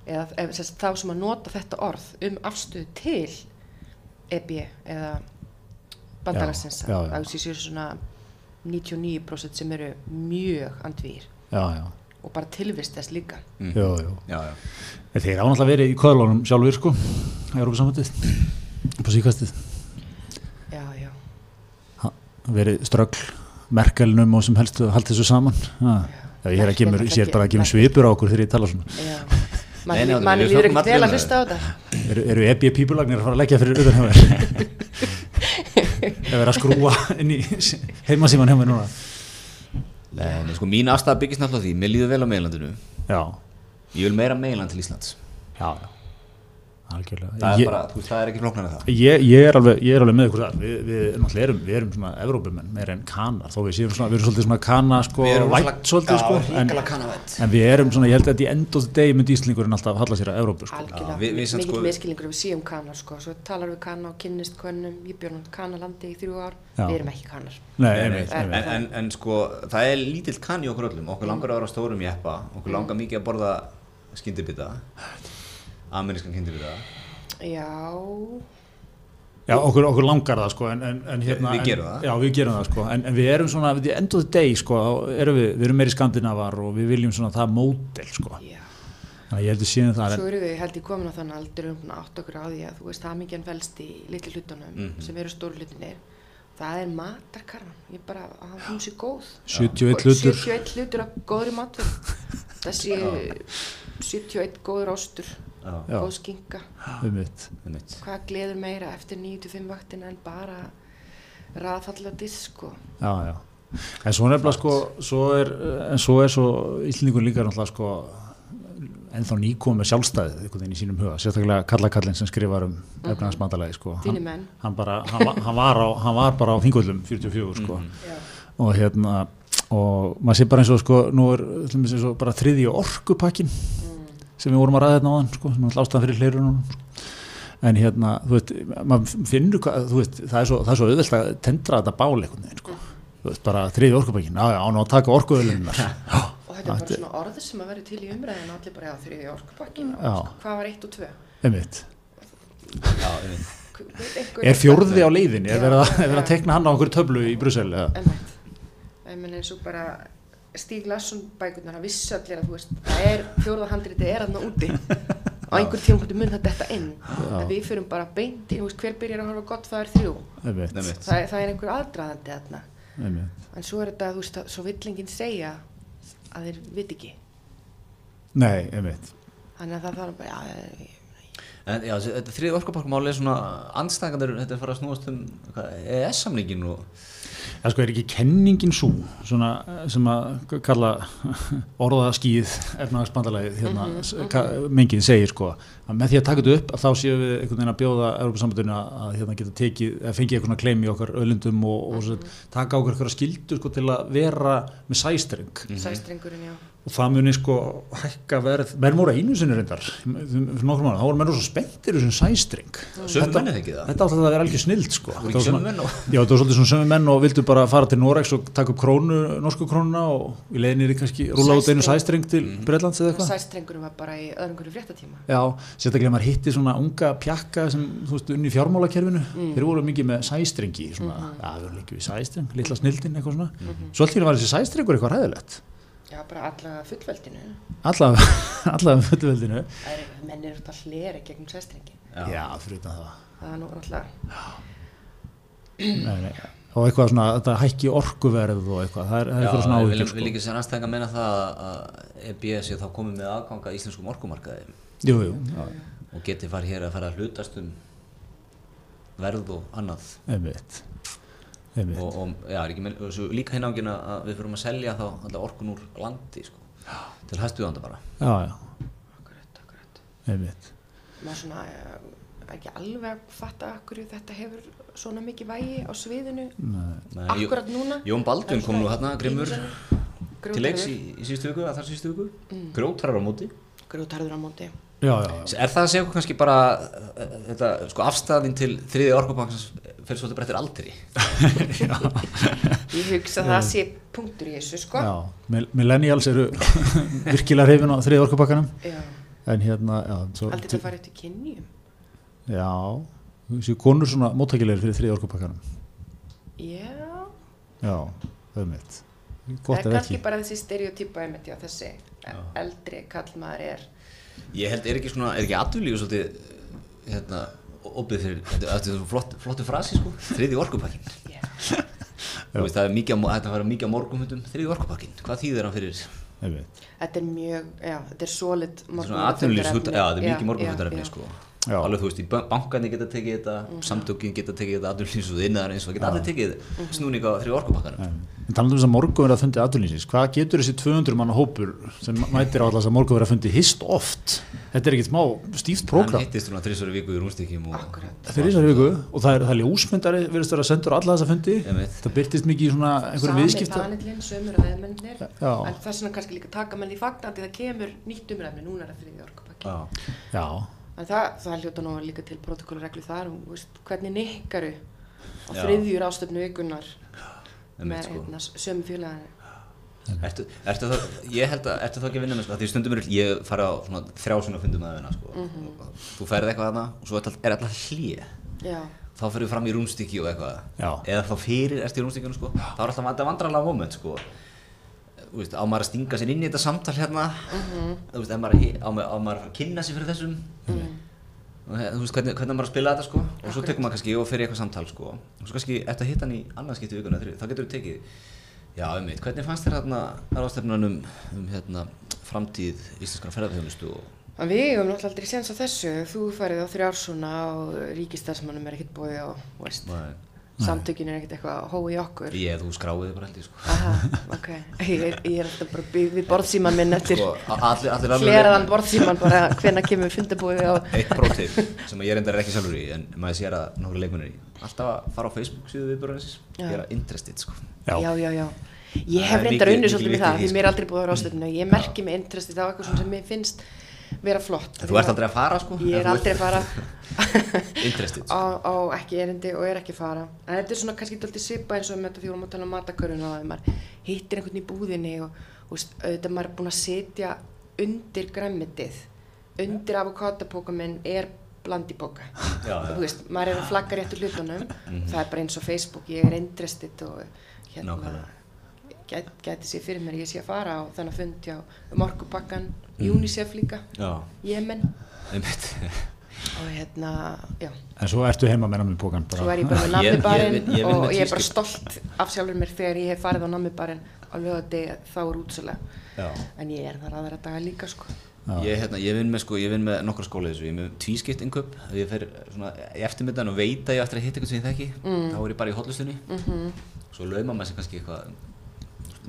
Speaker 3: eða ef, sérst, þá sem að nota þetta orð um afstöðu til EB eða bandalagsins
Speaker 2: Já, já, já.
Speaker 3: að þessi séu svona 99% sem eru mjög andvýr
Speaker 2: Já, já,
Speaker 3: og bara tilvist þess líka
Speaker 2: jú, jú.
Speaker 1: Mm. Já, já.
Speaker 2: En þeir án alltaf verið í köðlunum sjálfur, sko, Európa-samvöndið, på síkastið.
Speaker 3: Já, já,
Speaker 2: Verið ströggl, merkelinum og sem helstu, haldið þessu saman. Já, já ég er að kemur, ég er bara að kemur svipur á okkur þegar ég tala svona.
Speaker 3: já
Speaker 1: Nei, nei,
Speaker 3: manni
Speaker 1: við
Speaker 3: manni
Speaker 1: þökkum
Speaker 3: líður ekkert
Speaker 1: allir
Speaker 3: vel að
Speaker 1: umræðu.
Speaker 3: hlusta á þetta
Speaker 2: Eru, eru EBI pípulagnir að fara að leggja fyrir utan hjá mér? Ef er að skrúa inn í heimasíman hjá mér núna.
Speaker 1: Nei, nei, sko mín afstæða byggist náttúrulega á því, mér líður vel á meilandinu
Speaker 2: Já,
Speaker 1: Ég vil meira meiland til Íslands
Speaker 2: já, já. Algjörlega.
Speaker 1: Það er
Speaker 2: Ég-
Speaker 1: bara, þú veist, það er ekki flóknar en það
Speaker 2: Ég, ég, er alveg, ég er alveg með ykkur þar við, við, náttúrulega erum, við erum svona Evrópumenn meira en kanar, þó við séum svona við erum svolítið svona kana sko, vætt svolítið sko, en,
Speaker 1: kanavætt
Speaker 2: en við erum svona, ég held að í end of the day myndi Íslingurinn alltaf halla sér að Evrópu sko.
Speaker 1: Já,
Speaker 3: algjörlega,
Speaker 1: við- við samt
Speaker 3: mikill
Speaker 1: sko-
Speaker 3: miskilingur við séum kanar sko, svo talar við kanar og kynnist konum, ég björnum kanalandi í þrjú ár,
Speaker 2: Já.
Speaker 3: við erum ekki kanar
Speaker 1: Nei,
Speaker 2: Nei,
Speaker 1: nei,
Speaker 2: einmitt,
Speaker 1: en,
Speaker 2: einmitt.
Speaker 1: en, en sko, það er lítill kann í okkur öllum okkur langar að vera á stórum jeppa
Speaker 3: Mm.
Speaker 1: okkur langar mikið að borða skyndibita amerískan skyndibita
Speaker 3: já,
Speaker 2: Já, okkur, okkur langar það sko, en, en, en hérna
Speaker 1: Við gerum
Speaker 2: en,
Speaker 1: það.
Speaker 2: Já, við gerum það sko, en, en við erum svona við end of the day sko, þá erum við, við erum meiri skandinavar og við viljum svona það mótel sko,
Speaker 3: já
Speaker 2: þannig að ég heldur síðan það en,
Speaker 3: svo erum við held ég komin á þann aldur um svona átt okkur á því að þú veist hamingjan velst í litlu hlutunum
Speaker 1: Mhm.
Speaker 3: sem eru stóru hlutunir það er matarkarfan, ég bara að hann hún sé góð
Speaker 2: 71 hlutur.
Speaker 3: 71 hlutur af góðri matverð
Speaker 1: [laughs]
Speaker 3: þessi 71 góður ástur
Speaker 1: já,
Speaker 2: Já.
Speaker 3: góð skinka
Speaker 2: einmitt,
Speaker 1: einmitt.
Speaker 3: hvað gleður meira eftir 95 vaktin en bara raðfalla disk og
Speaker 2: já, já en svo nefnilega sko, svo er en svo er svo Íslningur líka náttúrulega sko ennþá nýkomið með sjálfstæðið einhvern veginn í sínum huga, sérstaklega Kalla Kallin sem skrifar um efnahagsmandalagi sko,
Speaker 3: Mhm. Þínir
Speaker 2: hann,
Speaker 3: menn.
Speaker 2: hann, bara, hann, var- hann, var á, hann var bara á fingullum 44 sko
Speaker 1: Mm.
Speaker 2: og hérna og maður sé bara eins og sko nú er til dæmis, eins og bara þriði orkupakkin
Speaker 3: Mm.
Speaker 2: sem við vorum að ræða hérna áðan sko, sem er alltaf ástæðan fyrir hlirunum sko. en hérna, þú veist, maður finnur hvað, þú veist, það er svo, það er svo auðvelt að tendra þetta bál einhvern veginn sko. þú veist, bara þriði orkupakkin, já já, án á að taka orkuölunar já,
Speaker 3: og þetta er bara svona orð sem að vera til í umræðin allir bara á þriði orkupakkin
Speaker 2: Mm. Já.
Speaker 3: sko. hvað var 1 og 2
Speaker 2: einmitt
Speaker 1: Já, einmitt.
Speaker 2: er fjórði á leiðinni, er verið að, er verið að tekna hann á okkur töflu í Brussel eða?
Speaker 3: Emmett. Ég menn eins og bara Stíg Larsson bækurnar, hann vissi allir að þú veist, það er fjórða handriti er aðna
Speaker 2: [laughs]
Speaker 3: úti og einhvern tíum hvernig mun þetta inn
Speaker 2: Já.
Speaker 3: að við fyrum bara beint í, þú veist, hver byrjar að horfa á gott það er þrjú,
Speaker 2: einmitt,
Speaker 1: Einmitt.
Speaker 3: það, er- það er einhver aðdraðandi aðna,
Speaker 2: einmitt
Speaker 3: en svo er þetta, þú veist, að- svo villingin segja að þeir vit ekki,
Speaker 2: nei, einmitt,
Speaker 3: þannig að það þarf bara, já, ég-
Speaker 1: En, já, þessi- þetta þriði orkupakkumáli er svona anstæðingandur, þetta er farið að snúast um hvað, ES-samningin og
Speaker 2: Það sko er ekki kenningin svo svona, eh, sem að kalla orðaskýð efnaðarsbandalæðið hérna, mm mengið segir sko að með því að taka þetta upp að þá séum við einhvern veginn að bjóða Európa-sambandinu að, að hérna, geta tekið, að fengið eitthvað svona kleim í okkar öllundum og, og mm taka okkar eitthvað skildu sko til að vera með sæstreng
Speaker 1: Mm. Mhm.
Speaker 3: sæstrengurinn, já,
Speaker 2: og það muni sko hækka verð, menn voru einu sinni reyndar fyrir nokkrum ára, þá voru menn svo spenntir í þessum sæstreng
Speaker 1: Sömu
Speaker 2: Þetta-
Speaker 1: menn eða ekki það?
Speaker 2: Þetta átti að vera algjör snild sko
Speaker 1: Voru ekki
Speaker 2: Þetta var
Speaker 1: sömu
Speaker 2: svona-
Speaker 1: menn og-
Speaker 2: Já, þetta var svolítið svona sömu menn og vildu bara fara til Norex og taka upp krónu, norsku krónuna og í leiðinni er kannski rúla út einu
Speaker 3: Sæstreng.
Speaker 2: sæstreng til
Speaker 1: Mhm.
Speaker 2: Breitlands eða eitthvað
Speaker 3: sæstrengurinn var bara í öðrum hverju fréttatíma,
Speaker 2: Já, sérstaklega maður hitti svona unga pjakka sem, þú veist, unni í fjármálakerfinu þeir voru mikið með sæstrengi svona, já, við erum líka við sæstreng, litla snildin eitthvað svona, mm -hmm. svolítið var þessi sæstrengur eitthvað hæðilegt,
Speaker 3: já, bara alla fullveldinu,
Speaker 2: allavega [laughs] allavega fullveldinu
Speaker 3: Það eru- menn eru alltaf hlera gegnum sæstrengin
Speaker 1: Já.
Speaker 2: Já, fyrir utan það.
Speaker 3: það er nú náttúrulega
Speaker 2: Nei, nei. Og eitthvað svona, þetta hækki orkuverð og eitthvað, það er, það er eitthvað svona
Speaker 1: við
Speaker 2: áhyggjur
Speaker 1: viljum við
Speaker 2: sko.
Speaker 1: líka sér anstæðinga að menna það að- að EBS sé þá komið með aðganga íslenskum orkumarkaði
Speaker 2: Jú, jú, já,
Speaker 1: og geti farið hér að fara að hlutast um verð og annað
Speaker 2: einmitt, einmitt,
Speaker 1: og, og já, er ekki með, og svo líka hinn ángin að við fyrir að selja þá alltaf orkun úr landi sko, til hæstuðanda bara
Speaker 2: já, já,
Speaker 3: akkurat, akkurat.
Speaker 2: einmitt,
Speaker 3: maður svona eh, ekki alveg að fatta akkur þetta hefur svona mikið vægi á sviðinu
Speaker 1: Nei, Jó-
Speaker 3: akkurat núna
Speaker 1: Jón Baldvin kom nú hérna, Grimmur
Speaker 3: Grjótarður.
Speaker 1: til leiks í, í síðustu viku, að þar síðustu viku mm. grjótrar á móti
Speaker 3: grjótarður á móti
Speaker 2: já, já, já,
Speaker 1: er það að segja okkur kannski bara eh, eh, þetta, sko, afstæðin til þriði orkubankans fyrir svolítið brettir aldri
Speaker 3: ég hugsa að það sé punktur í þessu sko
Speaker 2: já, Mill- millennials eru [laughs] virkilega hrifin á þriði orkupakkanum,
Speaker 3: Já.
Speaker 2: en hérna, já, svo,
Speaker 3: aldrei þetta farið til kynjum
Speaker 2: já, þessi konur svona móttækilegir fyrir þriði orkupakkanum,
Speaker 3: já
Speaker 2: já, einmitt,
Speaker 3: það
Speaker 2: gott
Speaker 3: er
Speaker 2: ef
Speaker 3: kannski
Speaker 2: ekki,
Speaker 3: bara þessi stereotypa einmitt já þessi eldri kallmaður er
Speaker 1: ég held, er ekki svona, er ekki aðvunlíu svolítið eh, hérna, opið fyrir þetta þetta er svo flott, flottu frasi sko þriði orkupakkin
Speaker 3: já,
Speaker 1: Þú veist, það er mikið, á mo- þetta verður mikið á morgumhundum þriði orkupakkin, hvað þýðir hann fyrir
Speaker 2: einmitt.
Speaker 3: Þetta er mjög, já, þetta er solid
Speaker 1: Þetta er svona atvinnulífs hugtak, já, þetta er mikið morgunfundarefni sko.
Speaker 2: Já.
Speaker 1: Alveg þú veist, í ban- bankarnir geta tekið þetta, samtökin geta tekið þetta, atvinnulífs og innar eins og geta allir tekið þetta, snúning á þrjú orkupakkanum.
Speaker 2: En talandi um þess að morgun verða að fundi aðurlýsins, hvað getur þessi 200 manna hópur sem mætir á alltaf að morgun verða að fundi hist oft? Þetta er ekkit smá stíft
Speaker 1: Hann
Speaker 2: prógram.
Speaker 1: hittist svona þrísvöru viku í rúmstykkjum og...
Speaker 3: Akkurat.
Speaker 2: Þetta er í þessari viku og það er, það er ljósmyndari verðist vera að senda á alla þessa fundi.
Speaker 1: Einmitt.
Speaker 2: Það byrtist mikið í svona einhverjum viðskipta.
Speaker 3: Sami panelinn, sömur aðeimennir,
Speaker 2: Já.
Speaker 3: en þess vegna kannski líka taka menn í fagnandi, það kemur nýtt umræfni, núna er það þriðja orkupakki.
Speaker 1: Já.
Speaker 2: Já,
Speaker 3: En það, það hljóta nú líka til protokollreglu þar, og veist, hvernig nikkaru á
Speaker 1: Já.
Speaker 3: þriðjur ástöfnu vikunar
Speaker 1: Einmitt,
Speaker 3: með
Speaker 1: sko.
Speaker 3: hérna, sömu félaginu.
Speaker 1: Ertu, ertu þá, ég held að, ertu þá ekki að vinna með sko, því stundum er, ég fara á svona, þrjá svona fundum að vinna sko, og þú ferð eitthvað hana og svo er alltaf, er alltaf hlýð,
Speaker 3: Já,
Speaker 1: þá ferðu fram í rúmstykki og eitthvað,
Speaker 2: Já.
Speaker 1: eða þá fyrir ertu í rúmstykkinu sko, þá er alltaf vandar vandrarlega moment sko, Þú veist, á maður að stinga sér inn í þetta samtal hérna, þú veist, ef maður, á, maður, á maður að fara að kynna sér fyrir þessum, og he- þú veist, hvernig, hvernig á maður að spila þetta sko, og svo tekur maður kannski og fyrir í eitthvað samtal sko, og svo kannski ertu að hitta hann í annað skipti vikuna, þá getur þú tekið, já, um hvernig fannst þér hérna ráðstefnan um, um hérna, framtíð íslenskara ferðarþjónustu og,
Speaker 3: En við eigum náttúrulega aldrei séns á þessu, þú færið á þrjársuna og ríkistarsmannum er ekkert bóðið á, veist,
Speaker 1: Nei.
Speaker 3: samtökin er ekkert eitthvað að hóa í okkur.
Speaker 1: ég, þú skráiði bara held ég sko.
Speaker 3: Aha, ok, [laughs] ég er, ég er alltaf bara byggð við borðsíman minn eftir
Speaker 1: sko, a- allir, allir alveg-
Speaker 3: hleraðan borðsíman
Speaker 1: [laughs]
Speaker 3: bara hvena kemur fundabúið á
Speaker 1: eitt prótip sem ég reyndar er ekki sjálfur í en maður sér að nokkru leikmennir í alltaf að fara á Facebook síðu viðbúrunins
Speaker 3: Já.
Speaker 1: gera interested sko
Speaker 2: já,
Speaker 3: já, já, já ég
Speaker 1: Það
Speaker 3: hef
Speaker 1: er
Speaker 3: reyndar
Speaker 1: mikið- mikið
Speaker 3: unnið svolítið með
Speaker 1: vit í
Speaker 3: það
Speaker 1: því,
Speaker 3: því
Speaker 1: sko.
Speaker 3: mér er aldrei búið á ráðstöfnu ég merki mig interest í það á eitthvað svona sem mér finnst vera flott
Speaker 1: en þú ert aldrei að fara sko en
Speaker 3: ég er
Speaker 1: þú
Speaker 3: aldrei að
Speaker 1: ert-
Speaker 3: fara
Speaker 1: [laughs] interested
Speaker 3: á,
Speaker 1: sko.
Speaker 3: á ekki erindi og er ekki að fara en þetta er svona kannski alltaf sipa eins og með þetta því vorum að tala um matakörun og að maður hittir einhvern í búðinni og, og veist, auðvitað maður er búin að setja undir græmitið undir avokatapóka minn er blandipoka
Speaker 1: já, Mhm.
Speaker 3: þú veist, maður er að flagga réttu hlutunum það er bara eins og Facebook, ég er interested og hérna
Speaker 1: Nákvæmlega.
Speaker 3: get, geti sér fyrir mér, ég sé að fara og þannig að fundja um orkupakkan
Speaker 1: Mhm.
Speaker 3: UNICEF líka,
Speaker 1: já,
Speaker 3: Jemen
Speaker 1: einmitt [laughs]
Speaker 3: og hérna, já
Speaker 2: en svo ertu heima með námið pókan.
Speaker 3: svo er ég bara
Speaker 1: Ég-
Speaker 3: með
Speaker 1: ég-
Speaker 3: nammibarinn
Speaker 1: ég- ég vinn
Speaker 3: og
Speaker 1: með
Speaker 3: ég er bara
Speaker 1: tvískip.
Speaker 3: stolt af sjálfur mér þegar ég hef farið á nammibarinn á lögadegi þá er útsala
Speaker 1: já
Speaker 3: en ég er þar aðra daga líka sko
Speaker 1: Ég, hérna, ég vinn með, sko, ég vinn með nokkra skóla í þessu, ég er með tvískipt inköp, ef ég fer svona í eftirmyndan og veit að ég á eftir að hitta eitthvað sem ég þekki,
Speaker 3: Mm.
Speaker 1: þá er ég bara í hotlustunni,
Speaker 3: Mhm.
Speaker 1: svo lauma maður sér kannski eitthvað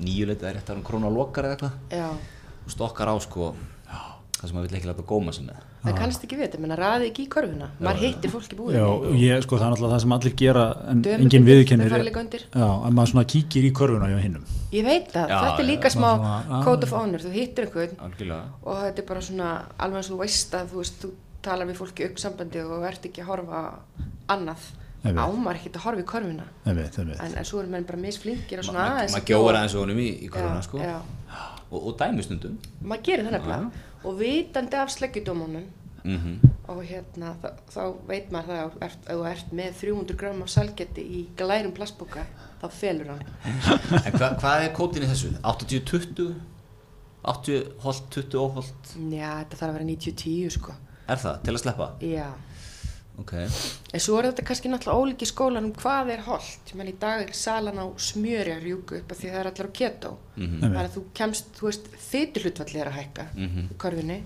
Speaker 1: nýjuleitið, það er rétt að hann krónu á lokar eða eitthvað,
Speaker 3: já,
Speaker 1: og stokkar á sko, það sem maður vill ekki láta góma sem með.
Speaker 3: það kannast ekki við þetta menna raði ekki í körfuna, maður hittir fólk í
Speaker 2: Ah. Já,
Speaker 3: búðinni
Speaker 2: ég, sko, það er náttúrulega það sem allir gera en
Speaker 3: Dömurnar,
Speaker 2: enginn viðurkennir
Speaker 3: þær fara líka undir.
Speaker 2: Já, en maður svona kíkir í körfuna hjá hinnum
Speaker 3: Ég veit það,
Speaker 1: Já,
Speaker 3: þetta er
Speaker 1: já,
Speaker 3: líka smá
Speaker 2: það var svona,
Speaker 3: code of honor, þú hittir einhvern
Speaker 1: Algjörlega.
Speaker 3: og þetta er bara svona alveg eins og þú veist að þú veist, þú talar við fólki auksambandi og ert ekki að horfa á annað,
Speaker 2: Einmitt.
Speaker 3: ámar ekki að horfa í körfuna,
Speaker 2: einmitt, einmitt.
Speaker 3: en, en svo eru menn bara misflinkir og svona aðeins
Speaker 1: Maður
Speaker 3: að
Speaker 1: gjóður
Speaker 3: bjóða.
Speaker 1: aðeins og honum í, í korfuna
Speaker 3: já,
Speaker 1: sko,
Speaker 3: já.
Speaker 1: og, og dæmi stundum.
Speaker 3: maður gerir það nefnilega, og vitandi af sleggjudómunum
Speaker 1: Mm
Speaker 3: og hérna, þá, þá veit maður það að ef þú ert með 300 gram af salgeti í glærum plastboka, þá felur hann
Speaker 1: En hva, hvað er kótin í þessu? 80-20? 80 holt, 20 óholt?
Speaker 3: já, þetta þarf að vera 90-10 sko
Speaker 1: Er það til að sleppa?
Speaker 3: já,
Speaker 1: Ok.
Speaker 3: En svo er þetta kannski náttúrulega ólíki skólan um hvað er holdt. Ég menn í dag er salan á smjöri að rjúka upp af því það er allar á keto.
Speaker 1: Mhm.
Speaker 3: Þannig að þú kemst, þú veist, fytu hlutvalli er að hækka í korfinni.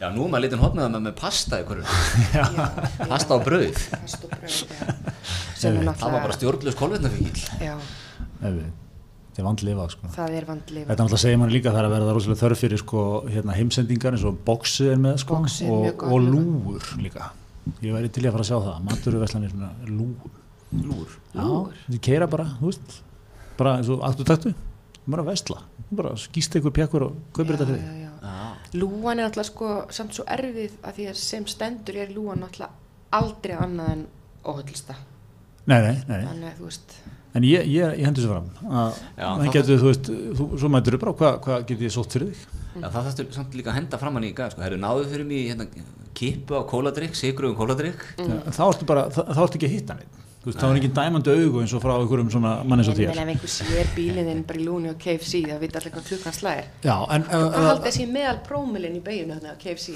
Speaker 1: Já, nú er maður litinn hotnaða með, með pasta í korfuna.
Speaker 3: Já.
Speaker 1: Pasta og brauð.
Speaker 3: Pasta og brauð, já. Sem
Speaker 1: Það
Speaker 3: er
Speaker 1: var bara
Speaker 3: náttúrulega,
Speaker 1: stjórnlaus kolvetnafíkil.
Speaker 3: já,
Speaker 2: einmitt. Þetta er vandlifað sko.
Speaker 3: það er vandlið.
Speaker 2: Þetta náttúrulega segir manni líka að það er að verða rosalega þörf fyrir sko, hérna, heimsendingar eins og boxið er með sko,
Speaker 3: Boxið er mjög
Speaker 2: og,
Speaker 3: gott
Speaker 2: og
Speaker 3: líka.
Speaker 2: lúur líka. Ég væri til í að fara að sjá það. Maturverslanir svona lúur.
Speaker 1: Lúr.
Speaker 2: Lúur? Já, þið keira bara, þú veist, bara eins og aftur taktu, bara að versla. Bara skýst eitthvað pjakkur og kaupir þetta fyrir.
Speaker 3: Já,
Speaker 2: þig.
Speaker 3: já, já.
Speaker 1: Já.
Speaker 3: Lúan er náttúrulega sko samt svo erfið að því að sem stendur er lúan náttúrulega aldrei annað en óhullsta.
Speaker 2: Nei, nei, nei.
Speaker 3: Þannig að þú veist,
Speaker 2: En ég, ég, ég hendur þessu fram að
Speaker 1: Já,
Speaker 2: það
Speaker 1: það-
Speaker 2: getur, þú veist, þú, svo mætur upp á hvað hva getur ég sótt fyrir þig?
Speaker 1: Já, það þarfstu samt líka að henda fram hann í gæð, sko. Herru, náðu fyrir mig í, hérna, kippu á kóladrykk, sigruðum kóladrykk.
Speaker 2: Mm. Þá ertu bara, þá, þá ertu ekki að hitta neitt. Þú veist, þá er ekki dæmandi augu eins og frá einhverjum svona mann eins og
Speaker 3: ég
Speaker 2: þér.
Speaker 3: meina ef einhver sér bílinn þinn bara í lúni og KFC þá veit allir hvað klukkan slæðir.
Speaker 2: Já, en eh,
Speaker 3: Hvað haldið þessi meðal prómilinn í beiginu þarna á KFC?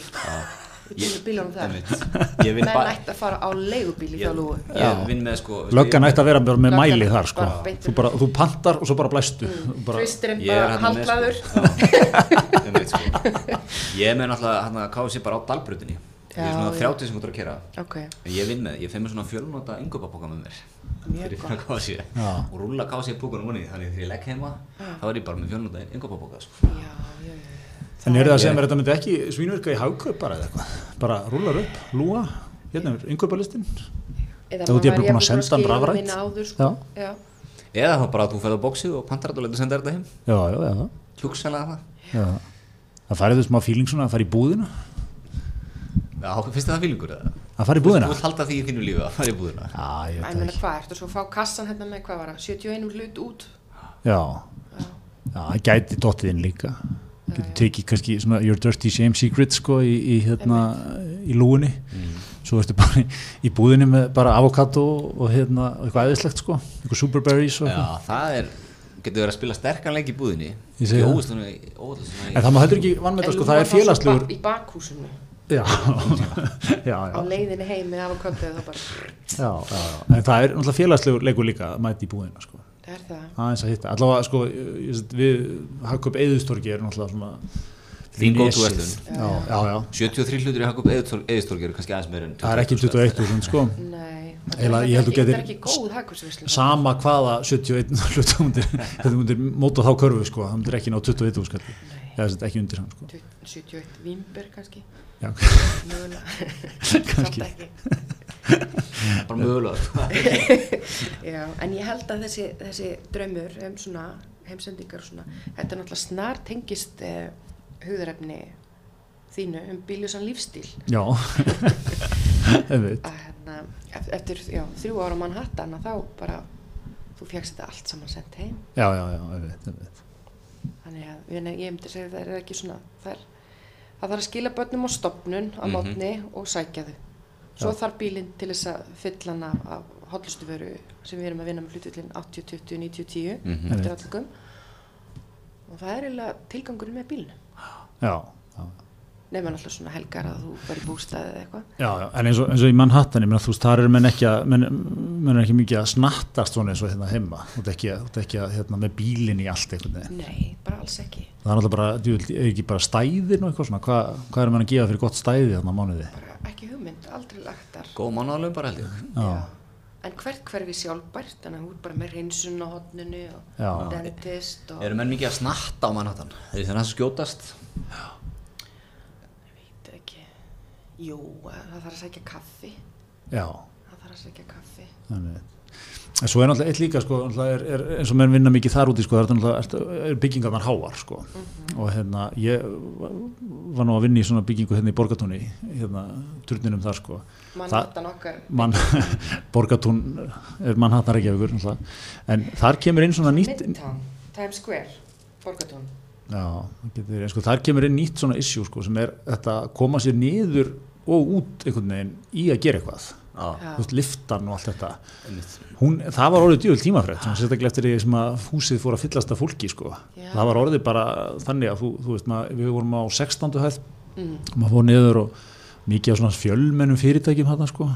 Speaker 3: í bílum- bílunum þar
Speaker 1: Einmitt. Ég vinn
Speaker 3: menn
Speaker 1: bara
Speaker 3: ætti að fara á leigubíl í
Speaker 1: Ég,
Speaker 3: þjálfúi
Speaker 1: ég vinn með sko veistu,
Speaker 2: löggan
Speaker 1: ég-
Speaker 2: ætti að vera bara með
Speaker 3: Löggan
Speaker 2: mæli þar sko.
Speaker 3: bara beint
Speaker 2: þú, bara, þú pantar og svo bara blæstu Þú bara,
Speaker 3: hristurinn
Speaker 1: Ég er hérna
Speaker 3: bara
Speaker 1: með
Speaker 3: handlaður [laughs]
Speaker 1: sko, já, einmitt, sko. Ég er með náttúrulega hann að káða sér bara á dalbrutinni Ég
Speaker 3: Já,
Speaker 1: er svona
Speaker 3: já.
Speaker 1: 30 sem út að kera
Speaker 3: ok,
Speaker 1: Ég vinn með, ég feg með svona fjölnota yngöpapoka með mér
Speaker 3: mjög
Speaker 1: Þegar ég
Speaker 3: gott
Speaker 1: fyrir að káða sér
Speaker 2: Já.
Speaker 1: Og rúla káða sér púkunum unni Þannig þegar ég legg heima Þá er ég bara með fjölnota yngöpapoka sko.
Speaker 3: já, já, já.
Speaker 2: en er það að segja mér að þetta myndi ekki svínverka í hagkaup bara eða eitthvað bara rúlar upp, lúa hérna er yngöpalistin
Speaker 3: Eða
Speaker 2: Þá ert
Speaker 3: maður
Speaker 2: jafnvel búin að
Speaker 3: jafnvel
Speaker 2: senda hann
Speaker 3: skila
Speaker 2: rafrænt.
Speaker 3: minna áður, sko. já.
Speaker 1: Eða þá bara að þú ferð á bóksið og pantar þetta og letur senda þetta heim
Speaker 2: já, já, já,
Speaker 1: Hjúksalega það
Speaker 2: já. það farið þú smá fíling svona að fara í búðina
Speaker 1: Já, finnst þér það fílingur eða?
Speaker 2: að fara í búðina
Speaker 1: Þú vilt halda því í þínu lífi að fara í búðina
Speaker 2: já, ég veit
Speaker 3: En ég
Speaker 2: það
Speaker 3: meina
Speaker 2: ekki.
Speaker 3: hvað, ertu svo að fá kassan hérna með, hvað var það, 71 hlut út?
Speaker 2: já, já, það gæti dottið inn líka getur tekið kannski svona your dirty shame secret sko í, í hérna í lúinni svo ertu bara í, í búðinni með bara avokado og hérna og eitthvað eðislegt sko, eitthvað superberries og eitthvað
Speaker 1: Já, það er, getur verið að spila sterkan leik í búðinni
Speaker 2: Ég segi það.
Speaker 1: Óvist hún er
Speaker 2: En það má heldur ekki vannmeta,
Speaker 3: En
Speaker 2: sko,
Speaker 3: Lúna
Speaker 2: það
Speaker 3: var
Speaker 2: er
Speaker 3: svo
Speaker 2: félagslegur
Speaker 3: ba- Í bakhúsinu,
Speaker 2: Já, [laughs] já,
Speaker 3: á
Speaker 2: já,
Speaker 3: leiðinni heim með avoköpið og bara,
Speaker 2: já, já, já En það er náttúrulega félagslegur leikur líka að mæta í búðina, sko
Speaker 3: það er það.
Speaker 2: aðeins að hitta, allavega, sko ég- ég- við Hakkop Eðustorgi er náttúrulega svona
Speaker 1: Þín góð
Speaker 2: nesið.
Speaker 1: verslun.
Speaker 2: Já, já, já,
Speaker 1: 73 hlutur í Hakup Eðistorg eru kannski aðeins meira en
Speaker 2: það er ekki 21.000, sko
Speaker 3: Nei,
Speaker 2: Eiginlega, ég held þú
Speaker 3: þetta er
Speaker 2: getir-
Speaker 3: ekki góð hagkvæmsvislu.
Speaker 2: sama hvaða [laughs] 71 hlutum undir, þetta myndir móta þá körfu sko, það myndir ekki ná 21 úr skalli
Speaker 3: Nei,
Speaker 2: eða þetta ekki undir hann sko
Speaker 3: 71 vimber kannski,
Speaker 2: já, [laughs]
Speaker 3: mögulega, samt
Speaker 2: kannski,
Speaker 3: ekki.
Speaker 1: Bara mögulega sko.
Speaker 3: Já, en ég held að þessi, þessi draumur um svona heimsendingar og svona, þetta er náttúrulega snar tengist eh, hugðarefni þínu um bíljusan lífstíl
Speaker 2: já [laughs] einmitt,
Speaker 3: að hérna, ef- eftir já, þrjú ára mann hattan að þá bara þú fjækst þetta allt saman sendt heim
Speaker 2: já, já, já, einmitt, einmitt.
Speaker 3: þannig að ég, meina, ég myndi segja að það er ekki svona það, er, það þarf að skila börnum á stopnun á
Speaker 1: Mhm.
Speaker 3: mótni og sækja þau svo
Speaker 2: Já.
Speaker 3: þarf bílinn til þess að fylla hann af, af hotlustu sem við erum að vinna með hlutullin 80, 20, 90, 10
Speaker 1: Mhm.
Speaker 3: eftir
Speaker 2: Einmitt.
Speaker 3: allingum og það er eiginlega tilgangurinn með bílinu
Speaker 2: já, já
Speaker 3: nefnir alltaf svona helgar að þú verður bústaðið eða eitthvað
Speaker 2: Já, já, en eins og, eins og í Manhattan, ég meina, þú veist, þar er menn ekki, að, menn, menn er ekki mikið að snattast svona eins og hérna heima, þú ert ekki, þú ert ekki að, hérna, með bílinn í allt einhvern veginn.
Speaker 3: nei, bara alls ekki
Speaker 2: Það er alltaf bara, þú veist, ekki bara stæðin og eitthvað svona, Hva, hvað er menn að gefa fyrir gott stæði þarna á mánuði?
Speaker 3: bara ekki hugmynd, aldrei lagtar
Speaker 1: [laughs] Góð mannáðalöfum bara held ég
Speaker 2: Já.
Speaker 3: en hvert hverfi sjálfbært þannig að þú er bara með reynsun á hotninu og
Speaker 2: Já.
Speaker 3: dentist og
Speaker 1: Eru menn mikið að snatta á mannhattan? Er það að skjótast?
Speaker 3: veit ekki jú, það þarf að sækja kaffi
Speaker 2: Já,
Speaker 3: það þarf að sækja kaffi
Speaker 2: þannig. En svo er náttúrulega eitt líka, sko, náttúrulega er, er, eins og menn vinna mikið þar úti, sko, það er náttúrulega, er, er byggingarnar háar, sko. Og hérna, ég var nú að vinna í svona byggingu hérna í Borgatúni, hérna, turninum þar, sko.
Speaker 3: mann
Speaker 2: Það-
Speaker 3: hattan okkar
Speaker 2: [laughs] mann, borgatún er Manhattan Reykjavíkur náttúrulega. en þar kemur inn svona nýtt
Speaker 3: Midtown, Times Square, Borgatún
Speaker 2: já, getur, sko, þar kemur inn nýtt svona issue sko, sem er þetta að koma sér niður og út einhvern veginn í að gera eitthvað
Speaker 1: Já,
Speaker 2: Þú veist, liftan og allt þetta
Speaker 1: einmitt
Speaker 2: Hún, það var orðið djúvel tímafrett sem sérstaklega eftir því sem að húsið fór að fyllast af fólki sko.
Speaker 3: Já.
Speaker 2: það var orðið bara þannig að þú, þú veist, maður, við vorum á 16. hæð maður fór niður og mikið á svona fjölmennum fyrirtækjum þarna sko,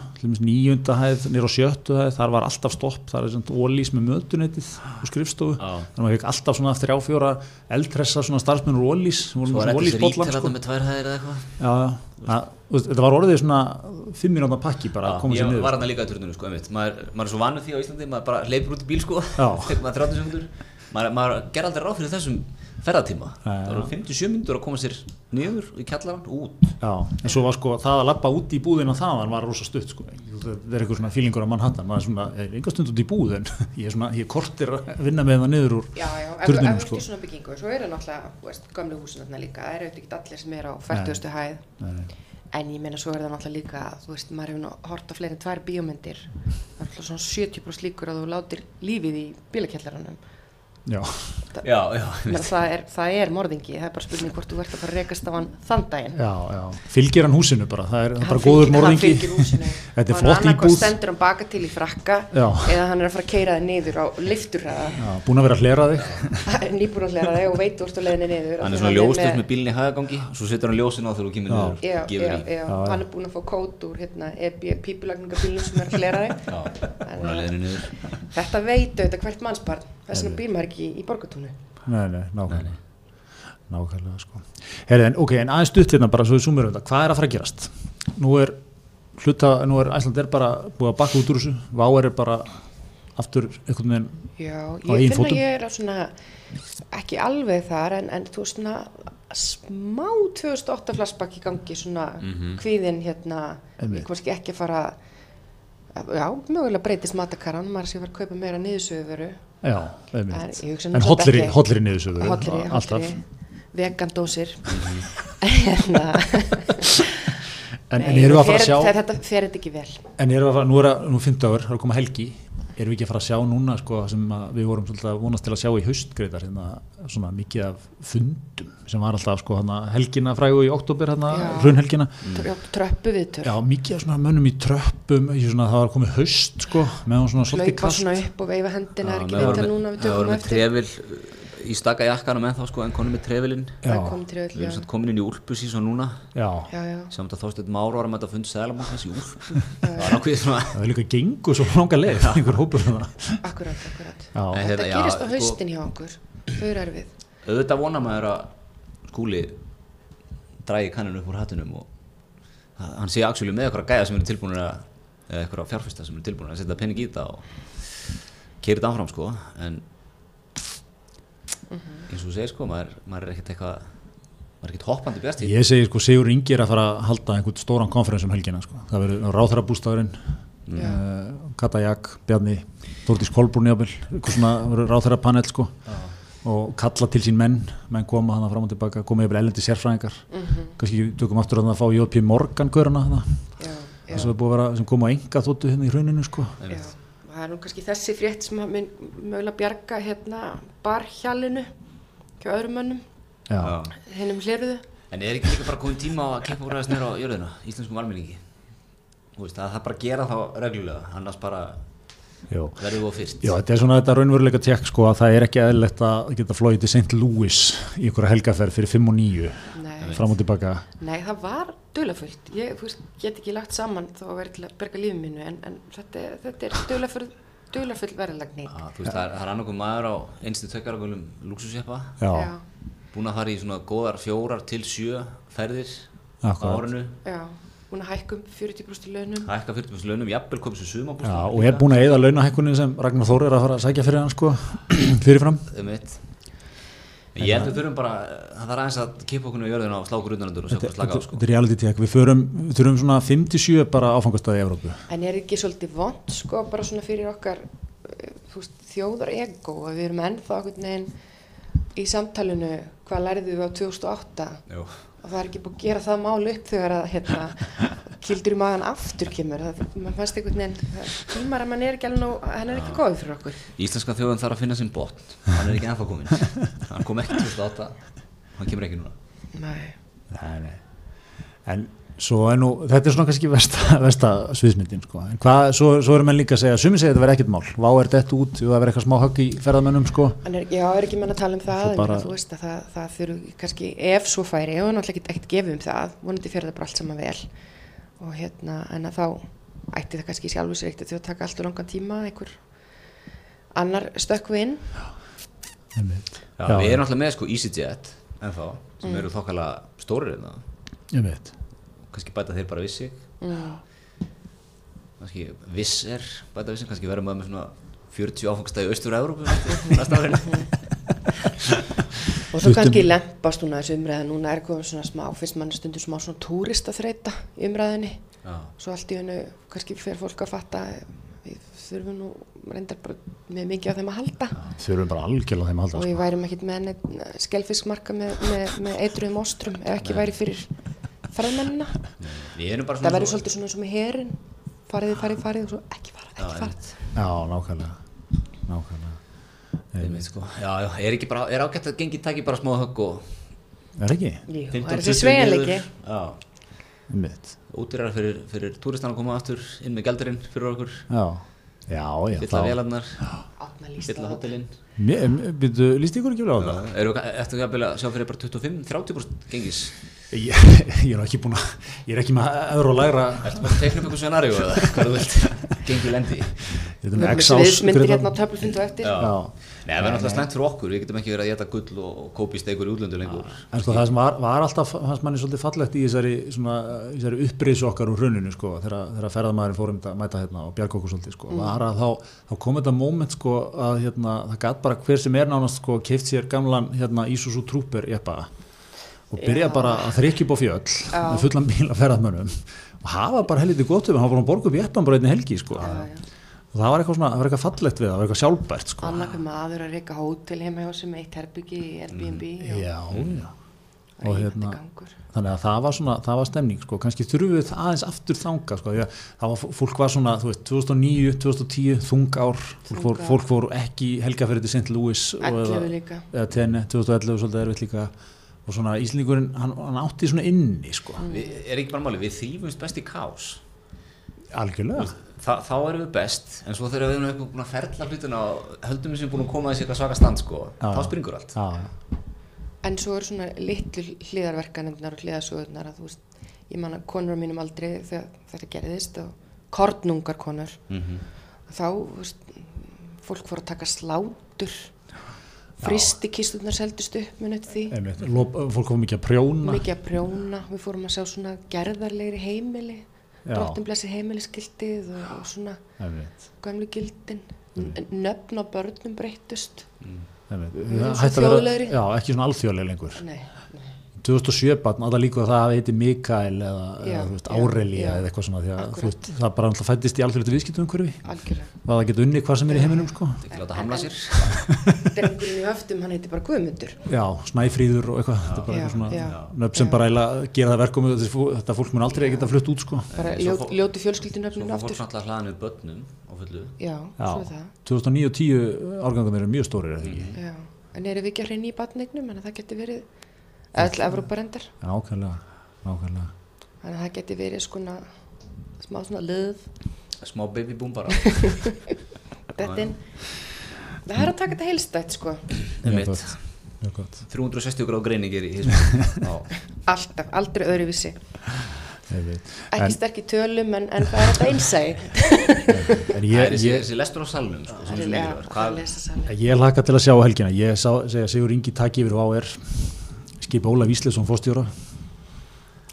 Speaker 2: nýjunda hæð, nýra á sjöttu hæð þar var alltaf stopp, þar er svona ólís með mötunetið og skrifstofu
Speaker 1: Já.
Speaker 2: þannig að maður fekk alltaf svona þrjá fjóra eldressa svona starfsmennur og ólís sem voru
Speaker 1: Svo
Speaker 2: með
Speaker 1: er
Speaker 2: svona
Speaker 1: ekki sér
Speaker 2: ólísbollar,
Speaker 1: ítil að með tvær hæðir eða eitthvað
Speaker 2: já, já. Það- þú veist, þetta var orðið svona fimm mínúta pakki bara að koma
Speaker 1: Ég
Speaker 2: sér
Speaker 1: var
Speaker 2: niður
Speaker 1: hann líka í turninu sko, einmitt Maður, maður er svo vanur því á Íslandi, maður bara leipur út í bíl sko
Speaker 2: Já.
Speaker 1: [laughs] Maður er 30 sekundur Maður, maður ger aldrei ráð fyrir þessum ferðatíma
Speaker 2: Já,
Speaker 1: Það
Speaker 2: já.
Speaker 1: eru 57 myndur að koma sér niður í kjallaran, út
Speaker 2: já, en svo var sko það að lappa út í búðina þaðan var rosa stutt sko, það er eitthvað svona fílingur að mann hattan, maður er svona, einhver stund út í búðin [laughs] ég er svona, ég er kortir að vinna með það niður úr
Speaker 3: Já, já, ef þú
Speaker 2: turninum,
Speaker 3: ert
Speaker 2: sko.
Speaker 3: í svona byggingu svo eru náttúrulega, þú veist, gamlu húsinarna líka það eru auðvitað ekki allir sem eru á 40. hæð
Speaker 2: Nei, nei.
Speaker 3: En ég meina svo er það náttúrulega líka, þú veist, maður hefur nú hort á fleiri en tvær bíómyndir. Það er náttúrulega svona 70 líkur að þú látir lífið í bílakjallaranum.
Speaker 2: Já,
Speaker 3: Það það,
Speaker 1: já, já,
Speaker 3: Menn, það, er, það er morðingi, það er bara spurning hvort þú ert að fara að rekast á hann þann daginn
Speaker 2: já, já, fylgir hann húsinu bara það er, það er bara góður
Speaker 3: hann
Speaker 2: morðingi
Speaker 3: fylgir húsinu
Speaker 2: Þetta er flott íbúð.
Speaker 3: stendur hann baka til í frakka
Speaker 2: Já.
Speaker 3: eða hann er að fara að keira þig niður á lifturraða
Speaker 2: [laughs] já, búin að vera að hlera þig
Speaker 3: nýbúrallega þig og veit úr stu leiðinni niður
Speaker 1: hann er svona ljóstust með bílinni í hægagangi svo setur hann ljósin á þegar þú kemur niður
Speaker 3: Já,
Speaker 1: gefur
Speaker 3: já,
Speaker 1: í.
Speaker 3: já, hann er búinn að fá kót úr hérna, pípulagningabílum sem er að hlera þig
Speaker 1: Já, hún er leiðinu niður
Speaker 3: Þetta veit auðvitað hvert mannsbarn þess vegna býr maður ekki í borgatúnu
Speaker 2: Nei, nei, nákvæmlega Nákvæmlega, sko Heri, en, Ok, en aðeins stutt hérna bara svo við sumurum þetta Hvað er að fara að gerast? Nú er hluta, nú er Æsland er bara búið að bakka út úr þessu Váer er bara aftur einhvern veginn
Speaker 3: Já,
Speaker 2: Á
Speaker 3: ég
Speaker 2: eigin
Speaker 3: finn
Speaker 2: fótum?
Speaker 3: að ég er á svona ekki alveg þar en, en þú veist svona smá 2008 flashback í gangi svona
Speaker 1: Mhm.
Speaker 3: kvíðin hérna
Speaker 2: Einmitt.
Speaker 3: ég kannski ekki að fara að- já, mögulega breytist matakaran maður sé að fara að kaupa meira niðursöfuru
Speaker 2: Já,
Speaker 3: En
Speaker 2: einmitt
Speaker 3: ég hugsa nú
Speaker 2: En
Speaker 3: samt
Speaker 2: hollri,
Speaker 3: ekki-
Speaker 2: hollri niður svo
Speaker 3: hollri,
Speaker 2: Alltaf
Speaker 3: hollri, vegandósir
Speaker 1: Mhm.
Speaker 3: [laughs] hérna
Speaker 2: En, en
Speaker 3: Nei,
Speaker 2: erum við að fara
Speaker 3: fer-
Speaker 2: að sjá
Speaker 3: þetta fer þetta ekki vel
Speaker 2: En erum við að fara, nú er að, nú er 50 áur, það er að koma helgi Erum við ekki að fara að sjá núna, sko, það sem að við vorum svolítið að vonast til að sjá í haust, greitar, hérna, svona mikið af fundum sem var alltaf, sko, hana, helgina frægu í oktober, hana,
Speaker 3: Já.
Speaker 2: raunhelgina.
Speaker 1: Mm.
Speaker 3: Tr- tröppu viðtör
Speaker 2: Já, mikið af svona mönnum í tröppum, í svona, það var komið haust sko, meðan svona svolítið
Speaker 3: hlaupa
Speaker 2: kallt.
Speaker 3: svona upp og veifa hendina er ekki
Speaker 1: það voru
Speaker 3: vita
Speaker 1: með-
Speaker 3: núna við
Speaker 1: það voru
Speaker 3: tökum
Speaker 1: með
Speaker 3: eftir
Speaker 1: trefil í staka jakkanum en þá sko en konum með trefilinn
Speaker 2: Já.
Speaker 3: það kom til
Speaker 1: við
Speaker 3: öll
Speaker 1: erum
Speaker 3: já.
Speaker 1: samt komin inn í úlpusís og núna
Speaker 2: Já,
Speaker 3: Já, já.
Speaker 1: sem þetta þóstið mára varum að þetta fundið sælabankans í úlpu það var nákvæmlega svona
Speaker 2: það er líka gengu svo langa leið, einhver hópur svona.
Speaker 3: akkurat, akkurat
Speaker 2: Já,
Speaker 1: Nei,
Speaker 3: þetta
Speaker 1: hérna, já,
Speaker 3: gerist á
Speaker 1: sko-
Speaker 3: haustin hjá okkur þau eru erfið
Speaker 1: auðvitað vona maður að skúli dragi kanninu upp úr hattinum og að hann sé axjóli með eitthvað gæða sem eru tilbúinir að eða eitthvað fjárfesta sem eru tilbúinir að setja pening í þetta og keiri þetta áfram sko en eins og þú segir sko maður, maður er ekkert eitthvað maður er ekkert hoppandi bjart í
Speaker 2: ég segi sko, Sigur Ingi er að fara að halda einhvern stóran konferens um helgina sko. Það verður ráþarabústafurinn, mm. uh, Kata Jak, Bjarni, Þórdís Kolbrún jáfnvel, eitthvað svona verður ráþarapanel sko. og kalla til sín menn, menn koma hana fram og tilbaka, koma yfir elendi sérfræðingar, kannski tökum aftur að það að fá J.P. Morgan göruna hana,
Speaker 3: já, já,
Speaker 2: sem, er búið að vera, sem kom á enga þóttu hérna í hrauninu sko.
Speaker 3: já. það er nú kannski þessi frétt sem að mun mögulega bjarga hérna barhjallinu hjá öðrum mönnum
Speaker 1: Já.
Speaker 3: hinnum hliruðu
Speaker 1: en er ekki líka bara komin tíma á að keppa úr aðeins nýra á jörðina íslenskum almenningi þú veist að það bara gera þá reglulega annars bara
Speaker 2: Já.
Speaker 1: verðum við á fyrst
Speaker 2: Já, þetta er svona þetta raunveruleika tjekk sko að það er ekki eðlilegt að geta flóið til St. Louis í einhverja helgaferð fyrir 5 og 9
Speaker 3: nei,
Speaker 2: fram og tilbaka.
Speaker 3: nei, það var dulafullt ég þú veist, get ekki lagt saman þá verið til að berga lífið mínu en, en þetta, er- þetta er dulafull, dulafull verðalagning
Speaker 1: Já, þú veist, það er, það er annarkoð maður á einstu tökjaragölum lúksusjeppa
Speaker 2: Já,
Speaker 1: búin að fara í svona góðar fjórar til sjö ferðir á
Speaker 2: Akkurat.
Speaker 1: árinu
Speaker 3: já, hún um að hækkum 40% launum
Speaker 1: hækka 40.000 launum, jafnvel komið sem sumabúst
Speaker 2: já og er búin að eyða launahækkunin sem Ragnar Þór er að fara að sækja fyrir hann sko [clears throat] fyrirfram.
Speaker 1: um eitt ég held við þurfum bara, það þarf aðeins að kipa okkur í jörðina og slá okkur utanandur og sjá
Speaker 2: Þetta
Speaker 1: hvað slaka á sko
Speaker 2: þetta er reality tjekk. Við förum, við þurfum svona 5-7 bara áfangastæði í Evrópu.
Speaker 3: En er ekki svolítið vond sko bara svona fyrir okkar eh, þú veist, þjóðar ego að við erum ennþá einhvern veginn í samtalinu hvað lærðu við á 2008
Speaker 1: Jú.
Speaker 3: og það er ekki búið að gera það mál upp þegar að hérna, kildur í magan aftur kemur það, mann fannst einhvern veginn það- tímar að mann er ekki alveg nóg, hann er ekki góður fyrir okkur
Speaker 1: Íslenska þjóðan þarf að finna sinn botn hann er ekki ennþá
Speaker 2: [laughs]
Speaker 1: kominn hann kom ekki 2008, hann kemur ekki núna
Speaker 3: Nei.
Speaker 2: Nei, nei. En svo er nú, þetta er svona kannski versta, [laughs] versta sviðsmyndin sko. En hvað, svo, svo erum menn líka að segja, sumi segja þetta verði ekkert mál. Vá er dett út, jú, það verði eitthvað smá högg í ferðamönnum sko.
Speaker 3: En er, já, er ekki menn að tala um það,
Speaker 2: Svo
Speaker 3: en
Speaker 2: bara-
Speaker 3: þú veist að það, það þurfu kannski, ef svo færi, og náttúrulega ekki ekkert gefið um það, vonandi fyrir það bara allt saman vel. Og hérna, en að þá ætti það kannski sjálfur sér eitt að þau að taka allt og langan tíma, einhver annar stökkvi inn.
Speaker 2: Einmitt.
Speaker 1: Já, við erum alltaf með sko EasyJet ennþá, sem eru þokkala stórir en það
Speaker 2: Einmitt.
Speaker 1: kannski bæta þeir bara við sig
Speaker 3: Mm.
Speaker 1: kannski visser bæta við sig, kannski verðum maður með svona 40 áfangstæði austur Európu [laughs] næsta árin
Speaker 3: Og svo kannski lempast hún að þessu umræða, núna er komið svona smá, finnst mann stundur smá svona túristaþreita í umræðinni. Svo allt í hennu, kannski fyrir fólk að fatta, við þurfum nú reyndar bara með mikið á þeim að halda.
Speaker 2: Þurfum bara algjörlega á þeim að halda
Speaker 3: og
Speaker 2: sko.
Speaker 3: við værum ekkert með neitt skelfiskmarka með, með, með eitruðum ostrum ef ekki væri fyrir ferðmennina
Speaker 1: við erum bara
Speaker 3: það
Speaker 1: svona
Speaker 3: verður svolítið svona eins og með herin farið, farið, farið og svo ekki fara, ekki fara
Speaker 2: Já, nákvæmlega. Nákvæmlega.
Speaker 1: Einmitt, sko. Já, já, er, ekki bara, er ágætt að gengi taki bara smá högg og
Speaker 2: er ekki?
Speaker 3: Jú, það
Speaker 1: 15,
Speaker 3: er þessi
Speaker 1: 20
Speaker 3: sveigjanleiki.
Speaker 1: niður. Já,
Speaker 2: Einmitt.
Speaker 1: útýrar fyrir, fyrir túristan að koma aftur, inn með gældurinn fyrir okkur,
Speaker 2: Já, já, já
Speaker 1: fylla vélarnar,
Speaker 3: Opna
Speaker 1: fylla
Speaker 3: lísta.
Speaker 1: hótelinn.
Speaker 2: Býttu, líst ykkur ekki vel á þetta?
Speaker 1: Erum við eftir að byrja að sjá fyrir bara 25-30% gengis?
Speaker 2: Ég, ég [laughs] er nú ekki búin að, ég er ekki með öðru að læra
Speaker 1: Ertu bara að teikna upp eitthvað scenaríu eða hvað þú
Speaker 3: [laughs]
Speaker 1: vilt gengi lendi? í?
Speaker 2: Þetta
Speaker 3: Við erum með sviðsmyndir hérna á töflufundu eftir.
Speaker 1: Já.
Speaker 2: Já.
Speaker 1: Nei, það er náttúrulega slæmt fyrir okkur, við getum ekki verið að geta gull og og kópí steikur í útlöndu lengur.
Speaker 2: En sko það sem var, var alltaf, fannst manni svolítið fallegt í þessari, svona, í þessari upprisu okkar úr hruninu sko, þegar, þegar ferðamæðurinn fórum að mæta hérna og bjarga okkur svolítið
Speaker 3: Mm.
Speaker 2: sko, var að þá, þá kom þetta moment sko að hérna, það gæt bara hver sem er nánast sko keift sér gamlan hérna Isuzu Trooper jeppa og byrja
Speaker 3: Já.
Speaker 2: bara að þrykja upp á fjöll
Speaker 3: Já.
Speaker 2: með fullan bíl af ferðamönnum og hafa bara helviti gott um, hann var að borga upp jeppan bara einni helgi sko og það var eitthvað svona, það var eitthvað fallegt við það, það var eitthvað sjálfbært sko.
Speaker 3: Annarkur maður að reyka hótel heima hjá sem eitt herbyggi í Airbnb.
Speaker 1: Mm.
Speaker 3: og-
Speaker 2: Já, já.
Speaker 3: og hérna gangur.
Speaker 2: þannig að það var svona, það var stemning sko, kannski þurfum við aðeins aftur þanga sko, því að það var, fólk var svona, þú veist 2009, 2010, þung ár fólk,
Speaker 3: Þung
Speaker 2: fór,
Speaker 3: ár.
Speaker 2: fólk fór ekki helgaferði til St. Louis og
Speaker 3: Ellefu
Speaker 2: eða,
Speaker 3: líka.
Speaker 2: eða tenni, 2011 svolítið erfitt líka og svona Íslingurinn, hann, hann átti svona inni sko,
Speaker 3: Mm.
Speaker 1: Við, er ekki bara máli, við þýfumst best í kás.
Speaker 2: algjörlega
Speaker 1: Þa, þá erum við best, en svo þegar við erum eitthvað búin að ferla hlutina og höldum við sem búin að koma þessi eitthvað svaka stand sko,
Speaker 2: Já.
Speaker 1: þá springur allt.
Speaker 2: já,
Speaker 3: En svo eru svona litlu hliðarverkanirnar og hliðasögurnar að þú veist, ég man að konur á mínum aldrei þegar þetta gerðist og kornungar konur.
Speaker 2: Mhm.
Speaker 3: Þá, þú veist, fólk fór að taka slátur, fristikisturnar seldust upp með nött því,
Speaker 2: einmitt, Lop, fólk fór mikið að prjóna
Speaker 3: mikið að prjóna, við fórum að sjá svona gerðarlegri heimili,
Speaker 2: Já.
Speaker 3: drottinblessi heimiliskildið og, og svona
Speaker 2: einmitt,
Speaker 3: gamlu gildin,
Speaker 1: Mm.
Speaker 3: N- nöfn á börnum breyttust.
Speaker 2: einmitt.
Speaker 3: Við erum svo
Speaker 2: Hætt að vera,
Speaker 3: þjóðlegri.
Speaker 2: já, ekki svona alþjóðlega lengur
Speaker 3: Nei, nei.
Speaker 2: 2007 barn, alltaf líka að það hafi heiti Mikael eða,
Speaker 3: Já,
Speaker 2: eða þú veist,
Speaker 3: já, já.
Speaker 2: Árelia eða eitthvað svona því að
Speaker 3: Akkúrat.
Speaker 2: þú veist, það bara alltaf fættist í alþjóðlega viðskiptum umhverfi
Speaker 1: [laughs]
Speaker 3: algjörlega.
Speaker 2: að það geta unnið hvað sem er í heiminum sko
Speaker 1: Ekki láta hamla sér.
Speaker 3: Drengurinn í höftum, hann heiti bara Guðmundur.
Speaker 2: já, snæfríður og eitthvað þetta er bara
Speaker 3: Já,
Speaker 2: eitthvað svona
Speaker 3: já.
Speaker 2: nöfn sem bara eiginlega gera það verkum þetta fólk mun aldrei geta flutt út sko
Speaker 3: bara
Speaker 1: Nei, svo
Speaker 3: ljót,
Speaker 1: fó-
Speaker 3: ljótu
Speaker 1: Svo
Speaker 3: fjölskyldunöfninu
Speaker 1: fór fólk
Speaker 3: aftur
Speaker 1: náttúrulega að hlaða niður börnum á fullu.
Speaker 3: já,
Speaker 2: já,
Speaker 3: svo er það Mm.
Speaker 2: 2009 og 10 árgangarnir eru mjög stórir er það ekki?
Speaker 3: já. en erum við ekki að hreina í batneignum en það geti verið öll Evróparendar
Speaker 2: já, ákveðlega, ákveðlega
Speaker 3: þannig að það geti verið skona smá svona lið
Speaker 1: Smá baby boom bara.
Speaker 3: þetta inn það er að taka þetta heilstætt sko
Speaker 2: mjög
Speaker 1: Einmitt.
Speaker 2: gott, mjög gott
Speaker 1: 360 gráð greiningir í hins.
Speaker 2: [laughs]
Speaker 3: alltaf, aldrei öðruvísi
Speaker 2: einmitt.
Speaker 3: ekki
Speaker 2: en,
Speaker 3: sterk í tölum en, en það er þetta
Speaker 1: [laughs]
Speaker 3: einsæg
Speaker 2: en
Speaker 1: Það er
Speaker 2: ég,
Speaker 1: þessi-
Speaker 2: ég,
Speaker 1: þessi lestur á salnum sko, sem er svo
Speaker 3: það
Speaker 1: mikilvægur.
Speaker 3: er
Speaker 1: Hvað-
Speaker 3: lesasalinn
Speaker 2: Ég laka til að sjá á helgina. Ég sá, segja Sigur Ingi takk yfir VAR, skipa Ólaf Ísleifsson fórstjóra,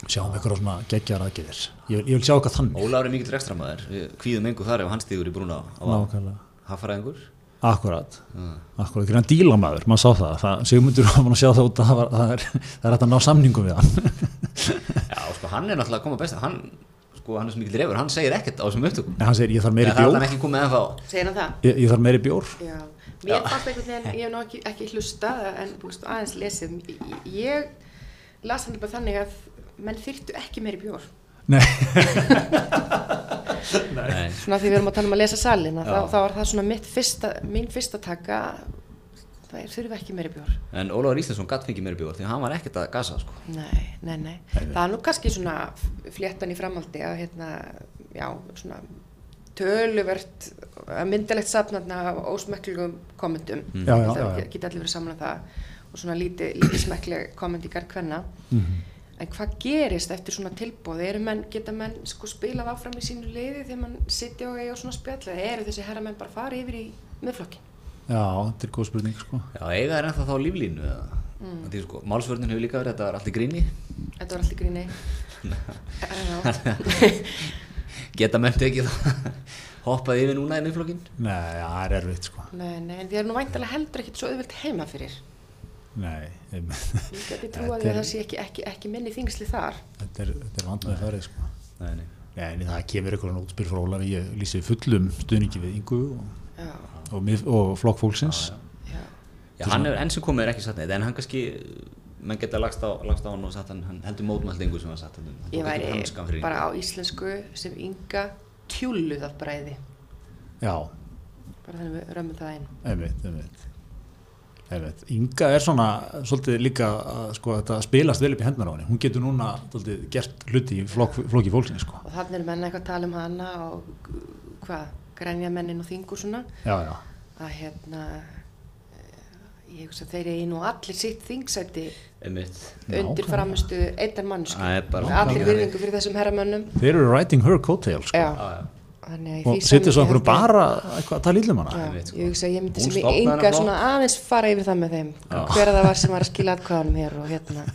Speaker 2: sjáum eitthvað svona geggjar aðgerðir. Ég, vil- ég vil sjá eitthvað þannig.
Speaker 1: Ólafur er mikill rekstramæður, við kvíðum engu þar ef hann stígur í brúna á
Speaker 2: Nákvæmlega.
Speaker 1: haffæraðingur.
Speaker 2: Akkurat.
Speaker 1: Mm.
Speaker 2: Akkurat, grann dílamaður, maður sá það. það Sigmundur var mann að sjá það út að það, var, það, er, það er hægt að ná samningum við
Speaker 1: [laughs]
Speaker 2: hann.
Speaker 1: Já, sko, hann er náttúrulega að koma best, hann, sko, hann er svo mikill refur, hann segir ekkert á þessum upptökum.
Speaker 2: En hann segir, ég þarf
Speaker 1: Eða
Speaker 2: meiri
Speaker 1: Það er hann
Speaker 2: bjór.
Speaker 1: ekki komið ennþá.
Speaker 3: segir hann það?
Speaker 2: Ég, ég þarf meiri bjór.
Speaker 3: Já, mér fannst einhvern veginn, ég hef nú ekki, ekki hlustað en búist, aðeins lesið, ég las hann bara þannig að menn þyrtu ekki meiri bjór.
Speaker 2: Nei,
Speaker 1: Nei.
Speaker 3: Svona því við erum að tala um að lesa salin, að
Speaker 1: Já.
Speaker 3: þá, þá var það svona mitt fyrsta, mín fyrsta taka, það er þurfi ekki meiri bjór.
Speaker 1: En Ólafur Íslensson gatt fengið meiri bjóður því að hann var ekkert að gasa sko.
Speaker 3: Nei, nei, nei. Það er nú kannski svona fléttan í framhaldi að hérna, já, svona töluvert, að myndilegt safnaðna af ósmekklegum kommentum.
Speaker 2: Já, já, já,
Speaker 3: Það
Speaker 2: já.
Speaker 3: geta allir verið saman að það og svona lítið líti smekkleg komment í garð hvenna.
Speaker 1: Mhm.
Speaker 3: En hvað gerist eftir svona tilbóð? Eru menn, geta menn sko spilað áfram í sínu liði þegar mann sitja og eiga svona spjall eða eru þessi herramenn bara farið yfir í miðflokkin?
Speaker 2: já, þetta er góð spurning sko.
Speaker 1: Já, eiga er ennþá þá líflínu eða. Mm. Því sko, málsvörnin hefur líka verið þetta er allt í gríni.
Speaker 3: Þetta var alltaf [laughs] gríni. Já.
Speaker 1: [laughs] Geta mennt ekki það. Hoppaði yfir núna í miðflokkin.
Speaker 2: Nei, já, það er erfitt sko.
Speaker 3: Nei, nei, en þið eru nú væntalega heldur ekkert svo auðvilt heima fyrir.
Speaker 2: Nei, einmitt.
Speaker 3: Ég geti trúið
Speaker 2: Þetta
Speaker 3: að
Speaker 2: er-
Speaker 3: það sé ekki, ekki, ekki minni þingsli þar.
Speaker 2: þetta er, þetta er vandlega farið sko.
Speaker 1: Nei, nei.
Speaker 2: Nei, en það kemur eitthvað útspil frá Ólafi, ég lýsi fullum stuðningi við Ingu og,
Speaker 3: Já,
Speaker 2: og, mið- og flokk fólksins.
Speaker 3: já.
Speaker 1: Já, hann er enn sem komið er ekki satt neitt, en hann kannski, menn geta lagst á, lagst á hann og satt hann, hann heldur mótmældingu sem hann satt hann. um. Hann
Speaker 3: Ég
Speaker 1: tók ekki upp hanskann fyrir Ingu.
Speaker 3: væri bara á íslensku sem ynga tjúluð af bræði.
Speaker 2: Já,
Speaker 3: bara þannig við römmum það inn
Speaker 2: einmitt, einmitt. Einmitt. Inga er svona svolítið líka að sko, þetta spilast vel upp í hendunar á henni hún getur núna svolítið, gert hluti í flokk, flokki fólksins sko.
Speaker 3: og þannig er menn eitthvað að tala um hana og g- hvað, grænja mennin og þingur svona
Speaker 2: já, já,
Speaker 3: að hérna eh, ég hugsa þeir eru nú allir sitt þingsæti
Speaker 1: Einmitt.
Speaker 3: undir
Speaker 2: Nákvæmlega.
Speaker 3: framistu eittar mannsku
Speaker 1: Það er bara-
Speaker 3: allir virðingu fyrir þessum herramönnum
Speaker 2: þeir eru writing her coattail sko.
Speaker 1: Já,
Speaker 3: já,
Speaker 1: já.
Speaker 3: þannig að í því
Speaker 2: og setja
Speaker 3: samhengi
Speaker 2: svo einhverju
Speaker 3: held ég-
Speaker 2: bara eitthvað að tala íllum hana
Speaker 3: Já,
Speaker 1: Einmitt, sko.
Speaker 3: ég hugsa að ég myndi
Speaker 1: Hún
Speaker 3: sem ég
Speaker 1: stofnaði
Speaker 3: enga
Speaker 1: hana
Speaker 3: svona aðeins fara yfir það með þeim hver að það var sem var að skila atkvæðanum hér og hérna,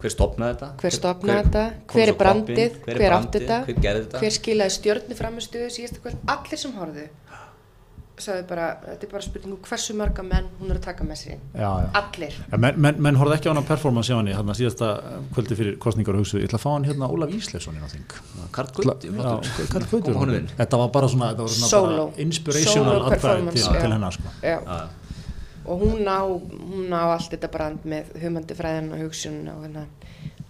Speaker 1: Hver stopnaði þetta?
Speaker 3: hver stopnaði þetta,
Speaker 1: kom
Speaker 3: hver
Speaker 1: svo
Speaker 3: er brandið
Speaker 1: koppinn?
Speaker 3: hver átti
Speaker 1: brandið?
Speaker 3: þetta,
Speaker 1: Hver gerði þetta?
Speaker 3: hver skilaði stjörnu framistuðu síðasta kvöld, allir sem horfðu sagði bara, þetta er bara spurningu hversu marga menn hún er að taka með sér inn
Speaker 2: já, já.
Speaker 3: allir,
Speaker 2: Já, menn, menn, menn horfði ekki á hann að performance hjá hann hérna síðasta kvöldi fyrir kostningar og hugsuðu, ég ætla að fá hann hérna Ólaf Ísleifsson inn á þing
Speaker 1: Karl
Speaker 2: Já,
Speaker 1: Gutti, flottur.
Speaker 2: Karl Gautur.
Speaker 1: Kom honum inn.
Speaker 2: sko, þetta var bara svona, þetta var svona
Speaker 3: Sóló.
Speaker 2: bara inspirational
Speaker 3: Sóló
Speaker 2: atkvæði
Speaker 3: performance,
Speaker 2: til,
Speaker 3: já.
Speaker 2: til hennar sko.
Speaker 3: já,
Speaker 1: Já, já.
Speaker 3: og hún á hún á allt þetta brand með hugmyndi fræðin og hugsun og hérna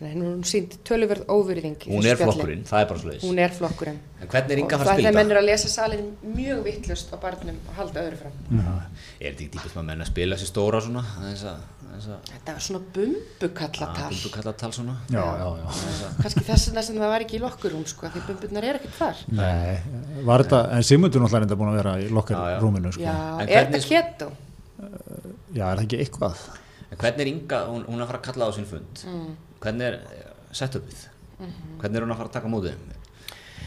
Speaker 3: Nei, hún síndi töluverð óvirðing í
Speaker 1: Hún
Speaker 3: þessu
Speaker 1: er
Speaker 3: spjalli.
Speaker 1: flokkurinn, það er bara svoleiðis.
Speaker 3: hún er flokkurinn
Speaker 1: En hvernig er Inga að fara
Speaker 3: og
Speaker 1: að
Speaker 3: það er
Speaker 1: spila
Speaker 3: mennur
Speaker 1: þetta?
Speaker 3: að lesa salin mjög vittlust á barnum og halda öðru fram
Speaker 1: Mm. Er þetta ekki dýpast maður menn að spila þessi stóra svona? Þess að, þess að,
Speaker 3: þetta var svona bumbukallatal
Speaker 1: að, kalla tal svona?
Speaker 2: já, já, já
Speaker 3: kannski þess vegna sem það var ekki í lokkurum sko, af því bumburnar er ekkert þar
Speaker 2: Nei, var þetta, en Sigmundur náttúrulega er þetta búin að vera í lokkar
Speaker 1: Já, já.
Speaker 2: rúminu sko.
Speaker 3: já,
Speaker 1: En
Speaker 3: er þetta
Speaker 1: hvernig-
Speaker 3: keto?
Speaker 2: Já, er það ekki eitthvað?
Speaker 1: En hvernig er Inga, hún, hún er að fara að kalla á sín fund?
Speaker 3: Mm.
Speaker 1: Hvernig er eh, setupið?
Speaker 3: Mhm.
Speaker 1: Hvernig er hún að fara að taka á mótið?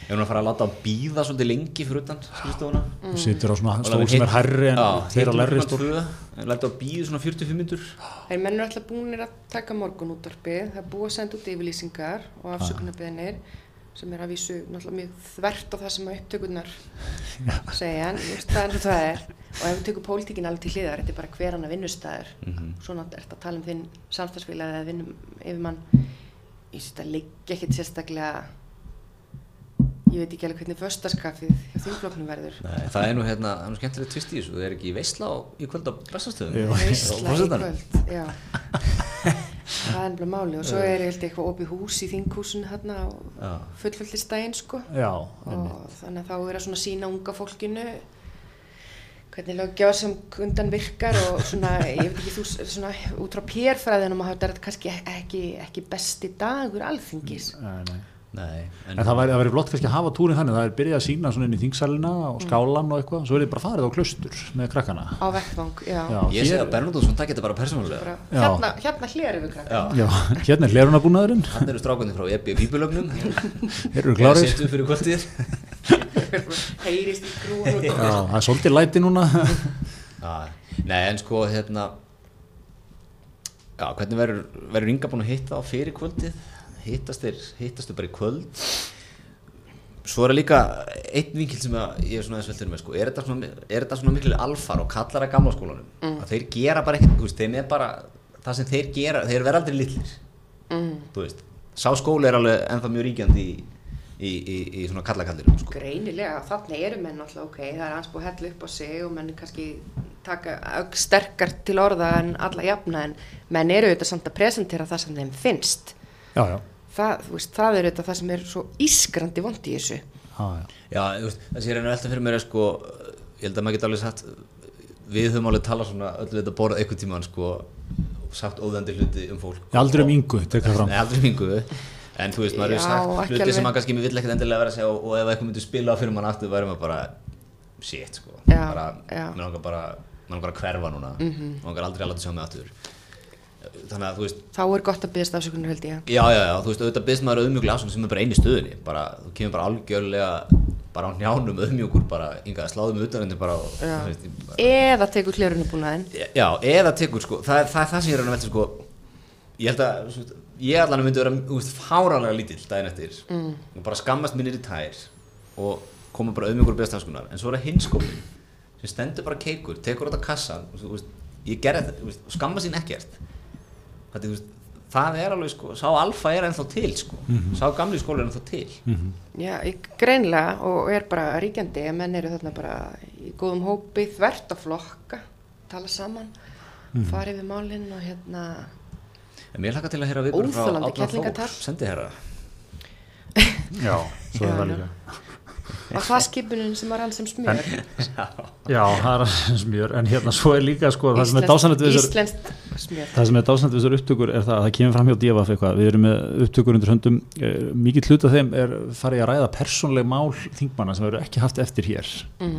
Speaker 1: Er hún að fara að láta að býða svolítið lengi fyrir utan skrifstofuna?
Speaker 3: Mm.
Speaker 2: Situr á svona
Speaker 1: Og
Speaker 2: stól
Speaker 1: láta
Speaker 2: sem
Speaker 1: hitt-
Speaker 2: er herri en
Speaker 1: Já,
Speaker 2: þeirra
Speaker 1: hittum
Speaker 2: lerri
Speaker 1: klukkan
Speaker 2: stól
Speaker 1: tvö, Læta að býða svona 45 minnur?
Speaker 3: þeir mennur alltaf búinir að taka morgun útvarpið það er búið að senda út yfirlýsingar og afsökunarbeðinir sem er að vísu náttúrulega mjög þvert á það sem að upptökurnar segja en ég veist það er eins og það er og ef við tökum pólitíkin alveg til hliðar þetta er bara hver hann að vinnustæður mm -hmm. svona er þetta að tala um þinn samstagsfélag eða vinnum yfirmann ég veist þetta leikja ekkert sérstaklega ég veit ekki alveg hvernig föstaskafið hjá þingfloknum verður
Speaker 1: Nei, það er nú hérna, það er nú skemmtilegt tvist í þessu, það er ekki veisla á, í kvöld á bestastöðum.
Speaker 2: Jú.
Speaker 1: Á
Speaker 3: Veisla í
Speaker 1: forsetanum.
Speaker 3: kvöld, já. Það er ennblá máli og svo
Speaker 2: Eh.
Speaker 3: er ég held ég eitthvað opið hús í þinghúsinu hérna á
Speaker 1: Já.
Speaker 3: fullvöldistægin sko
Speaker 2: Já, einmitt.
Speaker 3: og þannig að þá er að svona sína unga fólkinu hvernig löggefa sem undan virkar og svona, ég veit ekki þú s- svona út frá pérfræðinum að þetta er kannski ekki, ekki besti dagur alþingis
Speaker 2: Nei, nei.
Speaker 1: Nei,
Speaker 2: En það væri, það væri blott kannski að hafa túrin þannig, það er byrjað að sína svona inn í þingsalina og
Speaker 3: Mm.
Speaker 2: skálan og eitthvað, svo er þið bara farið á klaustur með krakkana.
Speaker 3: á vettfang, já,
Speaker 2: Já,
Speaker 1: ég segi að Bernóttsson takk þetta bara persónulega.
Speaker 3: Bara,
Speaker 2: Já.
Speaker 3: hérna, hérna hlérum við krakkar
Speaker 1: Já,
Speaker 2: Já, hérna er hlerunabúnaðurinn,
Speaker 1: hann eru strákunni frá E Ebbi Bíbulögnum.
Speaker 2: þeir eru klárir.
Speaker 1: Settum fyrir kvöldið.
Speaker 3: [laughs] heyrist í grúan
Speaker 2: Já, það er svolítið læti
Speaker 3: [laughs]
Speaker 2: núna.
Speaker 1: Já, Nei, en sko, hérna, já, hvernig verður, verður Inga búin að hitta á fyrir kvöldið? Hittast þeir, hittast þeir bara í kvöld? Svo er líka einn vinkil sem að ég er svona aðeins veldur með, sko, er þetta svona, er þetta svona miklu alfar og kallar að gamla skólanum? Að þeir gera bara ekkert, þú veist, þeim er bara, það sem þeir gera, þeir verða aldrei litlir,
Speaker 3: Mm.
Speaker 1: þú veist. Sá skóli er alveg ennþá mjög ríkjandi í, í, í, í svona kallakallirum, sko.
Speaker 3: Greinilega, þannig eru menn alltaf ok, það er hans búið að hella upp á sig og menn kannski taka ögn sterkar til orða en alla jafna en menn eru auðvitað samt að presentera það sem þeim finnst.
Speaker 2: Já, já,
Speaker 3: Það, þú veist, það eru auðvitað það sem er svo ískrandi vond í þessu.
Speaker 2: já, já.
Speaker 1: Já, þú veist, það sé reyna velta fyrir mér er sko, ég held að maður geta alveg sagt við höfum alveg talað svona öllu þetta borð einhvern tímann sko og sagt óðandi hluti um fólk
Speaker 2: Ég aldrei um yngu, tek það fram.
Speaker 1: Nei, aldrei um yngu en þú veist, maður
Speaker 3: Já,
Speaker 1: hefur sagt
Speaker 3: ekki
Speaker 1: hluti
Speaker 3: alveg.
Speaker 1: sem maður kannski vill ekkert endilega vera að segja og, og ef eitthvað myndi spila á fyrir mann aftur væri maður bara shit sko
Speaker 3: Já,
Speaker 1: bara,
Speaker 3: já. Mhm.
Speaker 1: mér langar bara, mér langar að hverfa núna mm -hmm. langar aldrei að láta sjá mig aftur þannig að þú veist
Speaker 3: Þá er gott að byggðast afsökunar held ég.
Speaker 1: Já, já, já, þú veist, auðvitað byrst maður auðmjúklega ásvönd sem er bara einn í stöðunni, bara, þú kemur bara algjörlega, bara á njánum auðmjúkur, bara, yngvað, sláðum utanrendi bara og,
Speaker 3: Já.
Speaker 1: þú veist, ég bara-
Speaker 3: Eða tekur hlérunubúnaðinn.
Speaker 1: já, eða tekur, sko, það, það er það sem ég er að velta, sko, ég held að, þú veist, ég allan myndi vera, þú veist, fáranlega lítill daginn eftir, mm. og bara skammast mínir í tær og koma bara auðmjúkur byrst afskunar, en svo er það hinskófin, sem stendur bara keikur, tekur þetta kassan, þú veist, ég gerði þetta, þú veist, og skammast sín ekkert, Þetta, þú veist, það er alveg sko, sá alfa er ennþá til sko, sá gamli skóli er ennþá til
Speaker 3: Já, í- greinilega og er bara ríkjandi að menn eru þarna bara í góðum hópi þvert að flokka, tala saman, mm. fara yfir málinn og hérna...
Speaker 1: en mér hlaka til að heyra viðbjörn frá Átna
Speaker 3: Óþolandi kerlingatar.
Speaker 1: Þór sendi herra
Speaker 2: Já, svo er
Speaker 3: Já,
Speaker 2: það
Speaker 3: já.
Speaker 2: líka.
Speaker 3: Var það skipunin sem var hann sem smjör?
Speaker 2: Já, það er aðeins mjör, en hérna svo er líka sko, það sem er
Speaker 3: Íslenskt-
Speaker 2: dásanlega við þessar
Speaker 3: Íslenskt smjör.
Speaker 2: Það sem er dásanlega við þessar upptökur er það að það kemur fram hjá DFF eitthvað, við erum með upptökur undir höndum, eh, mikið hluta þeim er farið að ræða persónleg mál þingmanna sem eru ekki haft eftir hér
Speaker 3: Mm.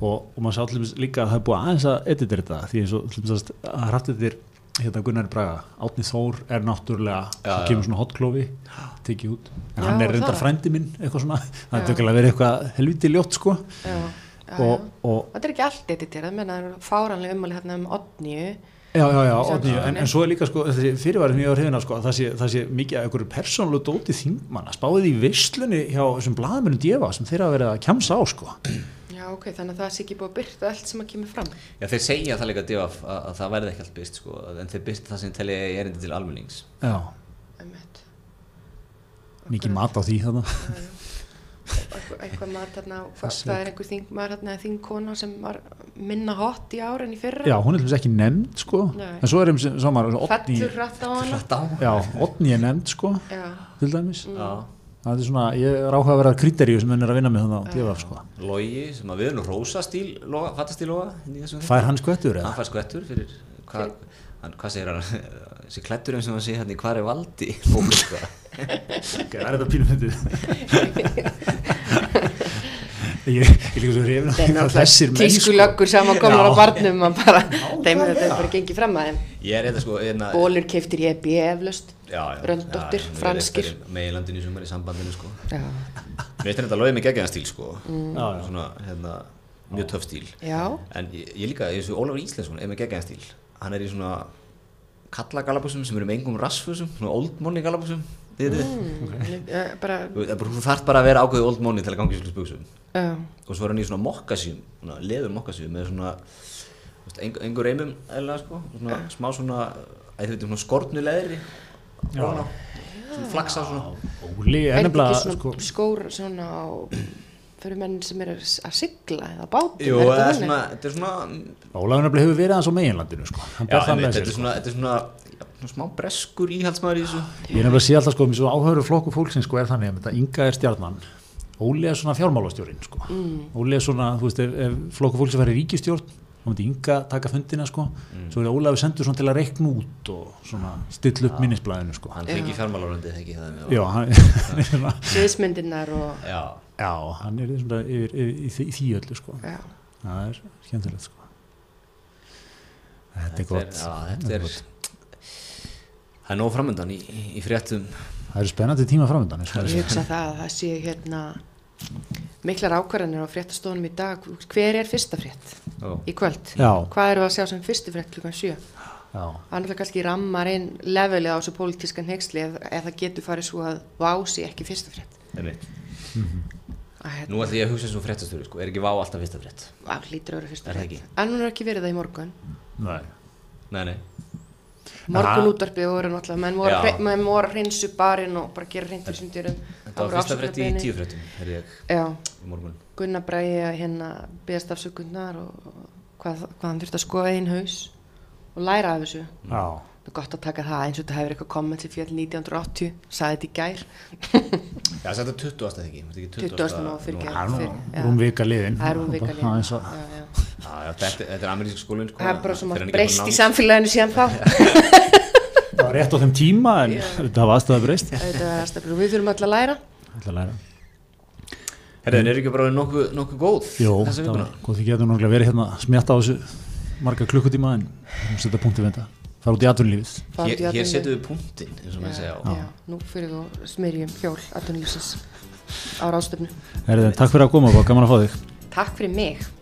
Speaker 2: og, og maður sá til dæmis líka að það er búið aðeins að editera þetta því eins og til dæmis að- að hrættitir hérna Gunnar Braga, Átni Þór er náttúrulega,
Speaker 1: Já,
Speaker 2: það
Speaker 1: já.
Speaker 2: kemur svona hotklofi tekið út, en
Speaker 3: Já,
Speaker 2: hann er
Speaker 3: það.
Speaker 2: reyndar frændi minn eitthvað svona, það er
Speaker 3: Já.
Speaker 2: tökulega verið eitthvað helviti ljótt sko
Speaker 3: Já, já,
Speaker 2: og,
Speaker 3: já.
Speaker 2: og
Speaker 3: Þetta er ekki allt editerað, menn það er fáranlega ummæli hérna um Otniu.
Speaker 2: Já, já, já,
Speaker 3: Sjá
Speaker 2: Árni,
Speaker 3: hvað hann
Speaker 2: en,
Speaker 3: er.
Speaker 2: en svo er líka sko, þessi fyrirværi sem ég var hrifin af sko, að það sé, það sé mikið að einhverju persónlu dóti þingmanna, spáðið í visslunni hjá þessum blaðmennum djefa sem þeirra að vera að kjamsa á sko.
Speaker 3: Já, ok, þannig að það sé ekki búið að byrta allt sem að kemur fram.
Speaker 1: Já, þeir segja það líka divaf að, að það verði ekki allt byrst sko, en þeir byrst það sem telja í erindi til almennings.
Speaker 2: Já,
Speaker 3: Einmitt.
Speaker 2: mikið mat á því þarna.
Speaker 3: Eitthvað- Eitthvað mat þarna, á-
Speaker 2: Það sé-
Speaker 3: það er einhver þing, maður þarna, þing kona sem var minna hot í ár en í fyrra.
Speaker 2: Já, hún er til dæmis ekki nefnd sko
Speaker 3: Nei.
Speaker 2: en svo er um sem sá maður Oddný,
Speaker 3: Fellur rætt á hana.
Speaker 1: Þetta á.
Speaker 2: já, Oddný er nefnd sko
Speaker 3: Já,
Speaker 2: til dæmis
Speaker 3: Mm.
Speaker 1: Já.
Speaker 2: það er svona, ég er áhuga að vera kriteríu sem henn er að vinna með þannig á DFF sko
Speaker 1: Logi, sem að við erum rósa stíl, loga, fattastíl loga, í þessum
Speaker 2: Fær hann skvettur eða?
Speaker 1: Hann fær skvettur fyrir, hva, hann, hvað segir hann, [laughs] þessi klættur eins og hann sé hérna í hvar er valdi [laughs] bók, sko.
Speaker 2: Ok, það er þetta pínum fyndið
Speaker 3: [laughs]
Speaker 2: Ég ég líka svo hrifin
Speaker 3: það er
Speaker 2: að þessir
Speaker 3: náttúrulega
Speaker 2: menn sko.
Speaker 3: tískulöggur saman komar á
Speaker 2: Já.
Speaker 3: barnum að bara, þeim er þetta bara gengið fram að þeim.
Speaker 1: Ég er eitthvað sko, hérna,
Speaker 3: Bólur keiftir í E EB eflaust,
Speaker 1: já, já,
Speaker 3: Röndóttir,
Speaker 1: já, já, hún er
Speaker 3: franskir.
Speaker 1: eitthvað í Meginlandinu sem er í sambandinu, sko.
Speaker 3: Já,
Speaker 1: Mér finnst þetta logi með geggjæðan stíl, sko,
Speaker 2: Já, já.
Speaker 1: svona, hérna, mjög töff stíl.
Speaker 3: já,
Speaker 1: En ég, ég líka, eins og Ólafur Íslensson er með geggjæðan stíl, hann er í svona kallagalabúsum sem eru með engum rassfusum, svona old money galabúsum, þið þið.
Speaker 3: Mm. Ég- ég- eh, bara,
Speaker 1: Þú veist, bara- Þú þarf bara að vera ákveðið old money til að gangi svolítið buksum
Speaker 3: já,
Speaker 1: og svo er hann í svona mokkasjum, svona leður mokkasjum með svona þú veist, engu, engu reymum eða sko, svona, smá svona, að þið veitum svona skortnu leðri svona, svona flaksa svona
Speaker 2: Óli
Speaker 3: er
Speaker 2: er
Speaker 3: þetta
Speaker 2: nefnilega
Speaker 3: ekki svona
Speaker 2: sko,
Speaker 3: skór svona á, fyrir menn sem eru að s- að sigla eða á bátum,
Speaker 1: Jú,
Speaker 3: er
Speaker 1: eða
Speaker 3: þetta
Speaker 1: svona,
Speaker 3: þannig?
Speaker 1: þetta er svona
Speaker 2: Ólaður nefnilega hefur verið aðeins á meginlandinu sko hann
Speaker 1: já,
Speaker 2: ber það
Speaker 1: einmitt,
Speaker 2: með
Speaker 1: þetta
Speaker 2: sér
Speaker 1: er
Speaker 2: sko.
Speaker 1: svona, þetta er svona, já, svona smá breskur íhaldsmaður í þessu
Speaker 2: Ég er nefnilega að sé alltaf sko, mér svo áhörur flokku fólksins sko er þannig að þetta Inga er stjarnan, Óli er svona fjármálastjórinn sko.
Speaker 3: Mm.
Speaker 2: Óli er svona, þú veist, ef, ef flokku fólksins verið ríkistjórn, þá myndi Inga taka fundina sko,
Speaker 1: Mm.
Speaker 2: svo er Ólafi sendur svona til að reikna út og svona stilla upp minnisblæðinu sko.
Speaker 1: hann fengi fjármálaröndið ekki það með
Speaker 2: Já, hann, hann er svona,
Speaker 3: sviðsmyndirnar og,
Speaker 1: já,
Speaker 2: já, hann er svona yfir, yfir, í, því, í því öllu sko.
Speaker 3: já,
Speaker 2: Það er skemmtilegt sko. Þetta er
Speaker 1: þetta er,
Speaker 2: gott.
Speaker 1: já, þetta er það er nóg framöndan í, í, í fréttum
Speaker 2: Það eru spennandi tíma framöndan. eins og
Speaker 3: ég
Speaker 2: það er.
Speaker 3: hugsa það að það sé hérna miklar ákvarðanir á fréttastofunum í dag, hver er fyrsta frétt
Speaker 1: Ó.
Speaker 3: í kvöld?
Speaker 2: Já.
Speaker 3: Hvað eru að sjá sem fyrstu frétt klukkan sjö?
Speaker 2: Já,
Speaker 3: Það er náttúrulega kannski rammar inn levelið á þessu pólitískan hegslí ef, ef það getur farið svo að vási ekki fyrsta frétt.
Speaker 1: Einmitt.
Speaker 3: Að, hérna,
Speaker 1: nú ætlum ég að hugsa eins og fréttastöru sko, er ekki vá alltaf fyrsta frétt
Speaker 3: að hlýtur að vera fyrsta
Speaker 1: Er það
Speaker 3: frétt.
Speaker 1: ekki?
Speaker 3: En hún er ekki verið það í morgun.
Speaker 2: nei.
Speaker 1: nei, nei,
Speaker 3: Morgun
Speaker 2: Aha.
Speaker 3: útvarpið voru náttúrulega, menn voru,
Speaker 1: Já.
Speaker 3: hrein, menn voru að hreinsu barinn og bara gera hreint úr sundurum.
Speaker 1: þetta var fyrsta frétt í tíu fréttum herði ég
Speaker 3: Já,
Speaker 1: í morgun
Speaker 3: Gunnar Bræði að hérna beðast afsökunnar og og hvað, hvað hann þurfti að skoða einn haus og læra af þessu.
Speaker 2: Já.
Speaker 3: Það er gott að taka það eins og þetta hefur eitthvað komment sem fjöld 1980, sagði þetta í gær,
Speaker 1: Já, þetta er 20. eða ekki, þetta er ekki
Speaker 3: 20. og fyrir
Speaker 1: nú-
Speaker 3: gær.
Speaker 2: Það er
Speaker 3: Fyrir- já.
Speaker 2: nú rúm vika liðin.
Speaker 3: það er hún vika
Speaker 2: Það er
Speaker 3: líka.
Speaker 2: eins og-
Speaker 3: Já, já.
Speaker 1: Já, já, þetta, þetta er amerísk skólinn sko,
Speaker 3: Það er bara svo
Speaker 1: þegar hann
Speaker 3: margt
Speaker 1: ekki
Speaker 3: breyst
Speaker 1: búinn að
Speaker 3: í
Speaker 1: ná-
Speaker 3: samfélaginu síðan þá.
Speaker 1: [laughs]
Speaker 2: það var rétt á þeim tíma en þetta var aðstæða breyst.
Speaker 3: Þetta er aðstæður og við þurfum öll að læra.
Speaker 2: Það er læra.
Speaker 1: Herra, en er ekki bara orðin nokkuð nokku góð
Speaker 2: Jó,
Speaker 1: þessa
Speaker 2: það var
Speaker 1: vikuna?
Speaker 2: góð því getur náttúrulega verið hérna smjatta á þessu marga klukkutíma en hún setja punktið við þetta. Fara út í atvinnulífið.
Speaker 3: Fara út
Speaker 1: Hér,
Speaker 3: í
Speaker 1: hér
Speaker 3: atvinnulífið.
Speaker 1: setjum við punktinn, eins og maður segja
Speaker 3: já, já, nú fyrir við og smyrjum hjól atvinnulífsins á ráðstöfnu
Speaker 2: Herðið, takk fyrir að koma og gaman að fá þig.
Speaker 3: Takk fyrir mig